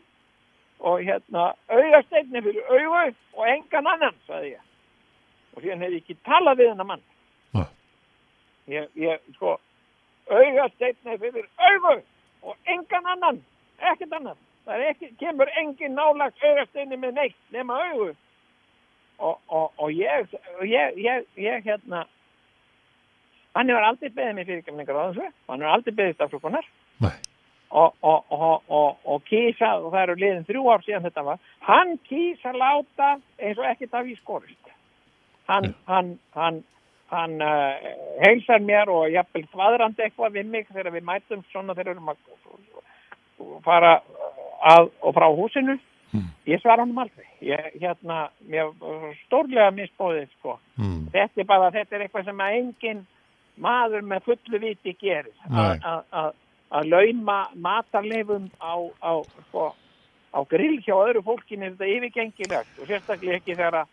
Speaker 8: og hérna augasteinu fyrir augu og engan annan sagði ég og síðan hefði ég ekki talað við hennar mann
Speaker 3: Nei.
Speaker 8: ég, ég sko augasteitni fyrir augu og engan annan, ekkert annan. Það er ekki, kemur engin nálagt augasteitni með neitt nema augu. Og, og, og ég, og ég, ég, ég hérna, hann hefur aldrei beðið mér fyrirgemningar á þessu, hann hefur aldrei beðið stafslukunar
Speaker 3: Nei.
Speaker 8: og, og, og, og, og kýsa, og það eru liðin þrjú ár síðan þetta var, hann kýsa láta eins og ekkert af í skorist. Hann, hann, hann, hann uh, heilsar mér og jafnvel þvaðrandi eitthvað við mig þegar við mætum svona þegar við erum að fara uh, að og frá húsinu. Ég svara honum aldrei. Ég, hérna, mér var stórlega misbóðið, sko.
Speaker 3: Mm.
Speaker 8: Þetta er bara, þetta er eitthvað sem að engin maður með fullu viti gerir. Að-
Speaker 3: Nei.
Speaker 8: að- að- Að lauma matarleifum á, á, sko, á grill hjá öðru fólkinu er þetta yfirgengilegt og sérstaklega ekki þegar að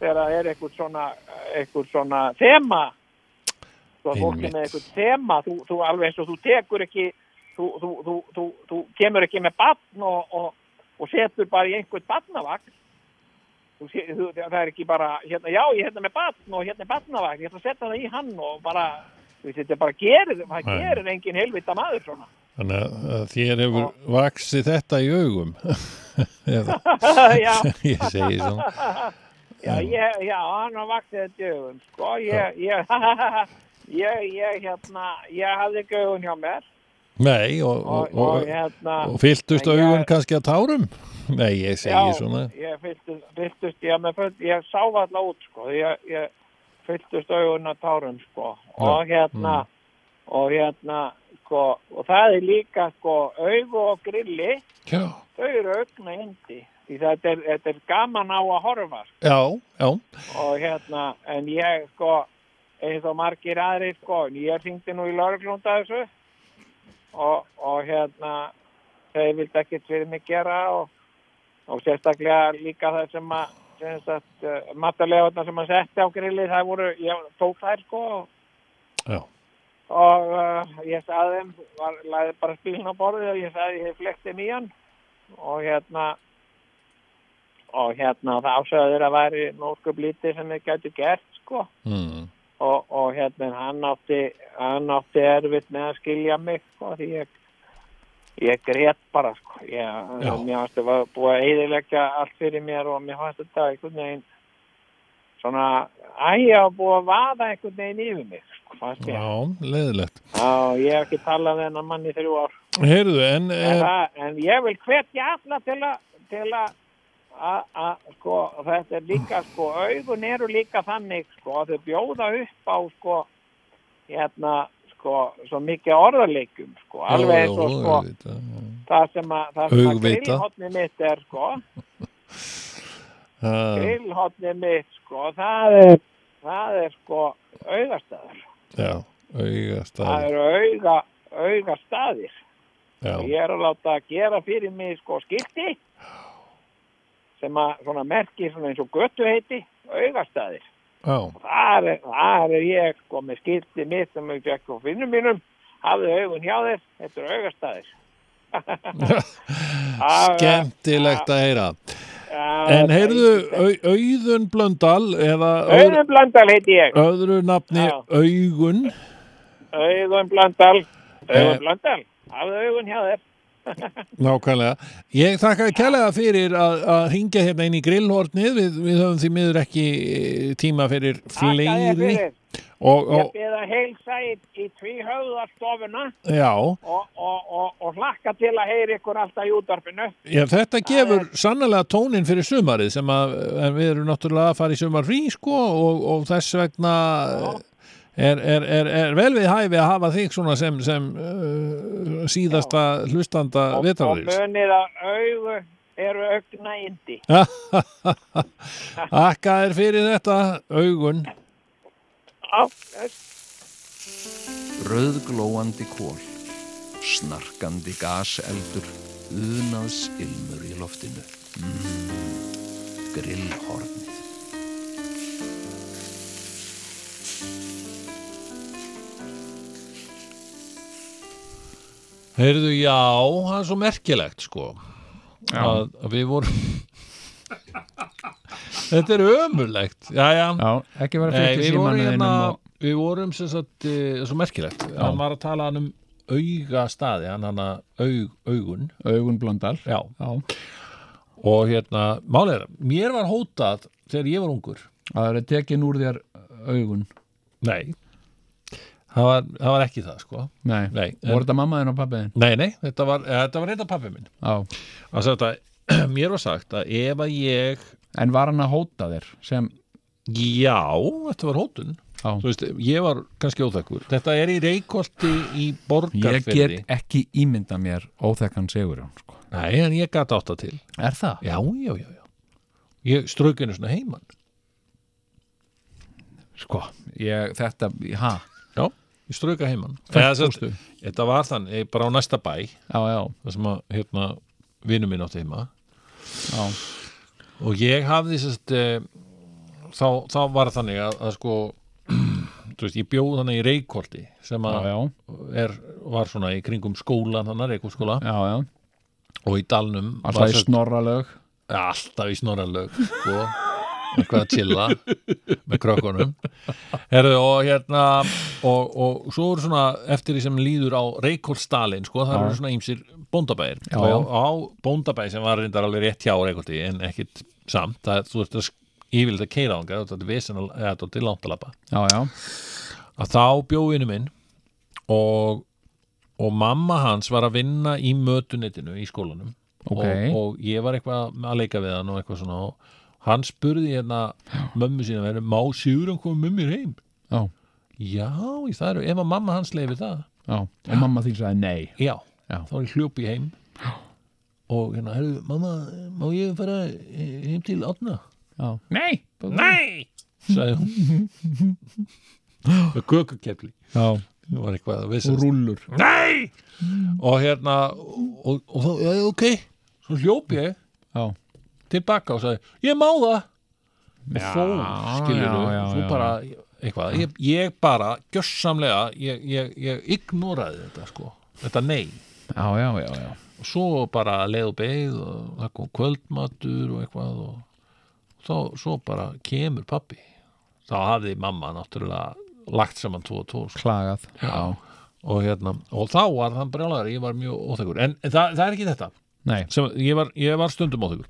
Speaker 8: þegar það er eitthvað svona, eitthvað svona þema þú að fólki
Speaker 3: Einmitt.
Speaker 8: með eitthvað þema þú, þú alveg eins og þú tekur ekki þú, þú, þú, þú, þú kemur ekki með batn og, og, og setur bara í einhvern batnavagn þú, sé- þú, það er ekki bara hérna, já ég er hérna með batn og hérna er batnavagn ég ætla að setja það í hann og bara þú veist, þetta bara gerir, það
Speaker 3: Nei.
Speaker 8: gerir engin helvita maður svona
Speaker 3: Þannig að- að þér hefur vaksið þetta í augum Eða,
Speaker 8: já,
Speaker 3: ég segi svona
Speaker 8: já, ég, já, hann var vaktið dögun, sko ég, ég, ég, ég hérna, ég hafði gögun hjá mér
Speaker 3: Nei, og,
Speaker 8: og,
Speaker 3: og, og,
Speaker 8: hérna
Speaker 3: og fyltust
Speaker 8: en ég-
Speaker 3: augun kannski að tárum Nei, ég segi svona
Speaker 8: ég fylltist, fylltist ég, með, full- ég sá alltaf út sko, ég, ég fylltist augun að tárum sko og hérna og hérna sko og það er líka sko augu og grilli,
Speaker 3: Já,
Speaker 8: þau eru augna hindi því þetta er, þetta er gaman á að horfa sko,
Speaker 3: já, já
Speaker 8: og hérna en ég sko eins og margir aðrir sko en ég syngdi nú í lauruglunda þessu og, og hérna þau vildi ekkert fyrir mig gera og og sérstaklega líka það sem að sem sagt, uh, matarlegarna sem að setja á grilli, það voru, ég tók þær sko og,
Speaker 3: Já.
Speaker 8: og uh, ég sagði þeim, var, lagði bara spilin á borðið og ég sagði, ég hef flekt þeim í hann og hérna og hérna það ásöður að væri nóskup lítið sem þið gætu gert sko
Speaker 3: Mm.
Speaker 8: og, og hérna en hann átti, hann átti erfitt með að skilja mig sko, því ég, ég grét bara sko. ég, mér fannst það var búið að eyðileggja allt fyrir mér og mér fannst þetta einhvern veginn svona æja og búið að vaða einhvern veginn yfir mig sko, fannst mér
Speaker 3: Já, leiðilegt
Speaker 8: og ég hef ekki talað við hennar mann í þrjú ár
Speaker 3: Heyrðu, en,
Speaker 8: en,
Speaker 3: en
Speaker 8: það, en ég vil hvetja alla til að til að að- að, sko, þetta er líka sko, augun eru líka þannig sko, að þau bjóða upp á sko, hérna sko, svo mikið orðarleikum sko, alveg eins og sko,
Speaker 3: auðvitað,
Speaker 8: það sem að, það sem að
Speaker 3: Augvita.
Speaker 8: grillhotni mitt er sko,
Speaker 3: já.
Speaker 8: grillhotni mitt sko, það er það er sko augastæður
Speaker 3: já, augastæð
Speaker 8: það eru auga, augastæðir
Speaker 3: Já,
Speaker 8: Ég er að láta að gera fyrir mig sko skilti sem að svona merki svona eins og göttu heiti augastæðir.
Speaker 3: já,
Speaker 8: Þar er, þar er ég sko með skilti mitt sem ég fekk á finnum mínum hafðu augun hjá þér, þetta eru augastæðir
Speaker 3: Skemmtilegt að heyra En heyrðu, Au- Auðun Blöndal eða öðru,
Speaker 8: Auðun Blöndal heiti ég
Speaker 3: öðru nafni
Speaker 8: Já.
Speaker 3: Augun
Speaker 8: Auðun Blöndal
Speaker 3: Eh.
Speaker 8: Auðun Blöndal, hafðu augun hjá þér
Speaker 3: Nákvæmlega. Ég þakka kærlega fyrir að, að ringja hérna inn í grillhornið. Við, við höfum því miður ekki eh, tíma fyrir
Speaker 8: Þakka þér
Speaker 3: fleiri.
Speaker 8: fyrir.
Speaker 3: Og,
Speaker 8: Ég
Speaker 3: og,
Speaker 8: byrða heilsa í, í tvíhauðarstofuna
Speaker 3: já,
Speaker 8: og, og, og, og hlakka til að heyri ykkur alltaf í útarpinu.
Speaker 3: já, þetta gefur sannlega tónin fyrir sumarið sem að en við erum náttúrulega að fara í sumar frí sko og, og þess vegna er, er, er, er vel við hæfi að hafa þig svona sem, sem uh, síðasta hlustanda
Speaker 8: og
Speaker 3: vetarðis.
Speaker 8: munið að augu eru augna indi.
Speaker 3: Akka er fyrir þetta augun.
Speaker 8: Á,
Speaker 4: Rauðglóandi kól, snarkandi gaseldur, unaðs ilmur í loftinu. Mm, grillhornið.
Speaker 3: Heyrðu, já, það er svo merkilegt sko að, að við vorum Þetta er ömurlegt Jæja,
Speaker 4: Já, ekki vera
Speaker 3: Nei,
Speaker 4: fyrir
Speaker 3: við vorum
Speaker 4: símanuðinum
Speaker 3: hérna
Speaker 4: og...
Speaker 3: við vorum sem sagt eh, svo merkilegt, hann var að tala hann um augastaði, hann hann að aug, augun,
Speaker 4: augun blöndal.
Speaker 3: já
Speaker 4: Já,
Speaker 3: og hérna, málega, mér var hótað þegar ég var ungur
Speaker 4: það eru tekin úr þér augun.
Speaker 3: Nei Það var, það var ekki það sko
Speaker 4: Nei,
Speaker 3: Nei, en-
Speaker 4: voru þetta mamma þinn og pappi þinn?
Speaker 3: Nei, nei, þetta var, eh, þetta var reynda pappi minn
Speaker 4: Já,
Speaker 3: að sagt að mér var sagt að ef að ég
Speaker 4: en var hann að hóta þér sem...
Speaker 3: Já, þetta var hótun
Speaker 4: Já.
Speaker 3: Þú veist, ég var kannski óþekkur Þetta er í Reykholti í
Speaker 4: Ég
Speaker 3: Borgarfyrði
Speaker 4: get ekki ímynda mér óþekkan Sigurjón, sko.
Speaker 3: Nei, en ég gat átta til
Speaker 4: Er það?
Speaker 3: Já, já, já, já Ég straukinu svona heimann
Speaker 4: Sko, ég, þetta, ha,
Speaker 3: Já, ég strauka heimann
Speaker 4: Hvert
Speaker 3: Eða, sem sagt,
Speaker 4: fórstu?
Speaker 3: Þetta var þann, ég bara á næsta bæ
Speaker 4: já, já,
Speaker 3: Það sem að, hérna, vinur minn átti heima
Speaker 4: já,
Speaker 3: Og ég hafði sérst e, þá, þá var þannig að, að sko þú veist, ég bjóð þannig í Reykholti sem
Speaker 4: já,
Speaker 3: að
Speaker 4: já,
Speaker 3: er, var svona í kringum skólan þannig, Reykholtskóla
Speaker 4: já, já,
Speaker 3: og í dalnum var
Speaker 4: alltaf í
Speaker 3: sem-
Speaker 4: snorralög.
Speaker 3: alltaf í snorralög sko, eitthvað að chilla með krökkunum Herðu, og hérna og, og svo eru svona eftir því sem líður á Reykholtsdalin, sko, það eru svona ímsir bóndabæðir
Speaker 4: Já, já.
Speaker 3: og á bóndabæði sem var reyndar alveg rétt hjá Reykholti en ekkit samt, það, þú ert að sk- yfirleitt að keira ángar, þetta er vesen að eða þetta er langt að lappa
Speaker 4: Já, já,
Speaker 3: að þá bjó vinnu minn og, og mamma hans var að vinna í mötunetinu í skólanum
Speaker 4: Ok.
Speaker 3: og, og ég var eitthvað að leika við hann og eitthvað svona og hann spurði hérna mömmu sína verið, má Sigurjón koma með mér heim?
Speaker 4: já,
Speaker 3: Já, í það eru, ef að mamma hans leiði það,
Speaker 4: já, og mamma þín sagði nei.
Speaker 3: já,
Speaker 4: Já.
Speaker 3: þá er ég hljópi heim og hérna, herru, mamma, má ég fara eh, heim til Átna?
Speaker 4: Já. Nei!
Speaker 3: Nei! sagði hún með kökukepli
Speaker 4: Já,
Speaker 3: það var eitthvað að
Speaker 4: og
Speaker 3: vissi
Speaker 4: rúllur.
Speaker 3: Nei! Og hérna, og, og þá, já, já, ok, svo hljóp ég
Speaker 4: Já,
Speaker 3: tilbaka og sagði, ég má það. Og fór, skilur þú,
Speaker 4: já, já,
Speaker 3: svo
Speaker 4: já.
Speaker 3: bara, eitthvað, ég, ég bara, gjössamlega, ég, ég, ég ignoraði þetta, sko, þetta nei.
Speaker 4: já, já, já, já.
Speaker 3: Og svo bara leið og beigð og það kom kvöldmatur og eitthvað og þá, svo bara kemur pappi. Þá hafði mamma náttúrulega lagt saman tvo og tvo, sko
Speaker 4: Klagað. Já.
Speaker 3: og, hérna, og þá var hann brjálæður ég var mjög óþekur en það, það er ekki þetta
Speaker 4: Nei,
Speaker 3: sem, ég, var, ég var stundum óþekur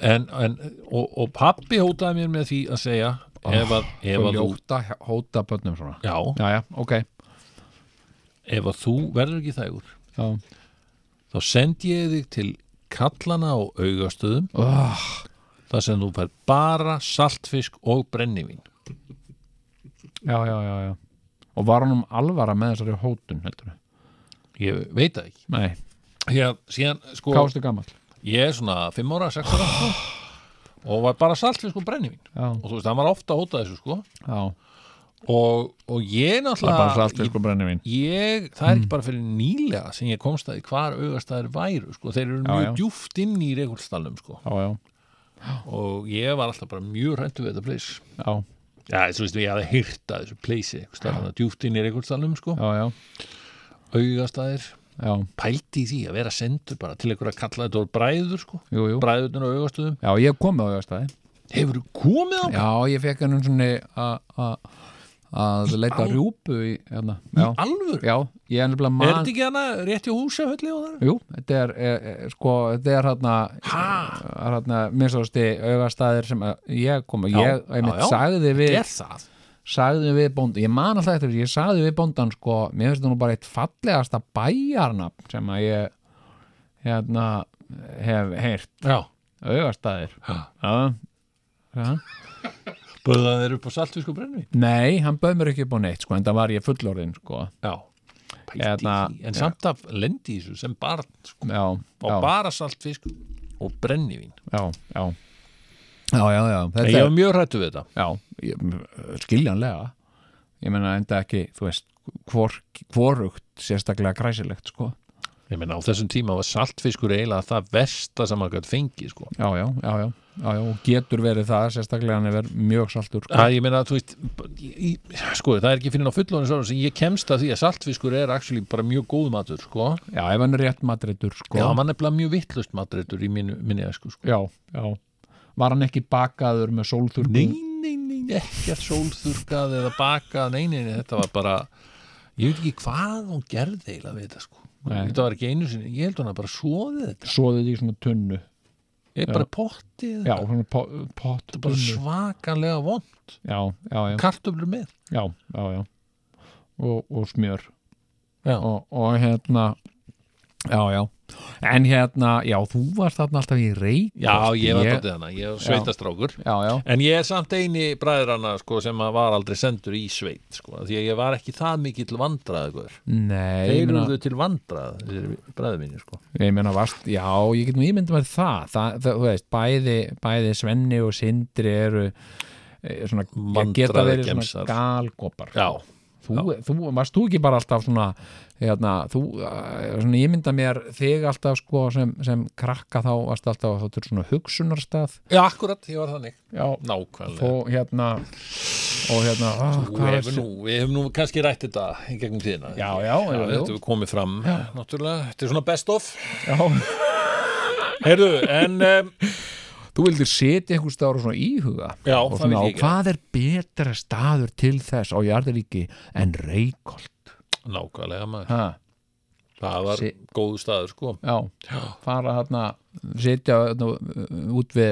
Speaker 3: en, en, og, og pappi hótaði mér með því að segja ef að, ef að, þú,
Speaker 4: ljóta, hóta bönnum svona.
Speaker 3: já,
Speaker 4: Ah, Já, já, ok.
Speaker 3: ef að þú verður ekki þægur
Speaker 4: Já.
Speaker 3: þá sendi ég þig til kallana og augastöðum
Speaker 4: Oh,
Speaker 3: þar sem þú fær bara saltfisk og brennivín
Speaker 4: já, já, já, já. Og var hann um alvara með þessari hótun, heldur við?
Speaker 3: ég veit það ekki
Speaker 4: Nei.
Speaker 3: ég, síðan, sko,
Speaker 4: Hvað varstu gammal?
Speaker 3: ég er svona 5 ára, 6 ára sko, og var bara saltfisk og brennivín
Speaker 4: Já,
Speaker 3: og þú veist, hann var ofta að hóta þessu sko
Speaker 4: já.
Speaker 3: og, og ég
Speaker 4: Það er bara
Speaker 3: náttúrulega
Speaker 4: slastur sko brenni mín.
Speaker 3: ég, það er ekki
Speaker 4: Mm.
Speaker 3: bara fyrir nýlega sem ég komst að því hvar augastæður væru sko. þeir eru
Speaker 4: Já,
Speaker 3: mjög
Speaker 4: já.
Speaker 3: djúft inn í reikvöldstallum sko.
Speaker 4: Já, já,
Speaker 3: og ég var alltaf bara mjög hrættu við þetta pleys
Speaker 4: já.
Speaker 3: Já, þú veist, ég hafði hýrt að þessu pleysi, stafna djúftinir einhvern stafnum, sko,
Speaker 4: já, já,
Speaker 3: augastæðir,
Speaker 4: já,
Speaker 3: pældi í því að vera sendur bara til einhverja kalla þetta voru bræður, sko,
Speaker 4: jú, jú
Speaker 3: bræðurnar og augastöðum.
Speaker 4: Já, ég kom með á augastæði
Speaker 3: Hefur þú komið á?
Speaker 4: Já, ég fekk hann um svona að leita rjúpu í, hérna,
Speaker 3: Í
Speaker 4: já,
Speaker 3: alvöru?
Speaker 4: já, ég er nefnilega
Speaker 3: Er
Speaker 4: man
Speaker 3: þetta ekki hana rétt í húsafölli og þar?
Speaker 4: Jú, þetta er, er, er sko, þetta er hérna
Speaker 3: Ha?
Speaker 4: er hérna minnstofasti augastæðir sem að ég kom og
Speaker 3: Já, já,
Speaker 4: ég, einmitt,
Speaker 3: já.
Speaker 4: sagði við
Speaker 3: Er það?
Speaker 4: sagði við bóndan, ég man alltaf eftir þessu, ég sagði við bóndan sko, mér finnst það nú bara eitt fallegasta bæjarnafn sem að ég hérna hef heyrt,
Speaker 3: Já.
Speaker 4: augastæðir
Speaker 3: Já.
Speaker 4: Já. Já.
Speaker 3: Böðað þeir upp á saltvísku brenni?
Speaker 4: Nei, hann bauð mér ekki upp á neitt sko, en það var ég fullorðin sko.
Speaker 3: Já. Pældi í
Speaker 4: Hérna,
Speaker 3: því, en
Speaker 4: já.
Speaker 3: samt að lendi í þessu sem barn, sko,
Speaker 4: já,
Speaker 3: á
Speaker 4: já,
Speaker 3: bara saltfisk og brennivín.
Speaker 4: já, já Já, já, já,
Speaker 3: En
Speaker 4: þetta
Speaker 3: ég
Speaker 4: er
Speaker 3: var mjög hrættu við þetta.
Speaker 4: já, ég, m- skiljanlega ég meina enda ekki þú veist, hvor, hvorugt sérstaklega græsilegt sko
Speaker 3: Ég meina á þessum tíma var saltfiskur eiginlega það versta sem maður gætt fengi sko.
Speaker 4: já, já, já, já, já, já og getur verið það sérstaklega hann er verið mjög saltur sko.
Speaker 3: Það ég meina þú veist í, í, sko það er ekki fyrir ná fullónins ára sem ég kemst að því að saltfiskur er actually bara mjög góð matur sko.
Speaker 4: já, ef hann er rétt matreitur sko.
Speaker 3: Já, mann er bara mjög vittlust matreitur í minni, minni æsku sko.
Speaker 4: já, já var hann ekki bakaður með sólþurkum
Speaker 3: Nei, nei, nei, ekkert sólþurkað eða bakað, nei, nei, nei, þetta var bara ég veit ekki hvað hún gerði eiginlega við þetta sko.
Speaker 4: Nei.
Speaker 3: Þetta var ekki einu sinni, ég held hún að bara svoði þetta
Speaker 4: svoðið í svona tunnu
Speaker 3: ég bara pottið,
Speaker 4: já, svona po- pott
Speaker 3: bara
Speaker 4: tunnu.
Speaker 3: svakalega vond,
Speaker 4: já, já, já,
Speaker 3: kartöflur með
Speaker 4: já, já, já. Og, og smjör
Speaker 3: Já.
Speaker 4: og, og hérna já, já en hérna, já, þú varst þarna alltaf í reyk
Speaker 3: Já, ég var dóttið hana, ég var sveitastrákur
Speaker 4: já, já,
Speaker 3: En ég er samt eini bræðrana sko, sem að var aldrei sendur í sveit sko, af því að ég var ekki það mikið til vandrað guður.
Speaker 4: nei
Speaker 3: Þeir
Speaker 4: ég
Speaker 3: eru
Speaker 4: meina,
Speaker 3: þau til vandrað þessir bræður mínir sko.
Speaker 4: ég meina varst, já, ég get nú ímyndum að það, það, það þú veist, bæði bæði Svenni og Sindri eru eh, svona, geta verið
Speaker 3: Vandræðagemsar.
Speaker 4: svona galgopar
Speaker 3: Já,
Speaker 4: þú, þú, varst þú ekki bara alltaf svona hérna, þú, eh, svona ég mynda mér þig alltaf sko sem, sem krakka þá, varst alltaf þá til svona hugsunarstað
Speaker 3: Já akkurat, ég var þannig
Speaker 4: já,
Speaker 3: Nákvæmlega
Speaker 4: og hérna og hérna ah,
Speaker 3: Þú
Speaker 4: hvað er
Speaker 3: hefur
Speaker 4: þessi-
Speaker 3: nú, Við hefum nú kannski rætt þetta í gegnum tíðina
Speaker 4: já, já, já,
Speaker 3: Já,
Speaker 4: já,
Speaker 3: þetta við komið fram Náttúrulega, þetta er svona best of
Speaker 4: já.
Speaker 3: Heyrðu, en um,
Speaker 4: þú vildir setja einhver staður og svona íhuga
Speaker 3: Já,
Speaker 4: og
Speaker 3: það
Speaker 4: svona,
Speaker 3: vildi
Speaker 4: og
Speaker 3: ég gera.
Speaker 4: hvað er betra staður til þess á jarðaríki en reikolt
Speaker 3: Nákvæmlega maður
Speaker 4: ha,
Speaker 3: Það var
Speaker 4: Sí.
Speaker 3: góð staður sko
Speaker 4: já, fara þarna setja þarna, uh, út við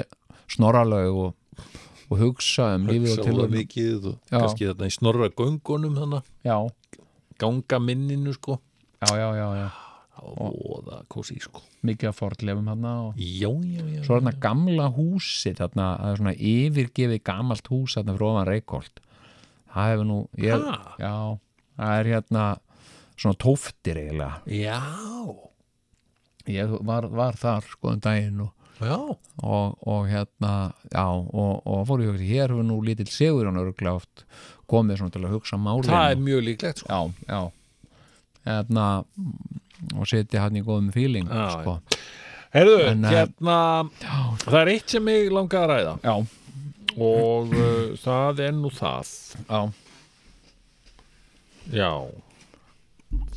Speaker 4: snorralög og, og hugsa um lífið og
Speaker 3: Hugsa voða
Speaker 4: tilvörun
Speaker 3: mikið og
Speaker 4: Já.
Speaker 3: kannski þarna í snorra göngunum þannig
Speaker 4: já,
Speaker 3: ganga minninu sko
Speaker 4: já, já, já, já
Speaker 3: það var voða kósi sko
Speaker 4: mikið að fordlefum hann og
Speaker 3: já, já, já,
Speaker 4: svo er þarna gamla húsi þarna, það er svona yfirgefið gamalt hús þarna fyrir ofan Reykholt það hefur nú ég,
Speaker 3: Ha?
Speaker 4: já, það er hérna svona tóftir eiginlega
Speaker 3: já
Speaker 4: ég var, var þar sko um daginn og,
Speaker 3: já,
Speaker 4: og, og hérna já, og, og fór ég að hugsa, hér hefur nú lítill segur hann örglega oft komið svona til að hugsa málin
Speaker 3: það er mjög líklegt sko
Speaker 4: já, já hérna, og setja hann í góðum feeling
Speaker 3: Já,
Speaker 4: sko.
Speaker 3: heyrðu,
Speaker 4: En, eh,
Speaker 3: hérna það er eitt sem ég langa að ræða
Speaker 4: já, Mm.
Speaker 3: og uh, það er nú það
Speaker 4: já,
Speaker 3: já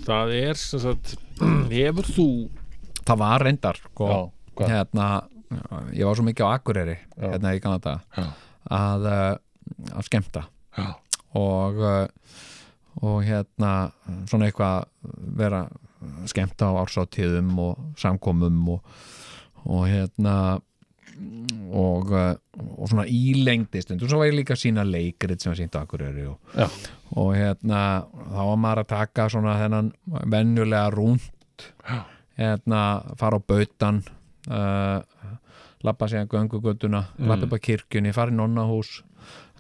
Speaker 3: það er sem sagt hefur þú
Speaker 4: það var reyndar sko,
Speaker 3: Já, hvað?
Speaker 4: hérna ég var svo mikið á Akureyri hérna í Kanada
Speaker 3: Já.
Speaker 4: að, uh, að skemmta
Speaker 3: já,
Speaker 4: og uh, og hérna svona eitthvað vera að skemmta á ársáttíðum og samkomum og, og hérna og, uh, og svona ílengdi stundum svo var ég líka að sína leikrit sem var sínt á Akureyri og,
Speaker 3: Já.
Speaker 4: og hérna þá var maður að taka svona þennan venjulega rúnt hérna fara á bautan uh, lappa síðan göngugötuna
Speaker 3: Mm.
Speaker 4: lappa upp að kirkjunni, fara í nonnahús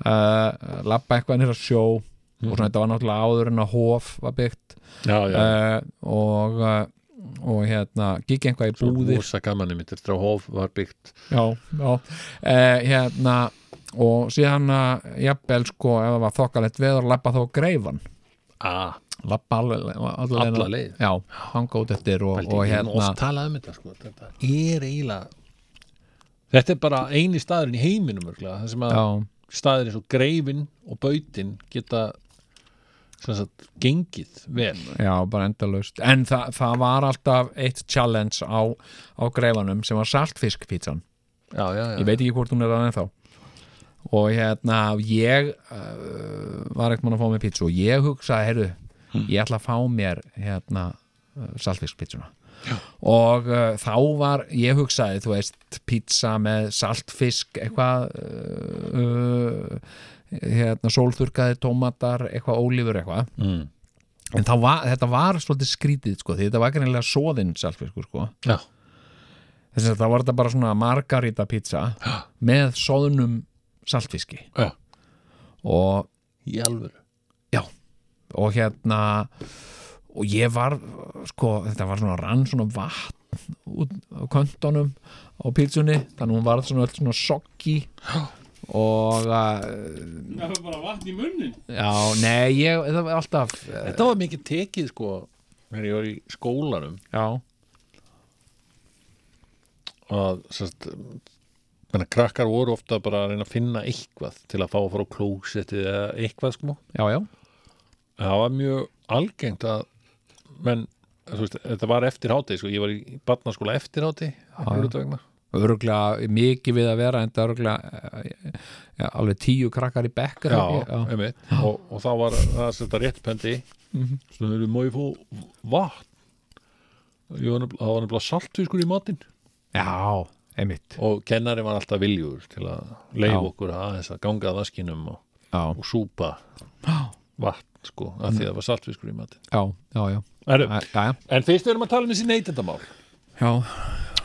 Speaker 4: uh, lappa eitthvað nýra sjó og svona þetta var náttúrulega áður en að hof var byggt
Speaker 3: Mm. já, já.
Speaker 4: uh, og uh, og hérna, gikk einhvað í búðir
Speaker 3: Úsa gamanum mitt eftir að um hof var byggt
Speaker 4: já, já. Eh, hérna og síðan að jafnvel sko ef það var þokkalett veður lappa þá á greifan
Speaker 3: að
Speaker 4: lappa alla
Speaker 3: Alla leið.
Speaker 4: já, hanga út eftir og, og hérna
Speaker 3: oft talað um þetta, sko. þetta er eiginlega þetta er bara eini staðurinn í heiminum örgulega, það sem að
Speaker 4: já,
Speaker 3: staðir eins og greifin og bautin geta sem sagt, gengið vel
Speaker 4: Já, bara endalaust En þa það var alltaf eitt challenge á, á greifanum sem var saltfiskpítsan
Speaker 3: já, já,
Speaker 4: Ég veit ekki hvort hún er það ennþá Og hérna, ég uh, var ekkert mann að fá mér pítsu og ég hugsaði, heyrðu, ég ætla að fá mér hérna uh, saltfiskpítsuna og uh, þá var, ég hugsaði, þú veist pizza með saltfisk eitthvað uh, uh, hérna, sólþurkaði tómatar, eitthvað ólífur eitthvað
Speaker 3: Mm.
Speaker 4: en þá var, þetta var svolítið skrítið sko, því þetta var greinilega soðinn saltfiskur sko
Speaker 3: já.
Speaker 4: þess að það var þetta bara svona margarita pizza með soðnum saltfiski
Speaker 3: Já.
Speaker 4: og,
Speaker 3: í alvöru
Speaker 4: og hérna og ég var sko, þetta var svona rann svona vatn út á köntunum á pítsunni, þannig hún var svona öll svona soggi og uh,
Speaker 5: Það er bara vatn í munnin
Speaker 4: já, nei, ég það var alltaf, eh,
Speaker 3: þetta var mikið tekið sko þegar ég var í skólanum
Speaker 4: já,
Speaker 3: að sérst, menna, krakkar voru ofta bara að reyna að finna eitthvað til að fá að fara á klósettið eða eitthvað sko
Speaker 4: já, já
Speaker 3: það var mjög algengt að menn, þú veist, þetta var eftir háti sko, ég var í barnaskóla eftir háti vegna
Speaker 4: öruglega mikið við að vera en það öruglega ja, alveg tíu krakkar í bekk er
Speaker 3: Já, Mhm.
Speaker 4: það ekki?
Speaker 3: einmitt og, og þá var það að setja réttpendi svona þeir eru móið fó vatn Ég var nefnilega- það var nefnilega saltfiskur í matinn
Speaker 4: já, já einmitt
Speaker 3: og kennari var alltaf viljur til að leif
Speaker 4: Já.
Speaker 3: okkur að aðeins að ganga að vaskinum og,
Speaker 4: já,
Speaker 3: og súpa vatn sko, að því að það var saltfiskur í matinn
Speaker 4: já, já, já,
Speaker 3: Heru,
Speaker 4: já, já, já.
Speaker 3: En fyrst erum að tala um þessi neytendamál
Speaker 4: já.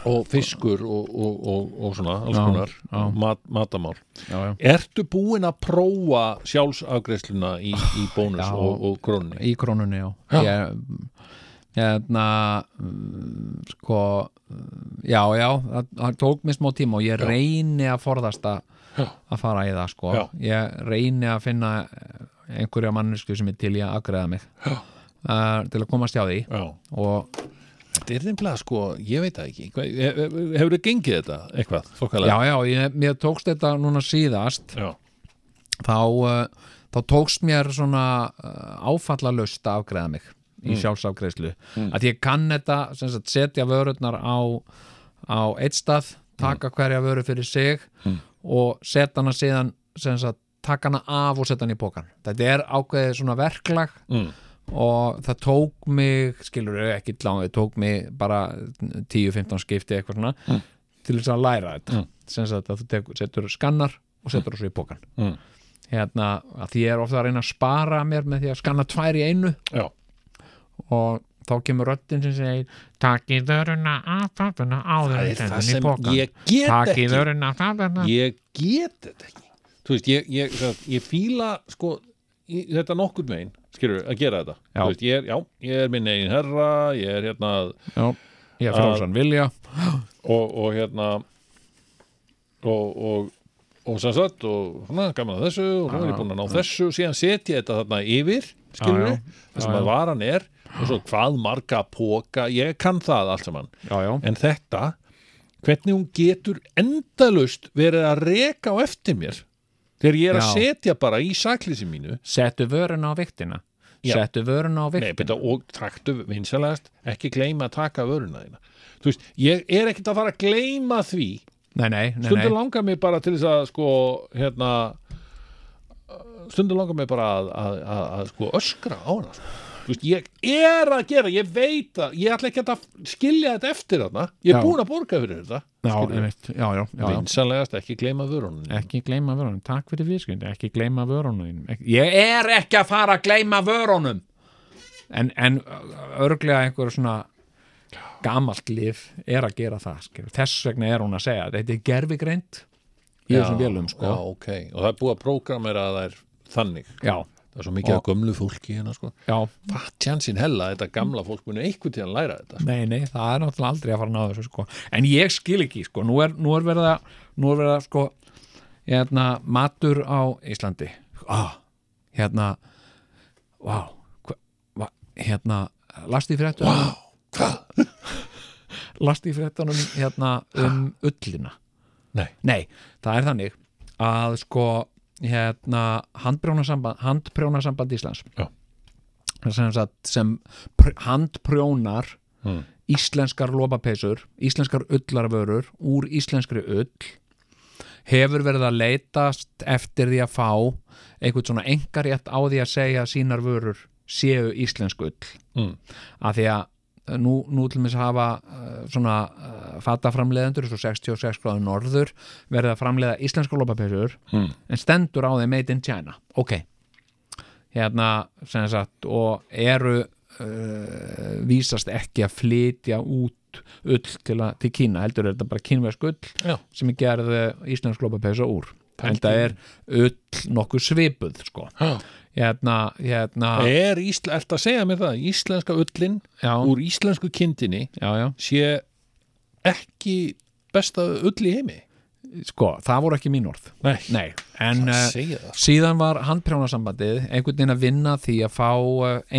Speaker 3: og fiskur og, og, og, og svona alls konar,
Speaker 4: já.
Speaker 3: mat, matamál
Speaker 4: já, já.
Speaker 3: Ertu búin að prófa sjálfsafgreiðsluna í, í bónus
Speaker 4: Já.
Speaker 3: og, og krónni?
Speaker 4: í krónunni, já,
Speaker 3: Já.
Speaker 4: Ég, mm, hérna mm, sko mm, já, já, það, það tók mér smá tíma og ég reyni að forðast að að fara í það, sko
Speaker 3: Já.
Speaker 4: ég reyni að finna einhverja mannesku sem er til í að agreða mig uh, til að komast hjá því
Speaker 3: Já.
Speaker 4: og
Speaker 3: Þetta er nefnilega sko, ég veit það ekki Hvað- he- he- Hefur þið gengið þetta eitthvað? Þokkalega?
Speaker 4: Já, já, ég, mér tókst þetta núna síðast
Speaker 3: Já.
Speaker 4: þá, uh, þá tókst mér svona uh, áfallalust að afgreða mig í sjálfsafgreðslu að ég kann þetta, sem sagt, setja vörurnar á, á eitt stað taka hverja vöru fyrir sig og setja hana síðan sem sagt, taka hana af og setja hana í pókan þetta er ákveðið svona verklag
Speaker 3: Mm.
Speaker 4: og það tók mig skilur þau ekki langt, það tók mig bara 10-15 skipti eitthvað svona til þess að læra þetta mm. sem sagt að þú tekur, setur skannar og setur þessu í bókan
Speaker 3: Mm.
Speaker 4: hérna, að því ég er ofta að reyna að spara mér með því að skanna tvær í einu
Speaker 3: Já.
Speaker 4: og þá kemur röddin sem segir takki vöruna af pappuna áður
Speaker 3: Það
Speaker 4: en
Speaker 3: er það
Speaker 4: sendin í
Speaker 3: sem
Speaker 4: bókan
Speaker 3: ég get
Speaker 4: takki
Speaker 3: ekki
Speaker 4: vöruna af pappuna
Speaker 3: Ég get þetta ekki Þú veist, ég, ég, sem sagt, ég fíla sko, í- þetta nokkur megin skilur að gera þetta
Speaker 4: Já.
Speaker 3: Þú veist, ég, er, já, ég er minn eigin herra ég er hérna að
Speaker 4: Já, ég er frálsan vilja
Speaker 3: og, og hérna og, og, og sem sagt og svona gaman að þessu og nú er ég búin að ná þessu og síðan setja ég þetta þarna yfir skilur
Speaker 4: Já, já.
Speaker 3: við, það sem að varan er og svo hvað marga póka ég kann það allt saman
Speaker 4: já, já,
Speaker 3: en þetta, hvernig hún getur endalust verið að reka á eftir mér þegar ég er að
Speaker 4: Já.
Speaker 3: setja bara í saklísi mínu
Speaker 4: settu vöruna á viktina
Speaker 3: Já.
Speaker 4: settu vöruna á
Speaker 3: Nei,
Speaker 4: viktina
Speaker 3: byrja, og taktu vinsalegast ekki gleyma að taka vöruna þína þú veist, ég er ekkert að fara að gleyma því
Speaker 4: nei, nei, nei, nei.
Speaker 3: stundur langar mig bara til þess að sko hérna stundur langar mig bara að, að, að, að sko öskra á hana sko. Þú veist, ég er að gera, ég veit að ég ætla ekki að skilja þetta eftir hana ég
Speaker 4: Já.
Speaker 3: er búin að borga fyrir þetta
Speaker 4: Já, einmitt, já, já, já, já.
Speaker 3: vinsanlegast ekki gleyma vörunum
Speaker 4: ekki gleyma vörunum, takk fyrir viðskund ekki gleyma vörunum þínum. Ekki- ég er ekki að fara að gleyma vörunum en, en örglega einhver svona gamalt lif er að gera það skilur. þess vegna er hún að segja þetta er gerfigreind í þessum vélum
Speaker 3: já,
Speaker 4: sko.
Speaker 3: ok, og það er búið að prógramera að það er þannig
Speaker 4: já,
Speaker 3: það er svo mikið af gömlu fólki hérna sko
Speaker 4: já,
Speaker 3: fatt tjansin hella að þetta gamla fólk muni einhvern tíðan læra þetta sko.
Speaker 4: nei, nei, það er náttúrulega aldrei að fara að ná þessu sko. en ég skil ekki, sko, nú er, nú er verið að nú er verið að sko hérna, matur á Íslandi ah, hérna vá, hva, va, hérna last í fréttunum wow, last í fréttunum hérna um ullina
Speaker 3: Nei.
Speaker 4: það er þannig að sko hérna, handprjónasamband handprjónasamband Íslands
Speaker 3: Já.
Speaker 4: sem, sagt, sem pr handprjónar
Speaker 3: Mm.
Speaker 4: íslenskar lopapeysur íslenskar ullarvörur úr íslenskri ull hefur verið að leitast eftir því að fá einhvern svona engarétt á því að segja að sínar vörur séu íslensk ull
Speaker 3: Mm.
Speaker 4: að því að eh, nú, nú til mér hafa uh, svona uh, fataframleiðendur eins og 66 gráður norður verið að framleiða íslenska lopapesur
Speaker 3: Mm.
Speaker 4: en stendur á þeim made in China ok hérna sem sagt og eru uh, vísast ekki að flytja út ull til, að, til Kína heldur er þetta bara kínversk ull
Speaker 3: Já.
Speaker 4: sem er gerð uh, íslensk lopapesa úr en
Speaker 3: Pældi
Speaker 4: það er ull nokkuð svipuð sko
Speaker 3: Já.
Speaker 4: hérna, hérna
Speaker 3: er Ísla, ert að segja mér það íslenska ullin
Speaker 4: já,
Speaker 3: úr íslensku kindinni
Speaker 4: já, já
Speaker 3: sé ekki besta ull í heimi
Speaker 4: sko, það voru ekki mín orð
Speaker 3: Nei,
Speaker 4: Nei, en
Speaker 3: að
Speaker 4: uh,
Speaker 3: segja það
Speaker 4: síðan var handprjónasambandið einhvern veginn að vinna því að fá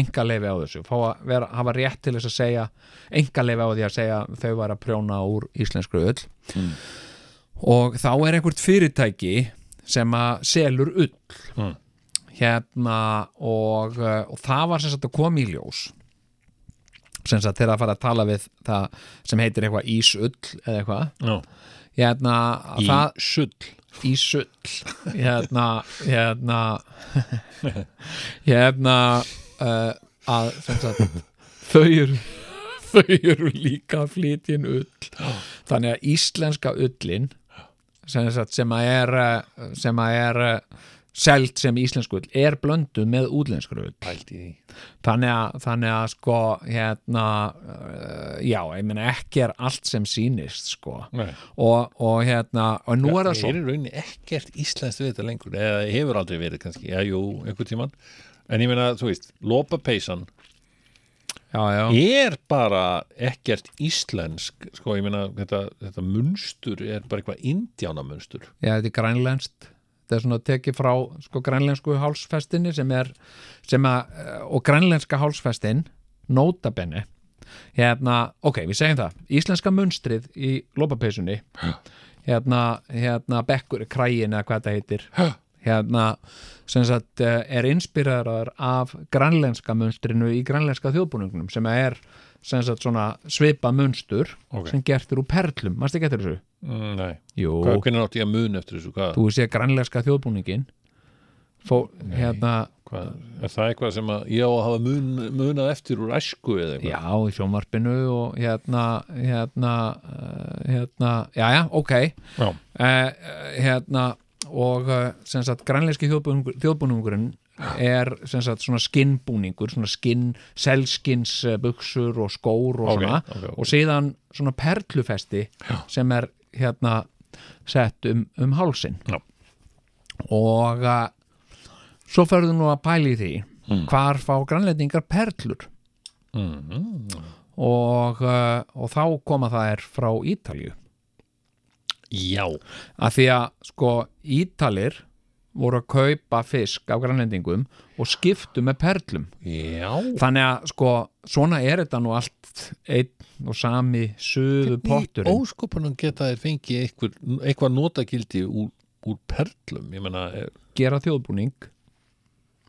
Speaker 4: engaleifi á þessu, fá að vera, hafa rétt til þess að segja, engaleifi á því að segja þau var að prjóna úr íslensku ull
Speaker 3: Mm.
Speaker 4: og þá er einhvert fyrirtæki sem að selur ull
Speaker 3: Mm.
Speaker 4: hérna og, uh, og það var sem sagt að koma í ljós sem sagt þegar að fara að tala við það sem heitir eitthvað ísull eða eitthvað
Speaker 3: Já.
Speaker 4: hérna,
Speaker 3: í
Speaker 4: það,
Speaker 3: sull
Speaker 4: í sull hérna hérna hérna uh, að sem sagt þau eru þau eru líka flytjinn ull þannig að íslenska ullin sem, sagt, sem að er uh, sem að er uh, selt sem íslensku ull er blöndu með útlensku ull
Speaker 3: Pældi í því
Speaker 4: þannig að, þannig að sko hérna uh, já, ég meina ekki er allt sem sýnist sko
Speaker 3: Nei.
Speaker 4: og, og hérna og nú er það svo
Speaker 3: er í rauninni ekkert íslenskt við þetta lengur eða hefur aldrei verið kannski, já, jú, einhvern tímann en ég meina, þú veist, lopapeysan
Speaker 4: já, já.
Speaker 3: er bara ekkert íslensk sko, ég meina, þetta, þetta munstur er bara eitthvað indjánamunstur
Speaker 4: Já, þetta er grænlenskt þetta er svona tekið frá sko, grænlensku hálsfestinni sem er sem að, eh, og grænlenska hálsfestin nótabenni hérna, ok, við segjum það íslenska munstrið í lopapeysunni hérna, hérna bekkur, kræin eða hvað þetta heitir hérna, sem sagt eh, er inspiraðar af grænlenska munstrinu í grænlenska þjóðbúningnum sem er sem sagt svona svipa munstur
Speaker 3: Ok.
Speaker 4: sem gertur úr perlum, mannstu getur þessu?
Speaker 3: mm, Nei,
Speaker 4: Jú,
Speaker 3: Hvað, hvernig átti ég að mun eftir þessu, hvað,
Speaker 4: þú sé grannlegska þjóðbúningin fó, hérna
Speaker 3: hvað er það eitthvað sem að ég á að hafa mun, munað eftir úr æsku eða eitthvað
Speaker 4: já, í sjónvarpinu og hérna hérna, uh, hérna já, já, ok
Speaker 3: Já.
Speaker 4: Eh, hérna og eh, sem sagt grannlegski þjóðbúningur, þjóðbúningurinn er sem sagt svona skinnbúningur svona skinn, selskins buksur og skór og
Speaker 3: Ok,
Speaker 4: svona
Speaker 3: ok, ok.
Speaker 4: og síðan svona perlufesti já. sem er hérna sett um, um hálsin
Speaker 3: Já.
Speaker 4: og eh, svo ferðu nú að pæli því
Speaker 3: Mm.
Speaker 4: hvar fá grannlendingar perlur
Speaker 3: Mhm.
Speaker 4: og, eh, og þá koma það er frá Ítalju
Speaker 3: Já,
Speaker 4: að því að sko Ítalir voru að kaupa fisk af grannlendingum og skiptu með perlum
Speaker 3: já
Speaker 4: þannig að sko svona er þetta nú allt einn og sami suðu
Speaker 3: Í
Speaker 4: potturinn
Speaker 3: óskopunum geta þeir fengið eitthvað, eitthvað notagildi úr, úr perlum ég meina, er,
Speaker 4: gera þjóðbúning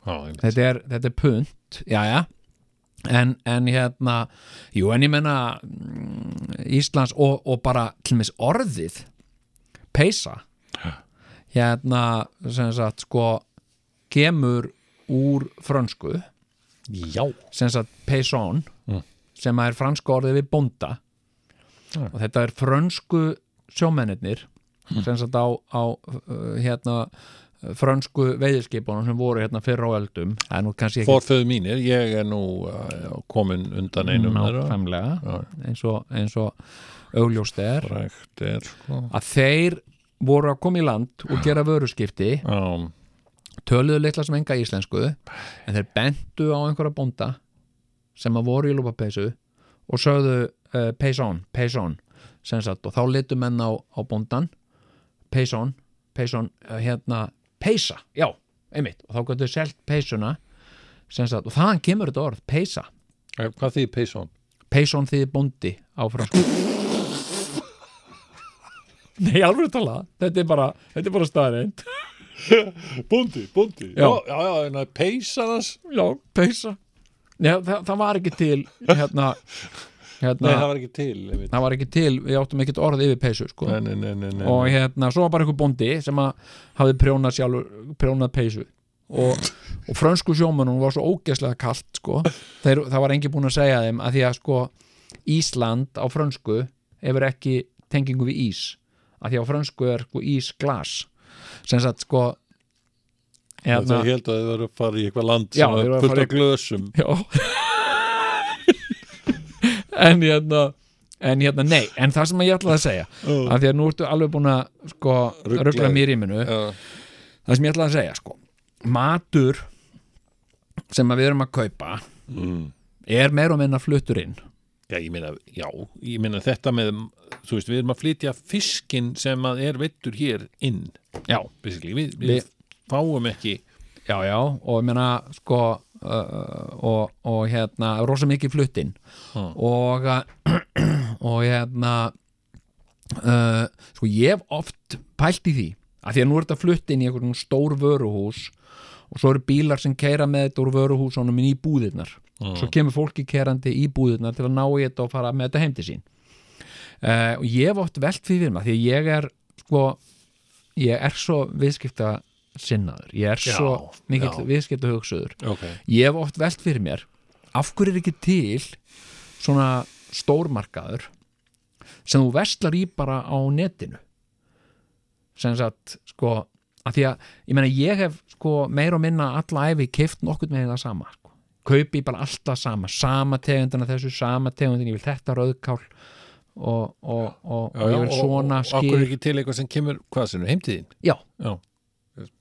Speaker 3: á, ég,
Speaker 4: þetta er, þetta er punt jæja En, en hérna, jú en ég menna Íslands og, og bara tlumist orðið peysa hérna sem sagt sko kemur úr frönsku
Speaker 3: já,
Speaker 4: sem sagt peyson
Speaker 3: Mm.
Speaker 4: sem að er franska orðið við bónda
Speaker 3: Ja.
Speaker 4: og þetta er frönsku sjómennirnir
Speaker 3: Mm.
Speaker 4: sem sagt á, á uh, hérna frönsku veiðiskipunum sem voru hérna fyrr á öldum það er nú kannski ekki
Speaker 3: forföðu mínir ég er nú uh, komin undan einum þeirra
Speaker 4: nákvæmlega eins og, eins og augljóst er
Speaker 3: frækt er sko
Speaker 4: að þeir voru að koma í land og gera vöruskipti
Speaker 3: já,
Speaker 4: töluðu litla sem enga íslensku en þeir bentu á einhverja bónda sem að voru í lúpapeysu og sögðu uh, peyson, peyson sem sagt og þá litu menn á, á bóndan peyson, peyson uh, hérna, peysa, já einmitt, og þá gætu þau selt peysuna sem sagt, og þaðan kemur þetta orð, peysa
Speaker 3: Eh, hvað því peyson?
Speaker 4: peyson þýði bóndi á fransku Nei, alveg tala, þetta er bara, þetta er bara staðreind
Speaker 3: Búndi, búndi
Speaker 4: Já.
Speaker 3: Já, já, já, en að peysa þess
Speaker 4: já, peysa já, það, það var ekki til hérna,
Speaker 3: Nei, það
Speaker 4: hérna það, var...
Speaker 3: var ekki til einmitt.
Speaker 4: ekki til, við áttum ekkert orð yfir peysu sko.
Speaker 3: Nei, nei, nei, nei, nei.
Speaker 4: og hérna, svo var bara einhver bóndi sem að hafði prjónað sjálfur, prjónað peysu og, og frönsku sjómanum var svo ógeðslega kalt sko. Þeir, það var engin búin að segja þeim að því að sko Ísland á frönsku hefur ekki tengingu við ís að því á frönsku er sko ísglas sem sagt sko
Speaker 3: Þetta ég held að þið verður að fara í eitthvað land
Speaker 4: hérna- Já,
Speaker 3: sem
Speaker 4: þeir voru
Speaker 3: var
Speaker 4: að
Speaker 3: fullt
Speaker 4: fara í-
Speaker 3: af glösum
Speaker 4: Já En hérna En hérna, nei, en það sem ég ætlaði að segja
Speaker 3: Já.
Speaker 4: af því að nú ertu alveg búin að sko,
Speaker 3: Rugla
Speaker 4: ruggla
Speaker 3: þig.
Speaker 4: mér í minu
Speaker 3: Já.
Speaker 4: það sem ég ætlaði að segja sko, matur sem að við erum að kaupa
Speaker 3: Mm.
Speaker 4: er meir og minna fluttur inn
Speaker 3: Já, ég meina, já, ég meina þetta með þú veist, við erum að flytja fiskinn sem að er veittur hér inn
Speaker 4: Já,
Speaker 3: basically, við, við
Speaker 4: Við-
Speaker 3: fáum ekki
Speaker 4: já, já og ég meina sko uh, og, og hérna, rosa mikið flutt inn
Speaker 3: Já.
Speaker 4: og uh, og hérna uh, sko ég hef oft pælt í því að því að nú er þetta flutt inn í einhvern stór vöruhús og svo eru bílar sem keira með þetta úr vöruhúsunum inn í búðirnar
Speaker 3: Mm.
Speaker 4: svo kemur fólki kerandi í búðirnar til að ná í þetta og fara með þetta heim til sín uh, og ég hef oft velt því fyrir maður því að ég er sko ég er svo viðskipta sinnaður ég er
Speaker 3: Já,
Speaker 4: svo mikill
Speaker 3: já.
Speaker 4: viðskipta hugsuður
Speaker 3: okay.
Speaker 4: ég hef oft velt fyrir mér af hverju er ekki til svona stórmarkaður sem þú vestlar í bara á netinu sem sagt sko að því að ég meina ég hef sko meir og minna alla æfi keift nokkurn með það sama sko. kaupi bara alltaf sama sama tegundina þessu, sama tegundina ég vil þetta rauðkál og, og, og, og ég vil svona
Speaker 3: og okkur er
Speaker 4: skil
Speaker 3: ekki til eitthvað sem kemur hvað sem er heimtíðin
Speaker 4: já,
Speaker 3: já.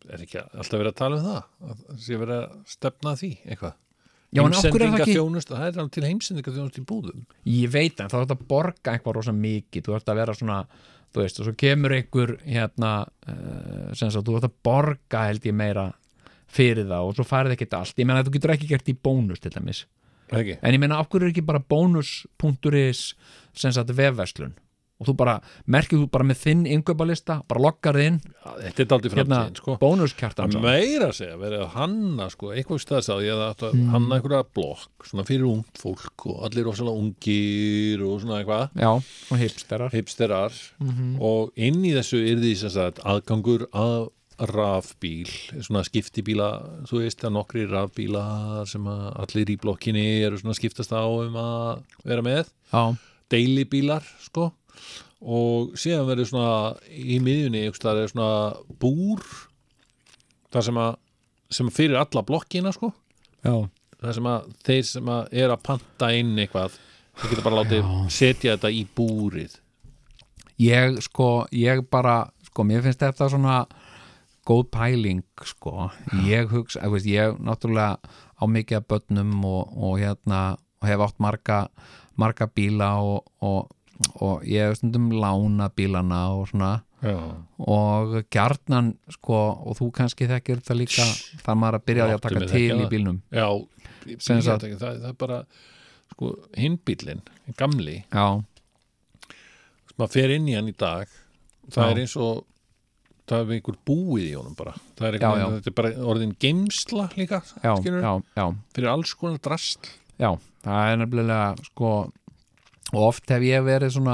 Speaker 3: er ekki alltaf verið að tala um það að það sé verið að stefna að því eitthvað
Speaker 4: já en okkur er það ekki
Speaker 3: þjónust, það er alveg til heimsendinga þjónust í búðum
Speaker 4: ég veit það, þá er þetta að borga eitthvað rosa mikið, þú ert að vera svona þú veist, og svo kemur einhver hérna, uh, sem sagt, þú ert að borga held ég meira fyrir það og svo færið ekkert allt, ég meina að þú getur ekki gert í bónus til dæmis,
Speaker 3: ekki.
Speaker 4: en ég meina af hverju er ekki bara bónus.is sem sagt vefverslun og þú bara, merkir þú bara með þinn yngöpalista, bara loggar þinn,
Speaker 3: Já, þetta er daldið
Speaker 4: hérna,
Speaker 3: framtíðin sko.
Speaker 4: bónuskjartan
Speaker 3: að meira að segja, verið að hanna sko, eitthvað stæðs að ég að mm. hanna einhverja blokk, svona fyrir ungt fólk og allir rosalega ungir og svona eitthvað
Speaker 4: já, og hipsterar
Speaker 3: hipsterar og inn í þessu er því sem sagt aðgangur að rafbíl, svona skiptibíla þú veist að nokkri rafbílar sem að allir í blokkinni eru svona að skiptast á um að vera með
Speaker 4: já,
Speaker 3: deilibílar sko og síðan verður svona í miðjunni einhvers staðar er svona búr þar sem að sem fyrir alla blokkina sko
Speaker 4: já,
Speaker 3: þar sem að þeir sem að er að panta inn eitthvað þeir geta bara látið setja þetta í búrið
Speaker 4: ég sko, ég bara sko, mér finnst þetta svona góð pæling sko ég hugsa, ég, veist, ég náttúrulega á mikið af börnum og, og hérna og hef átt marga, marga bíla og, og, og ég hef stundum lána bílana og svona
Speaker 3: Já,
Speaker 4: og gjarnan sko og þú kannski þekkir þetta líka þar maður að byrja á því að
Speaker 3: Láttu
Speaker 4: taka
Speaker 3: mig
Speaker 4: til
Speaker 3: þekkja
Speaker 4: í
Speaker 3: það.
Speaker 4: bílnum
Speaker 3: já
Speaker 4: Sem sagt-
Speaker 3: bílatæki, það, það er bara sko hinbílinn, gamli
Speaker 4: já,
Speaker 3: sem að fer inn í hann í dag það
Speaker 4: Já.
Speaker 3: er eins og það er einhver búið í honum bara það er,
Speaker 4: Já,
Speaker 3: já,
Speaker 4: já.
Speaker 3: Þetta er bara orðin geimsla líka
Speaker 4: já,
Speaker 3: skilurðu,
Speaker 4: já, já
Speaker 3: fyrir alls konar drast
Speaker 4: Já, það er nefnilega sko og oft hef ég verið svona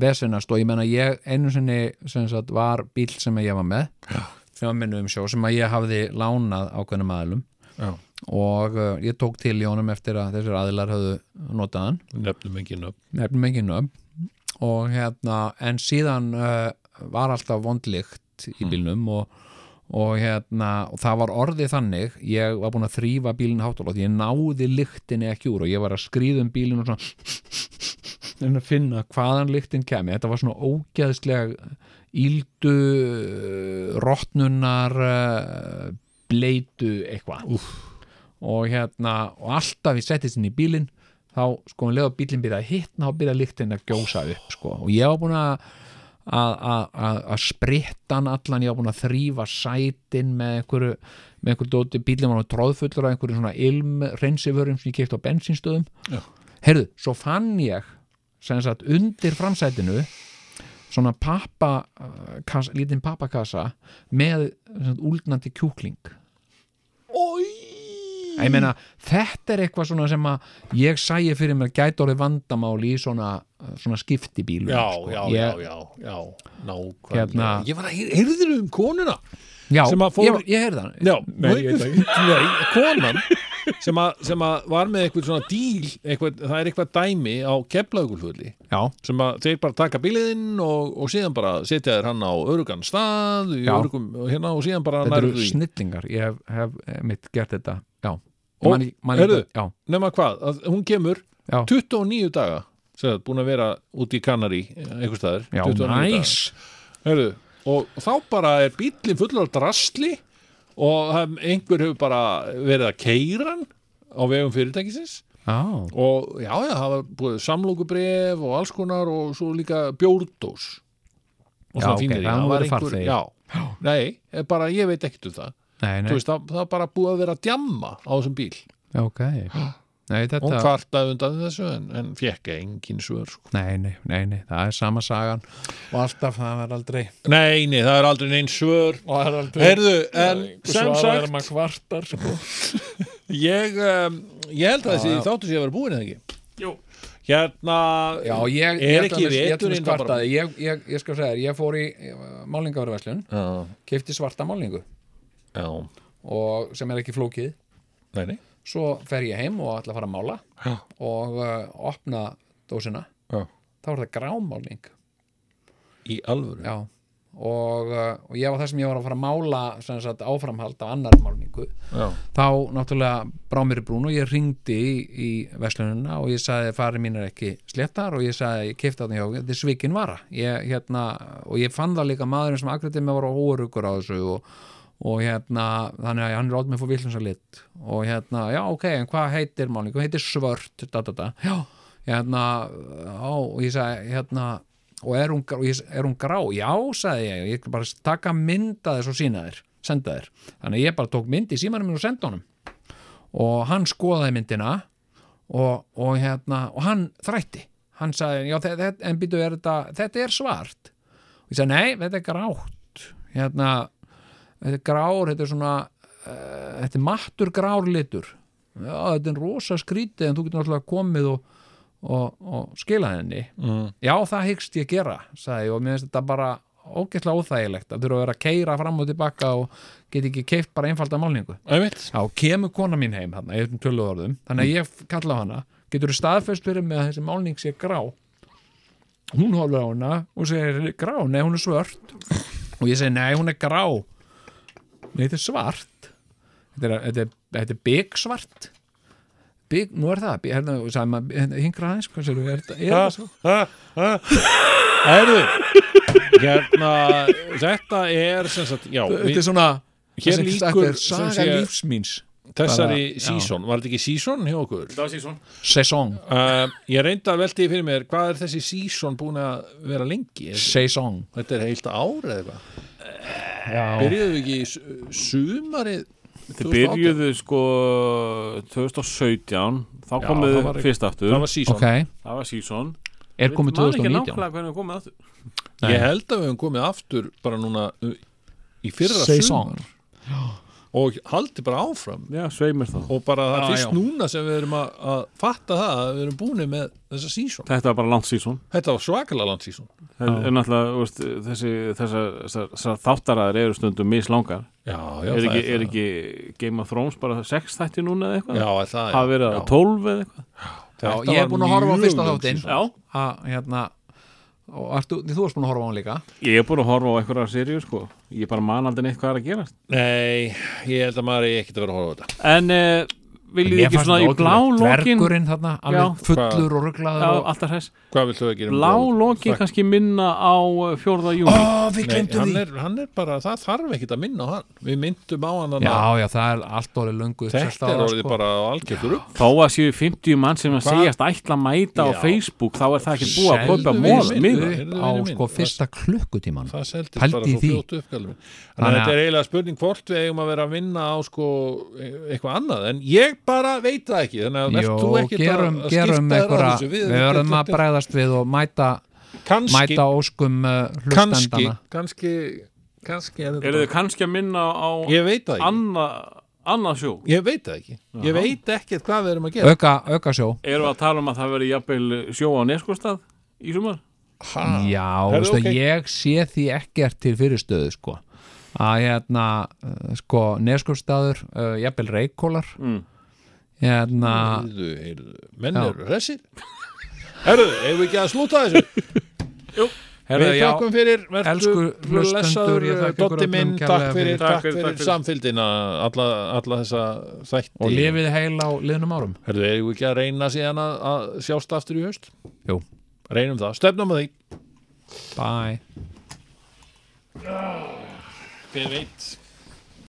Speaker 4: vesenast og ég menna ég einu sinni sem sagt var bíl sem ég var með sem var minnum sjó sem að ég hafði lánað ákveðnum aðilum
Speaker 3: já.
Speaker 4: og uh, ég tók til í honum eftir að þessir aðilar höfðu notað hann
Speaker 3: nefnum ekki nöfn
Speaker 4: nefnum ekki nöfn og hérna en síðan uh, var alltaf vondlikt í bílnum og, og hérna og það var orðið þannig ég var búin að þrýfa bílinn hátalótt ég náði lyktinni ekki úr og ég var að skríða um bílinn og svona en að finna hvaðan lyktin kemi þetta var svona ógeðslega íldu uh, rottnunar uh, bleitu eitthvað Úf. og hérna og alltaf ég settist inn í bílinn þá sko um leið og bílinn byrja að hittna þá byrja lyktin að gjósa upp sko og ég var búin að að- að að- að spritta hann allan ég var búin að þrýfa sætin með einhverju, með einhverju dóti bílinn var tróðfullur af einhverju svona ilm reynsiförum sem ég keipt á bensinstöðum
Speaker 3: Já.
Speaker 4: heyrðu, svo fann ég sem sagt undir framsætinu svona pappa uh, kas, lítinn pappakassa með svona, úlnandi kjúkling Ói Ég meina, þetta er eitthvað svona sem að ég sæi fyrir mér gæti orðið vandamáli í svona, eh, svona skiptibílu
Speaker 3: já,
Speaker 4: sko.
Speaker 3: já,
Speaker 4: ég,
Speaker 3: já, já, já, nákvæmlega
Speaker 4: Hérna-
Speaker 3: Ég var að heyrðir um konuna
Speaker 4: já,
Speaker 3: sem að fór-
Speaker 4: ég, ég heyrði það
Speaker 3: Já, nei, ég veit ekki Nei, konan sem, að, sem að var með eitthvað svona díl eitthvað, það er eitthvað dæmi á keflaugulfulli
Speaker 4: Já,
Speaker 3: sem að þeir bara taka bíliðinn og, og síðan bara setja þér hann á örugan stað í
Speaker 4: Já.
Speaker 3: örugum, hérna, og síðan bara
Speaker 4: þetta
Speaker 3: nærðu
Speaker 4: eru
Speaker 3: því.
Speaker 4: snillingar ég hef, hef eh, mitt gert þetta já,
Speaker 3: Ó,
Speaker 4: man, ekki- man, ekki-
Speaker 3: heyrðu.
Speaker 4: já,
Speaker 3: nema hvað, að hún kemur
Speaker 4: Já.
Speaker 3: 29 daga sem búin að vera út í Kanari einhver staðar,
Speaker 4: já
Speaker 3: 29
Speaker 4: næs
Speaker 3: daga. Heyrðu, og þá bara er bíllinn fullur af drasli og það- einhver hefur bara verið að keira hann á vegum fyrirtækisins
Speaker 4: já,
Speaker 3: og já, já, það var búið samlókubref og alls konar og svo líka bjórdós og
Speaker 4: Já,
Speaker 3: svona
Speaker 4: ok,
Speaker 3: fínir í.
Speaker 4: það
Speaker 3: var
Speaker 4: voru
Speaker 3: einhver-
Speaker 4: farþegir.
Speaker 3: já, nei, eh, bara ég veit ekkert um það
Speaker 4: nei,
Speaker 3: Þú
Speaker 4: nei,
Speaker 3: veist, það, það er bara búið að vera að djamma á þessum bíl
Speaker 4: ok nei,
Speaker 3: og
Speaker 4: þetta,
Speaker 3: kvartaði undan þessu en, en fekk engin svör sko.
Speaker 4: nei, nei, nei, nei það er sama sagan og alltaf það verður aldrei
Speaker 3: nei, nei, það er aldrei neinn svör
Speaker 4: og það er aldrei
Speaker 3: heyrðu, en sem sagt
Speaker 4: maður kvartar sko.
Speaker 3: ég, um, ég held að þessi þáttu sé að vera búin eða ekki
Speaker 5: Jú.
Speaker 3: hérna,
Speaker 4: já,
Speaker 3: Er
Speaker 4: ég, ég,
Speaker 3: ekki
Speaker 4: til dæmis- ég, til
Speaker 3: veturinn
Speaker 4: dæmis
Speaker 3: þá bara-
Speaker 4: kvartaði. ég, ég, ég skal segja þér, ég fór í málingavörverslun,
Speaker 3: já,
Speaker 4: kefti svarta málingu
Speaker 3: já,
Speaker 4: og sem er ekki flókið
Speaker 3: nei, nei
Speaker 4: svo fer ég heim og ætla að fara að mála Já. og uh, opna dósina
Speaker 3: Já.
Speaker 4: þá er það grámálning
Speaker 3: í alvöru,
Speaker 4: Já. Og, uh, og ég var það sem ég var að fara að mála sem sagt, áframhald af annar málningu
Speaker 3: já,
Speaker 4: þá náttúrulega brá mér í brún og ég ringdi í, í veslununa og ég sagði farið mín er ekki sléttar og ég sagði ég keifti á því hjá, þetta er svikin vara ég, hérna, og ég fann það líka maðurinn sem akkuratið með var óurugur á þessu og, og hérna, þannig að hann ráð mig fór villins að lit og hérna, já ok, en hvað heitir málning hvað heitir svört, da da da já, hérna, á, og ég sagði hérna, og er hún, gr- og ég, er hún grá? Já, sagði ég, ég ætla bara að taka mynd að þess og sína þér, senda þér. Þannig að ég bara tók mynd í símanum minn og senda honum. Og hann skoðaði myndina og, og, hérna, og hann þrætti. Hann sagði, já, þetta, en býtu, er þetta, þetta er svart. Og ég sagði, nei, þetta er grátt. Hérna, þetta er grár, þetta er svona, uh, þetta er mattur grár litur. Já, þetta er rosa skrítið en þú getur náttúrulega komið og, og, og skilað henni já það hyggst ég gera sagði, ég og mér finnst þetta bara ógeðslega óþægilegt að þurfa að vera að keira fram og tilbaka og get ekki keift bara einfalda málningu
Speaker 3: einmitt
Speaker 4: þá kemur kona mín heim þarna, ég er um töluð orðum þannig að ég kalla á hana, getur þú staðfest fyrir með að þessi málning sé grá hún horfir á hana og segir grá, nei hún er svört og ég segi nei hún er grá nei þetta er svart þetta er, þetta er, þetta er byggsvart Bygg, nú er það, hérna, sagði maður, hérna, hingra aðeins, hvað sér, er þetta, er þetta
Speaker 3: sko.
Speaker 4: svo?
Speaker 3: Æru, hérna, þetta er sem sagt, já,
Speaker 4: þetta
Speaker 3: við,
Speaker 4: er svona
Speaker 3: Hér
Speaker 4: þessi-
Speaker 3: lýkur,
Speaker 4: þetta er
Speaker 3: sem
Speaker 4: saga
Speaker 3: sé-
Speaker 4: lífs míns
Speaker 3: þessari
Speaker 4: bara- já.
Speaker 3: sísón, var þetta ekki sísón hjá okkur?
Speaker 5: Það var sér svona
Speaker 4: sesong,
Speaker 3: Uh, ég reynda að velti því fyrir mér, hvað er þessi sísón búin að vera lengi? Er,
Speaker 4: sesong
Speaker 3: þetta er heilt ár eða eitthvað?
Speaker 4: já,
Speaker 3: Byrjuðu ekki í su- sumarið?
Speaker 5: Þið
Speaker 3: 2018.
Speaker 5: byrjuðu sko 2017 Þá
Speaker 3: það
Speaker 5: komuðu
Speaker 3: var-
Speaker 5: fyrst aftur
Speaker 3: Það var sísón.
Speaker 4: ok
Speaker 5: Það var sísón
Speaker 4: er komið
Speaker 5: Man ekki
Speaker 4: 2019
Speaker 5: nákvæmlega hvernig við komið aftur
Speaker 3: Ég held að við höfum komið aftur bara núna uh, í fyrra
Speaker 4: sesong,
Speaker 3: sumar og haldi bara áfram
Speaker 5: Já, sveimir þá
Speaker 3: og bara það er
Speaker 4: Já,
Speaker 3: fyrst
Speaker 4: já.
Speaker 3: núna sem við erum að, að fatta það að við erum búinir með þessa sísón.
Speaker 5: Þetta var bara langt sísón
Speaker 3: Þetta var svakalega langt sísón.
Speaker 5: En náttúrulega, þú veist, þessi, þessar, þessar, þessar þáttaraðar eru stundum mislangar
Speaker 3: Já, já,
Speaker 5: er,
Speaker 3: það
Speaker 5: ekki,
Speaker 3: það.
Speaker 5: er ekki Game of Thrones bara sex þætti núna eða eitthvað?
Speaker 3: Já, er það
Speaker 5: Hafa verið að 12 eða eitthvað?
Speaker 4: já,
Speaker 3: Þetta
Speaker 4: ég
Speaker 3: var
Speaker 4: er búin að horfa á
Speaker 3: mjög
Speaker 4: fyrsta
Speaker 3: löng
Speaker 4: þáttinn
Speaker 5: Já,
Speaker 4: að hérna og ertu, þú varst búin að horfa á hann líka
Speaker 5: ég er búin að horfa á einhverja seríu sko Ég bara man aldrei neitt hvað er að gerast
Speaker 3: Nei, ég held að maður er ekkert að vera að horfa á þetta
Speaker 5: En eh, viljið þið ekki svona í blá lokin
Speaker 4: verkurinn þarna, alveg
Speaker 5: Já.
Speaker 4: fullur
Speaker 5: Já,
Speaker 4: og rugglaður og
Speaker 5: alltaf hress
Speaker 3: Hvað vill þú að gera um
Speaker 5: Blá
Speaker 3: blóð?
Speaker 5: lokin kannski minna á eh, 4. júni
Speaker 3: Ah.
Speaker 4: Ó, við
Speaker 3: Nei,
Speaker 4: glemdum
Speaker 3: hann
Speaker 4: því
Speaker 3: er, hann er bara, það þarf ekkert að minna á hann Við myndum á hann hann
Speaker 4: já,
Speaker 3: að
Speaker 4: já, það er allt orðið lungu
Speaker 3: Þetta er
Speaker 4: sko.
Speaker 3: sko- orðið bara á algjörður upp
Speaker 5: Þó að séu 50 mann sem að
Speaker 3: Hva?
Speaker 5: segjast ætla að mæta á
Speaker 3: Já.
Speaker 5: Facebook þá er það ekki búið að kaupa
Speaker 3: Seldu
Speaker 5: móð
Speaker 3: við-
Speaker 5: miða.
Speaker 3: við-
Speaker 4: á sko fyrsta klukkutíman
Speaker 3: Það seldist
Speaker 4: Pældu
Speaker 3: bara
Speaker 4: í
Speaker 3: svo
Speaker 4: því.
Speaker 3: fljótt upp kallum. Þannig að
Speaker 4: Þannig að-
Speaker 3: þetta er eiginlega spurning hvort við eigum að vera að vinna á sko eitthvað annað En ég bara veit það ekki Þannig að
Speaker 4: Jó,
Speaker 3: verð þú ekkert að-
Speaker 4: gerum,
Speaker 3: að
Speaker 4: gerum
Speaker 3: skipta þér að
Speaker 4: einhverja
Speaker 3: þessu
Speaker 4: við verðum að bregðast við og mæta
Speaker 3: kannski,
Speaker 4: mæta óskum uh,
Speaker 3: kannski,
Speaker 4: hlustendana
Speaker 3: kannski, kannski er
Speaker 5: Eru
Speaker 3: þetta,
Speaker 5: þið kannski að minna á
Speaker 3: ég veit það ekki,
Speaker 5: anna- annað sjó?
Speaker 3: ég veit það ekki, ég veit ekkert hvað við erum að gera.
Speaker 4: auka, auka sjó
Speaker 5: Eru að tala um að það veri jafnvel sjó á neskostað í sumar?
Speaker 4: Ah,
Speaker 3: Ha.
Speaker 4: Já,
Speaker 3: Herðu,
Speaker 4: veistu,
Speaker 3: ok.
Speaker 4: ég sé því ekkert til fyrirstöðu sko að hérna, uh, sko, neskjöfstaður uh, jafnvel reykólar mm. hérna,
Speaker 3: Heyrðu, heyrðu, menn eru hressir Herðu, hefur við ekki að slúta þessu?
Speaker 4: Herðu,
Speaker 3: við
Speaker 4: já,
Speaker 3: þakkum fyrir, verður
Speaker 4: elsku hlustendur, ég þakka ykkur
Speaker 3: Dotti
Speaker 4: öllum
Speaker 3: minn,
Speaker 4: kærlega
Speaker 3: takk
Speaker 4: fyrir.
Speaker 3: fyrir,
Speaker 5: Takk
Speaker 3: takk
Speaker 5: fyrir,
Speaker 3: fyrir
Speaker 5: takk fyrir.
Speaker 3: samfylgdina alla, alla þessa þætti
Speaker 4: og lifið heil á liðnum árum
Speaker 3: Herðu, hefur við ekki að reyna síðan að, að sjást aftur í haust?
Speaker 4: Jú,
Speaker 3: Reynum það, stefnum að því
Speaker 4: bye
Speaker 3: Hver veit